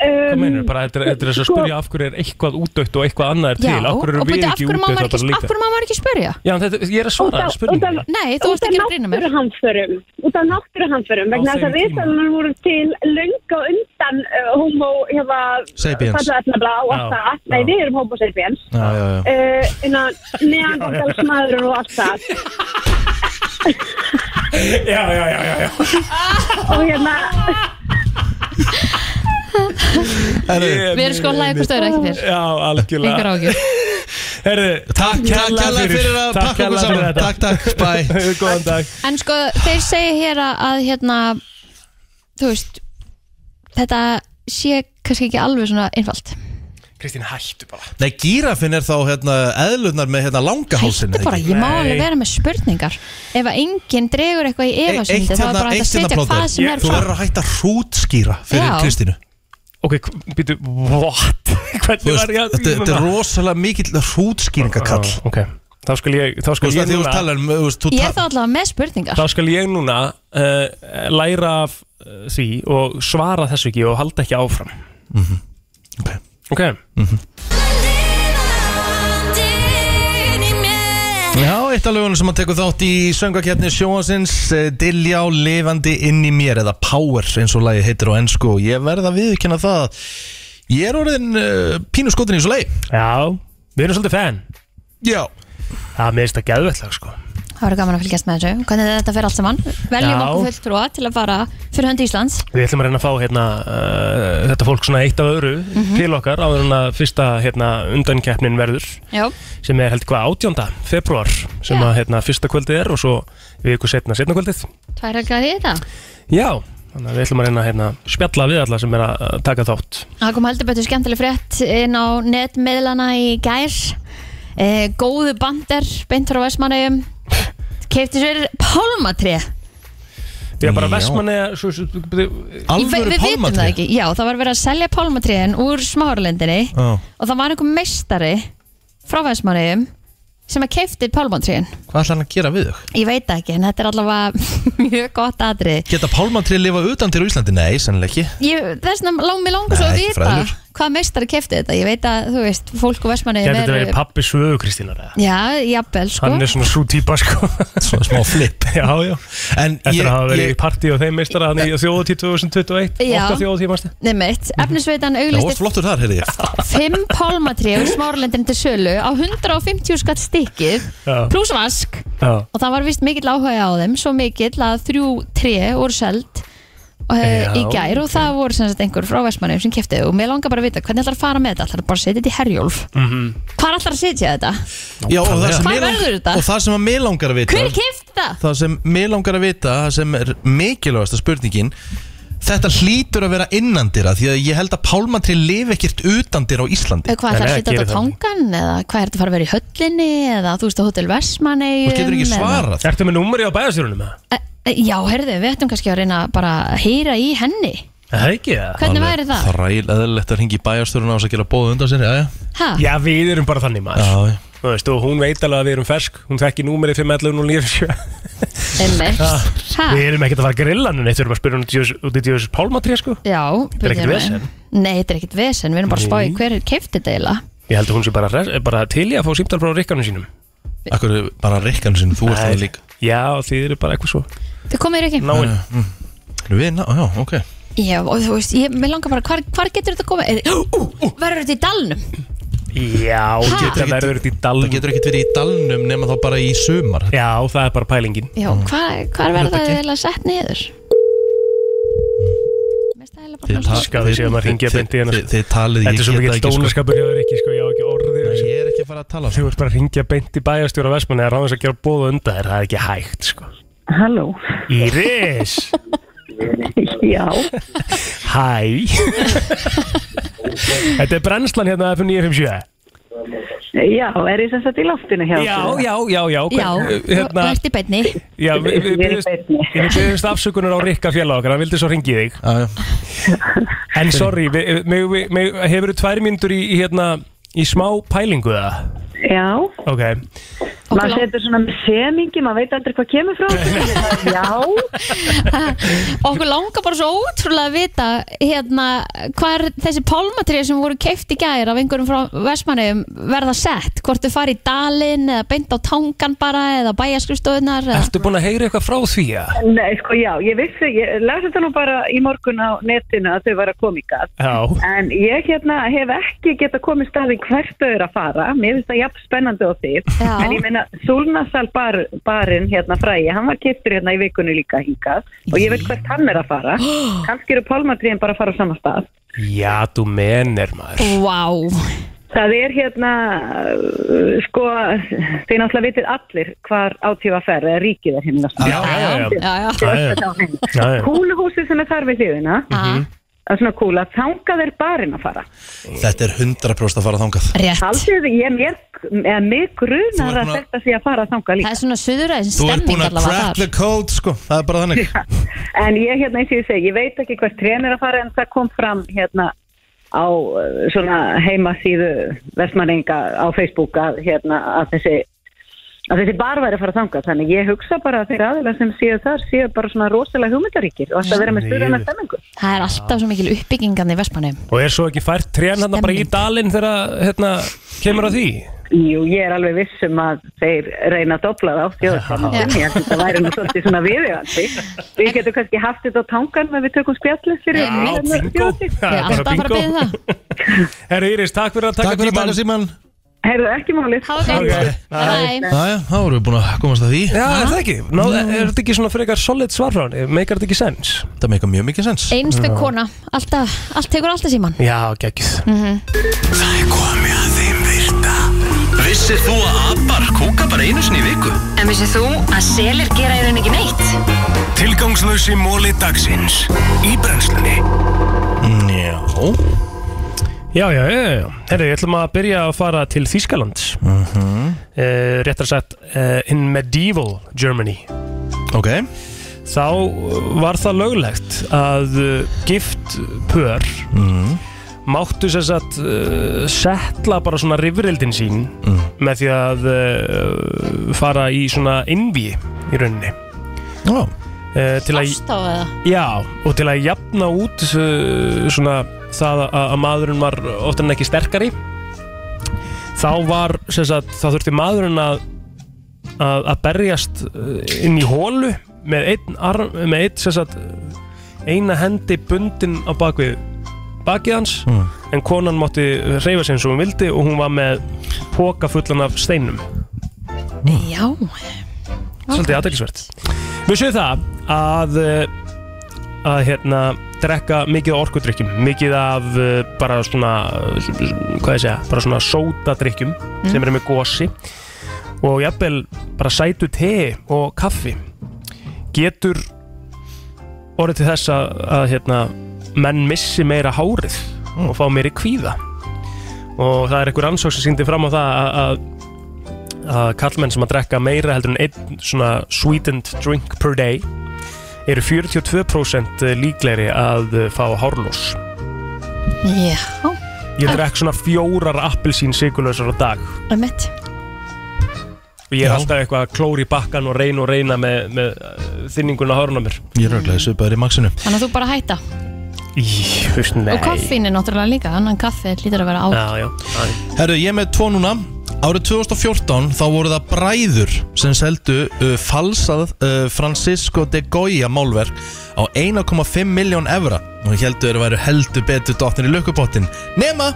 Hvað
um,
meinur, bara þetta er- þetta er þess að
sko-
spyrja af hverju er eitthvað útdött og eitthvað annað er til, af hverju
og
erum við
byrju, af
ekki
hverju má
útdött
maður ekki,
það bara
af
líka
hverju má maður ekki spyrja?
Já, en þetta, ég er að
út
svara
af-
að spurninga
Nei,
út
þú varst
af
ekki að grýna mér.
náttúruhamförum út af náttúruhamförum vegna
Á
þess að
þeim tíma.
risaðilur voru til löngu á undan uh, homo hérna,
Sapiens.
fallefnabla og allt
Já,
það nei,
já.
við erum homo sapiens
Já, já, já
uh,
(laughs)
innan neandardalsmaður og allt það
Já, já, já, já, já
og hérna (laughs)
Herðu,
Við erum sko að hlæða hvort þau eru ekki fyrir.
Já,
Engar
algjörlega
ágjur.
Herðu,
Takk, takk kærlega fyrir að pakka okkur saman Takk, takk, bæ
takk Góðan dag
(laughs) En sko, þeir segja hér að, að hérna, þú veist, þetta sé kannski ekki alveg svona einfalt.
Kristín, hættu bara
(laughs) Nei, gírafin er þá hérna eðlunar með hérna langa hálsin
Hættu bara, ég má alveg vera með spurningar. Ef að enginn dregur eitthvað í efasundi,
hérna,
þá er bara hægt að setja hvað sem er
Þú
fram.
verður að hætta að hrútskýra fyrir
Já.
Kristínu
Ok, býtu, what? (laughs)
Þú
Hvernig
veist,
var ég að
Þetta þetta er rosalega mikill hrútskýringakall
Ah, Ok, þá skal ég, þá
Þú
skal
veist
ég
að því þú
núna
talar um þú veist, þú
Ég er
ta-
þá allavega með spurningar.
Þá skal ég núna uh, læra af uh, því og svara þessu ekki og halda ekki áfram
Mhm. Ok.
Ok,
Já, eitt af lögunum sem hann tekur þátt í söngakefni sjóhansins Dilljá lifandi inn í mér eða Power eins og lagi heitir á ennsku og ég verð að viðkynna það að Ég er orðin uh, pínu skotin í þessu lagi
já, við erum svolítið fan
Já
Það minnst að geðvettlega sko
Það verður gaman að fylgjast með þessu. Hvernig þetta fer allt saman. Veljum
Já.
okkur fulltrúa til að fara fyrir hönd Íslands.
Við ætlum að reyna að fá hérna, uh, þetta fólk svona eitt af öðru til okkar áður en að fyrsta hérna, undankeppnin verður
Já.
sem er held hvað 18. februar sem
Já.
að hérna, fyrsta kvöldið er og svo við ykkur setna setna kvöldið.
Tvær helgar í þetta.
Já, þannig að við ætlum að reyna að hérna, spjalla við alla sem er að uh, taka þátt.
Það kom heldur betur skemmtileg frétt inn á netmiðlana í gær e, Góðu bander beint frá Vestmannaugum Keifti sér pálmatré
Við erum bara
Já.
vestmanni
Í-
Alvöru
Við vitum það
pálmatré.
ekki Já, það var verið að selja pálmatréin úr smáralendinni
Já.
og það var einhver meistari frá Vestmannaugum sem að keifti pálmatréin
Hvað ætlar hann að gera við þau?
Ég veit það ekki, en þetta er allavega (laughs) mjög gott atrið
Geta pálmatrið lifa utan til á Íslandi? Nei, sennilega ekki (laughs)
ég, Þess vegna lang, mig langar svo að
Nei,
vita
fræðilur.
hvað meistari kefti þetta ég veit að, þú veist, fólk og versmanni
Gæti þetta verið pappi sögu Kristínar eða?
já, jafnvel, sko
Hann er svona svo típa sko (laughs)
Svona smá flip
Já, já
En
Eftir
ég,
að hafa verið í
ég,
partí og þeim meistara Þannig að þjóðatíð 2021
Já.
Ótta þjóðatíð, mannstu
Nefnitt,
Mhm.
já,
efnisveitan
þú ert
auglisti
flottur þar, heyrði ég
fimm pálmatrí og smáralendin til sölu á 150 skatt stikkið
Já.
pluss vask
Já
og það var vist mikill áhuga á þeim svo mikill að þrjú tré voru seld uh, í
Já,
gær og það voru sem sagt einhver frá Vestmannum sem kefti og mér langar bara að vita hvernig ætlar að fara með þetta ætlar að bara setja þetta í herjólf mm
Mhm.
-hmm. hvað ætlar að setja þetta?
Já, og það sem
Hvar
mig lang-
verður þetta?
Og það sem að mig langar að vita
hver kefti það?
Það sem mig langar að vita, það sem er mikilvægasta spurningin Þetta hlýtur að vera innandira Því að ég held að pálmatri lifi ekkert utandira á Íslandi
Eh, hvað ætlar
Nei,
að
nei,
setja
geri
þetta á
það.
tangan eða hvað er þetta að fara að vera í höllinni eða þú veist á Hotel Vestmannegjum
Þú getur ekki svarað
Ertu með númeri á bæðastjórunum eða?
Eh, eh, já, herðu, við ættum kannski að reyna bara að heyra í henni
Er Það ekki það?
hvernig væri það?
Þræl eðalegt að ringi bæjarstörun á þess að gera bóð undan sinni Já,
Ha?
Já, við erum bara þannig maður
já, já
Þú veist, og hún veit alveg að við erum fersk Hún þekki númerið 511
einmitt. Ha?
Við erum ekkert að fara að grilla hann Þetta erum að spyrja hún út í djóðs pálmatri sko
Já,
er ekkert
byrjum við.
vesen.
Nei, þetta er ekkert vesen, við erum bara að spá í
Nei.
hver kefti þetta eiginlega
Ég held að hún sé bara, res- bara til í að fá símtal frá rikkanum sínum
Akkur bara rikkan sinn, þú ert
Nei.
það líka
Já, þið eru bara eitthvað svo
Þið komið ekki?
náinn
Við, ná, já, ok
Já, og þú veist, ég, mér langar bara, hvar, hvar getur þetta komið? Er, (gasps) ú, ú, verður þetta í dalnum?
Já, þetta
Getur-
verður þetta í
Það
dalnum
getur ekkert verið í dalnum nema þá bara í sumar
Já, það er bara pælingin
Já, hvar, hvar
Þetta
verður það
gekk.
eiginlega sett niður? Mér stæla bara
Þið
kannski-
ta-
Skaði sé að maður hringi að
þið-
beint í hana,
þið-
sko.
Þið talið, ég
Þetta er svo
get
mikið
það ekki sko.
stónaskapur hjá þér ekki, sko, ég á ekki orðið
Nei,
sko.
Ég er ekki að fara að tala um
Þú ert bara að ringja beint í bæjarstjóra Vestmanni að ráðast að gera bóð og undar, það er ekki hægt, sko
Halló,
Íris,
já,
hæ Þetta er brennslan hérna FM 957
já, er ég sem sagt í loftinu hjá
Já, já, já, já hvern-
Já,
hérna,
þú ert í beinni
já við- Við
Ég er í
biðjumst-
beinni.
við byrjumst afsökunar á Rikka félag okkar, hann vildi svo ringið þig
Já,
En sorry, við- mig- við- mig- hefurðu tvær mínútur í, í, hérna, í smá pælingu það?
Já,
Ok,
Okkur
maður
lang-
setur svona með semingi, maður veit aldrei hvað kemur frá
(laughs)
þessu. Já,
(laughs) Okkur langar bara svo ótrúlega að vita hérna, hvað er þessi pálmatrið sem voru keift í gær af einhverjum frá Vestmanneum verða sett, hvort þau fari í dalinn eða beint á tangan bara eða bæjaskristofunar eða...
ertu búin að heyra eitthvað frá því að?
nei, sko, já, ég vissi, ég las þetta nú bara í morgun á netinu að þau var að koma í gat.
Já,
En ég hérna hef ekki geta komið staðin hvert þau eru að fara. Mér finnst það jafn spennandi á því.
Já.
En ég meina, Súlnasal bar, barinn hérna fræði, hann var kiptur hérna í vikunni líka hingað og ég veit hvert hann er að
(gasps)
fara. Kannski eru pálmatriðin bara að fara á sama stað.
já, þú menir maður
Vá,
Það er hérna, uh, sko, þið náttúrulega vitið allir hvar átífa ferð eða ríkið er hérna.
Já, já, já,
já, já
já, já, já.
Kúluhúsið sem er þar við hliðina, það
Ah,
er svona kúla, þangað er barinn að fara.
þetta er 100% að fara þangað
Rétt
Haldið, ég mér, eða mig
Þú ert
grunar að
búin að-
þetta sé að fara þangað líka.
Það er svona
Þú
suðuræðin
ert
stemming
búin að crack
allavega þar
the code sko Það er bara þannig
En ég hérna eins og ég segi, ég veit ekki hvert trén er að fara en það kom fram hérna á uh, svona heimasíðu vestmanninga á Facebook að, hérna, að þessi að þessi bar væri að fara þangað þannig ég hugsa bara að þeir aðeila sem séu þar séu bara svona rosalega hugmyndaríkir og ætla að vera með stuðana stemmingu
Það er alltaf svo mikil uppbyggingan í Vestmannum
Og er svo ekki fært trén hérna bara í dalinn þegar hérna, kemur að því?
Jú, ég er alveg vissum að þeir reyna að dobla það á þjóðsvannum ég held að það væri nú svolítið svona viðjöfandi Við getum kannski haft þetta á tangan með við tökum spjallið fyrir
Já, bingo
þjóðsvannum
Það
Ég er alltaf að fara að byrja það
Herri Íris, takk fyrir að taka
Takk fyrir að taka
tímann.
síman
Heyrðu ekki málið
Hafa
Ok,
gott, bye
Næja, þá erum við búin að komast að því
Já, er það ekki? Ná, er þetta ekki svona frekar solid svar frá hann? Meikar þetta ekki sens?
Það meika mjög mikið sens
Einstu kona, alltaf, allt tekur alltaf síman
Já, geggjuð
Mm.
Það er komið að þeim virta Vissir þú að abar kúka bara einu sinni í viku?
En vissið þú að selir gera í raun ekki neitt?
Tilgangslösi móli dagsins Í brennslunni
Já
Já, já, já, já. Herri, við ætlum að byrja að fara til Þýskalands mm Réttar sagt uh, In medieval Germany
Ok
Þá eh, var það löglegt að eh, gift pör
Mm.
máttu sem sagt uh, setla bara svona rifrildin sín með því að uh, fara í svona innví í rauninni
Já
uh, til að,
Ást á það
já, og til að jafna út uh, svona það að, að maðurinn var oftar en ekki sterkari þá var sem sagt, þá þurfti maðurinn að að, að berjast eh, inn í hólu með einn arm, með einn sem sagt eina hendi bundin á bakvið bakið hans
Mm.
en konan mátti reyfa sig eins og hún vildi og hún var með póka fullan af steinum
Já
svolítið aðdækisvert við séum það að eh, að hérna drekka mikið af orkudrykkjum mikið af eh, bara svona eh, hvað ég segja, bara svona sótadrykkjum
Mm.
sem eru með gósi og jafnvel bara sætu te og kaffi getur orðið til þess að, að hérna, menn missi meira hárið og fá meiri kvíða og það er einhver ansók sem sýndi fram á það að, að að kallmenn sem að drekka meira heldur en einn svona sweetened drink per day eru 42% líklegri að fá hárlós.
Já,
Ég drekk svona fjórar appelsín sigurlausar á dag
einmitt
og ég er alltaf eitthvað að klóri bakkan og reyna og reyna með, með eh, þynninguna á hárun á mér.
Ég er örglega svipaður í maxinu
Þannig að þú bara hætta
Í, þú veist, nei.
Og kaffín er náttúrulega líka, annan kaffi lítur að vera á
já, já.
Herru, ég er með tvo núna Árið 2014 þá voru það bræður sem seldu uh, falsað uh, Francisco de Goya málverk á 1,5 miljón evra og heldur að væru heldur betur dottin í lukkupottin nema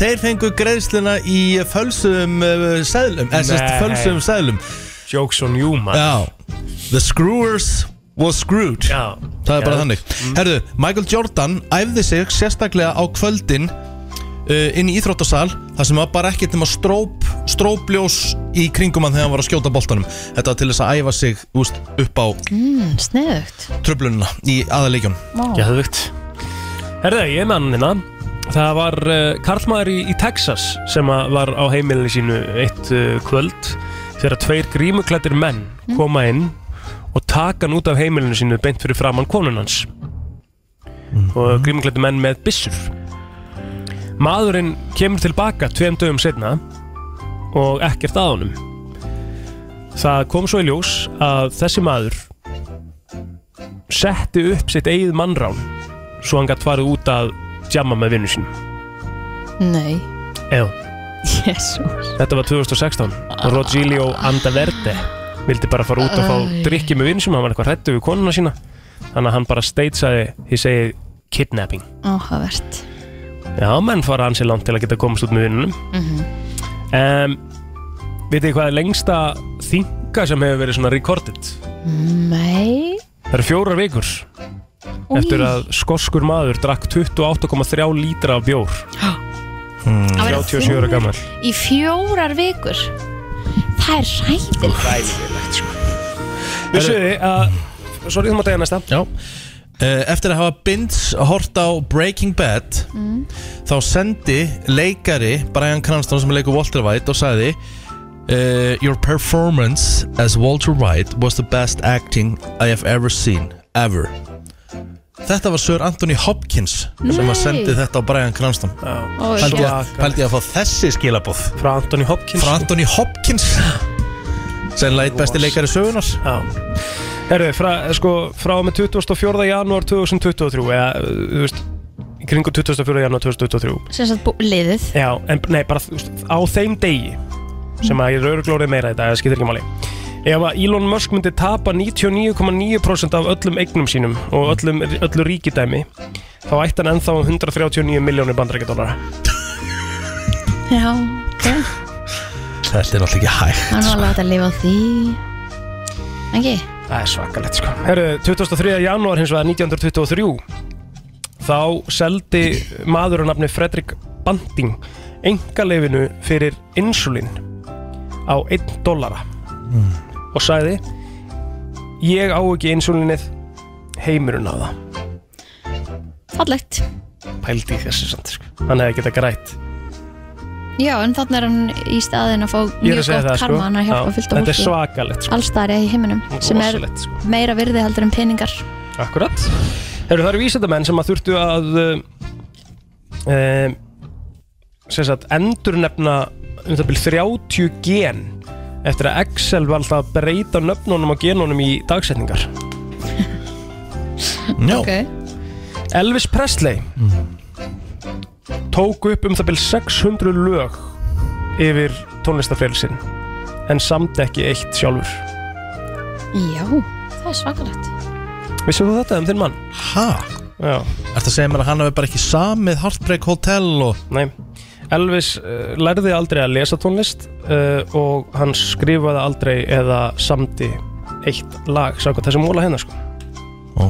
þeir fengu greiðsluna í fölsum uh, seðlum eða sérst
Nei.
fölsum seðlum
Jokes on you, man
Já, the screwers was screwed
Já
Það er bara
Já. Mm.
þannig Herðu, Michael Jordan æfði sig sérstaklega á kvöldin uh, inn í íþróttasal þar sem var bara ekkert nema stróp, strópljós í kringum hann þegar hann var að skjóta boltanum Þetta var til þess að æfa sig úst, upp á
mm, Sniðugt
tröflunina í aðalegjum
Vá.
Geðvögt Herðu, ég er með hann hérna Það var uh, karlmaður í, í Texas sem að var á heimilinu sínu eitt uh, kvöld þegar tveir grímuklættir menn koma inn og taka hann út af heimilinu sínu beint fyrir framann konun hans og grímuklættir menn með byssur Maðurinn kemur tilbaka tveim dögum setna og ekkert að honum Það kom svo í ljós að þessi maður setti upp sitt eigið mannrán svo hann gætt farið út að djamma með vinnu sínum
Nei
Eða,
Jésús
þetta var 2016 og Rogelio Andaverde vildi bara fara út að fá
Æ.
drikki með vinnu sínum hann var eitthvað hrættu við konuna sína þannig að hann bara steitsaði, ég segi kidnapping
Áhugavert
Já, menn fara ansi langt til að geta komast út með vinnunum
Mhm.
um, Vitið þið hvað er lengsta þinga sem hefur verið svona recorded?
Nei
Það eru fjórar vikur
Új.
eftir að skoskur maður drakk 28,3 lítra af bjór Hmm,
mm.
Að vera
37 ára gammal
Í fjórar vikur Það er ræðil
Ræðilegt sko Við séu þið að Sorry, þú mátt eiga næsta
Já Eh, Eftir að hafa binds hort á Breaking Bad þá sendi leikari Brian Cranston sem leikur Walter White og sagði uh, Your performance as Walter White was the best acting I have ever seen, ever Þetta var Sir Anthony Hopkins sem
Nei.
að sendi þetta á Brian Cranston
Ó,
Pældi ég að-
svakalegt.
pældi ég að fá þessi skilabóð
Frá Anthony Hopkins
frá Anthony Hopkins sem leit besti leikari sögunar
Já Herðu, frá, sko, frá og með 24. janúar 2023 eða, eh, þú veist í kringu 24. janúar 2023
Sem sagt bú- liðið
Já, en nei, bara þú veist, á þeim degi sem að ég rauður glórið meira í dag, það skiptir ekki máli Ef að Elon Musk myndi tapa 99,9% af öllum eignum sínum og öllum, öllu ríkidæmi þá ætti hann ennþá 139 miljónir bandarækjadólara
Já ok.
Þetta er náttúrulega ekki hægt
Hann var alveg hægt að lifa á því Engi
Það er svakalegt sko Herru, 23. janúar hins vegar 1923 þá seldi maður á nafni Fredrik Banting engaleifinu fyrir insulin á 1 dollara og sagði ég á ekki insulinið heimurinn á það
Fallegt
pældi í þessu samt sko. hann hefði getað grætt
Já, en þannig er hann í staðin að fá
Ég er
mjög
að segja
gott
það, sko.
karma hann að hjálpa
Já,
fullt á
þetta er
fólki.
svakalegt, sko.
Allstaðar í heiminum sem er
Rosalegt, sko.
meira virði heldur en peningar
Akkurat Heru, Það eru vísindamenn sem að þurftu að e, sem sagt endur nefna um það byrja 30 gen eftir að Excel var alltaf að breyta nöfnunum og genunum í dagsetningar
Já,
okay.
Elvis Presley tók upp um það byrjum 600 lög yfir tónlistarfrelsin en samt ekki eitt sjálfur
Já, það er svakalegt
Vissum þú þetta um þinn mann?
Ha?
Já
Ertu að segja mér að hann hafi bara ekki samið Heartbreak Hotel og...
Nei, Elvis uh, lærði aldrei að lesa tónlist uh, og hann skrifaði aldrei eða samdi eitt lag, sagði þessi móla hennar sko.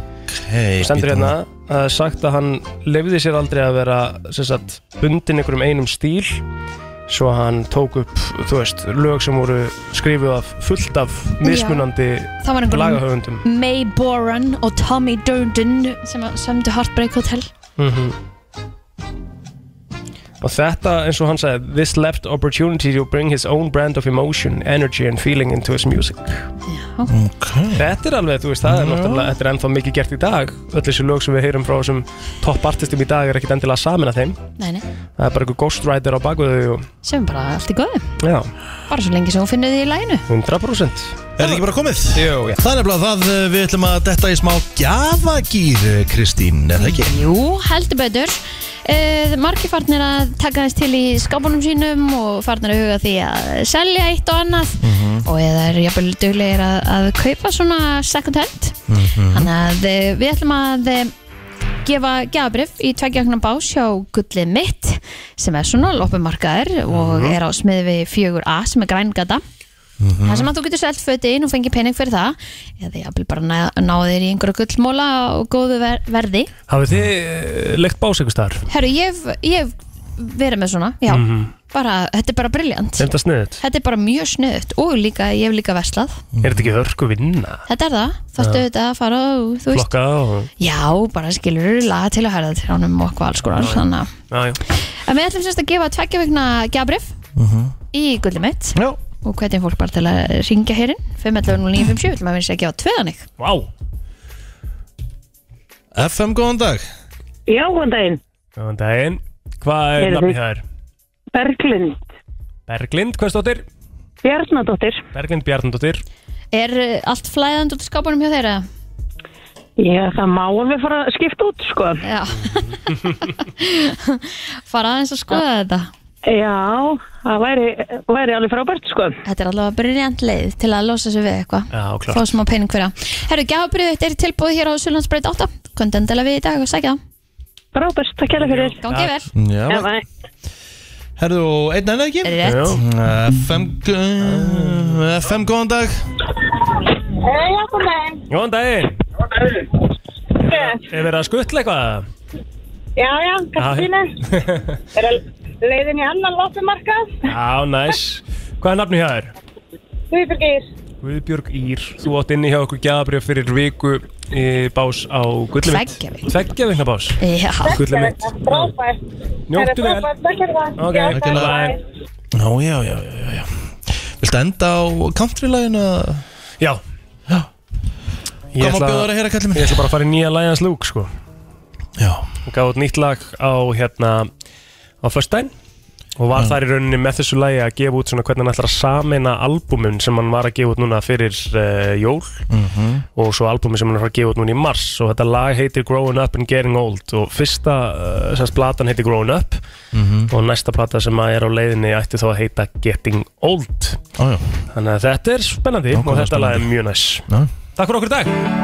Ok
Stendur
býtum
hérna
við.
að sagt að hann lefði sér aldrei að vera sem sagt, bundin einhverjum einum stíl svo hann tók upp, þú veist, lög sem voru skrifuð af fullt af mismunandi
Það var
lagahöfundum.
einhverjum May Boran og Tommy Durden sem að sömdu Heartbreak Hotel
Mhm. Og þetta, eins og hann sagði This left opportunity to bring his own brand of emotion, energy and feeling into his music hérna.
okay.
Þetta er alveg, þú veist, það er
Mhm.
náttúrulega Þetta er ennþá mikið gert í dag Öll þessi lög sem við heyrum frá þessum topp artistum í dag er ekkit endilega samin að þeim
Nei, nei,
Það er bara einhver ghostwriter á baku þau og,
sem er bara allt í góðu
Já,
Bara svo lengi sem hún finnur því í læginu
100%
Er þetta ekki bara komið?
Jú, já
Það er nefnilega það, eh, við ætlum að detta í smá gjafagýr, eh, Kristín, er það ekki?
Jú, heldur betur uh, Marki farnir að taka þess til í skápunum sínum og farnir að huga að því að selja eitt og annað og eða er jafnvel duglegir að, að kaupa svona second hand Þannig að eh, við ætlum að eh, gefa gjafabrif í tveggjögnum bás hjá gullið mitt sem er svona loppumarkaður og er á smiði við 4A sem er grængata Það sem að þú getur selt föti inn og fengið pening fyrir það eða ég vil bara ná, ná þér í einhverja gullmóla og góðu ver verði
Hafið þið eh, leikt bás einhvers staðar?
Herru, ég hef- ég hef verið með svona, já bara, þetta er bara briljant
Er Mhm. þetta sniðið?
Þetta er bara mjög sniðut og líka, ég hef líka verslað
Er þetta ekki hörku vinna?
Þetta er það, þáttu
Já.
þetta að fara og þú veist,
Flokka og...
já, bara skilur laga til að herða til honum og hvað alls konar þannig að
Já, já
En við ætlum semst að gefa tveggja vikna gjabrif í gullið mitt
Mhm. Já.
og hvernig fólk bara til að ringja hérinn 511-0957, við ætlum að vera sér að gefa tveðan ykk
Vá
FM, góðan dag
Já, góðan daginn.
Góðan daginn Hvað er
Heyrðu.
nafnið það er?
Berglind
Berglind, hvað stóttir?
Bjarnadóttir.
Berglind Bjarnadóttir
Er uh, allt flæðand út í skápunum hjá þeirra?
Já, það má alveg fara að skipta út, sko.
Já
(laughs)
Fara aðeins að skoða þetta
Já, það væri, væri alveg frábært, sko.
Þetta er allavega briljant leið til að losa sig við eitthvað
Já,
Fá
klart
smá pening fyrir það Herru, gjafabrið þetta er tilbúið hér á Sjölandsbreyt 8 Kondendilega við í dag og sækja það
Frábært, takk hérlega fyrir.
Gangi vel
Já,
Já, bæ.
herðu, og einn enn ekki?
Rétt.
Já.
FM, gó- FM, góðan dag
Eh, Já, kom með.
Góðan daginn Er verið að
(laughs)
skuttla eitthvað?
Eh, Já, já, Kristína. Er að leiðin í annan loppumarkað?
Já, næs Hvað er nafnið hjá þér?
Guðbyrgir.
Guðbjörg Ír Þú átt inni hjá okkur gjafabrjöf fyrir viku í bás á gullum
Tveggja vikna.
Tveggja vikna bás
Já,
Gullum mitt
Frábært.
Njóttu vel
Takk fyrir það.
Ok,
Já,
takk
bye,
fyrir.
bye.
Já, já, já, já, já, já. Viltu enda á country-læginu? eða?
Já Ég
Hvað má
ætla,
bjóða þér að heyra, kallið
ég
minn?
ætla bara að fara í nýja Lions Luke sko
Já,
Hún gaf út nýtt lag á hérna á föstudaginn og
Mm.
var þar í rauninni með þessu lagi að gefa út svona hvernig hann ætlar að sameina albumin sem hann var að gefa út núna fyrir uh, jól
Mhm.
og svo albumin sem hann var að gefa út núna í mars og þetta lag heitir Growing Up and Getting Old og fyrsta uh, sérst platan heitir Growing Up
Mhm.
og næsta plata sem að er á leiðinni ætti þá að heita Getting Old
á, já
þannig að þetta er spennandi
Nákvæmlega
og þetta lag er
spennandi.
mjög næs
Já.
Takk fyrir okkur í dag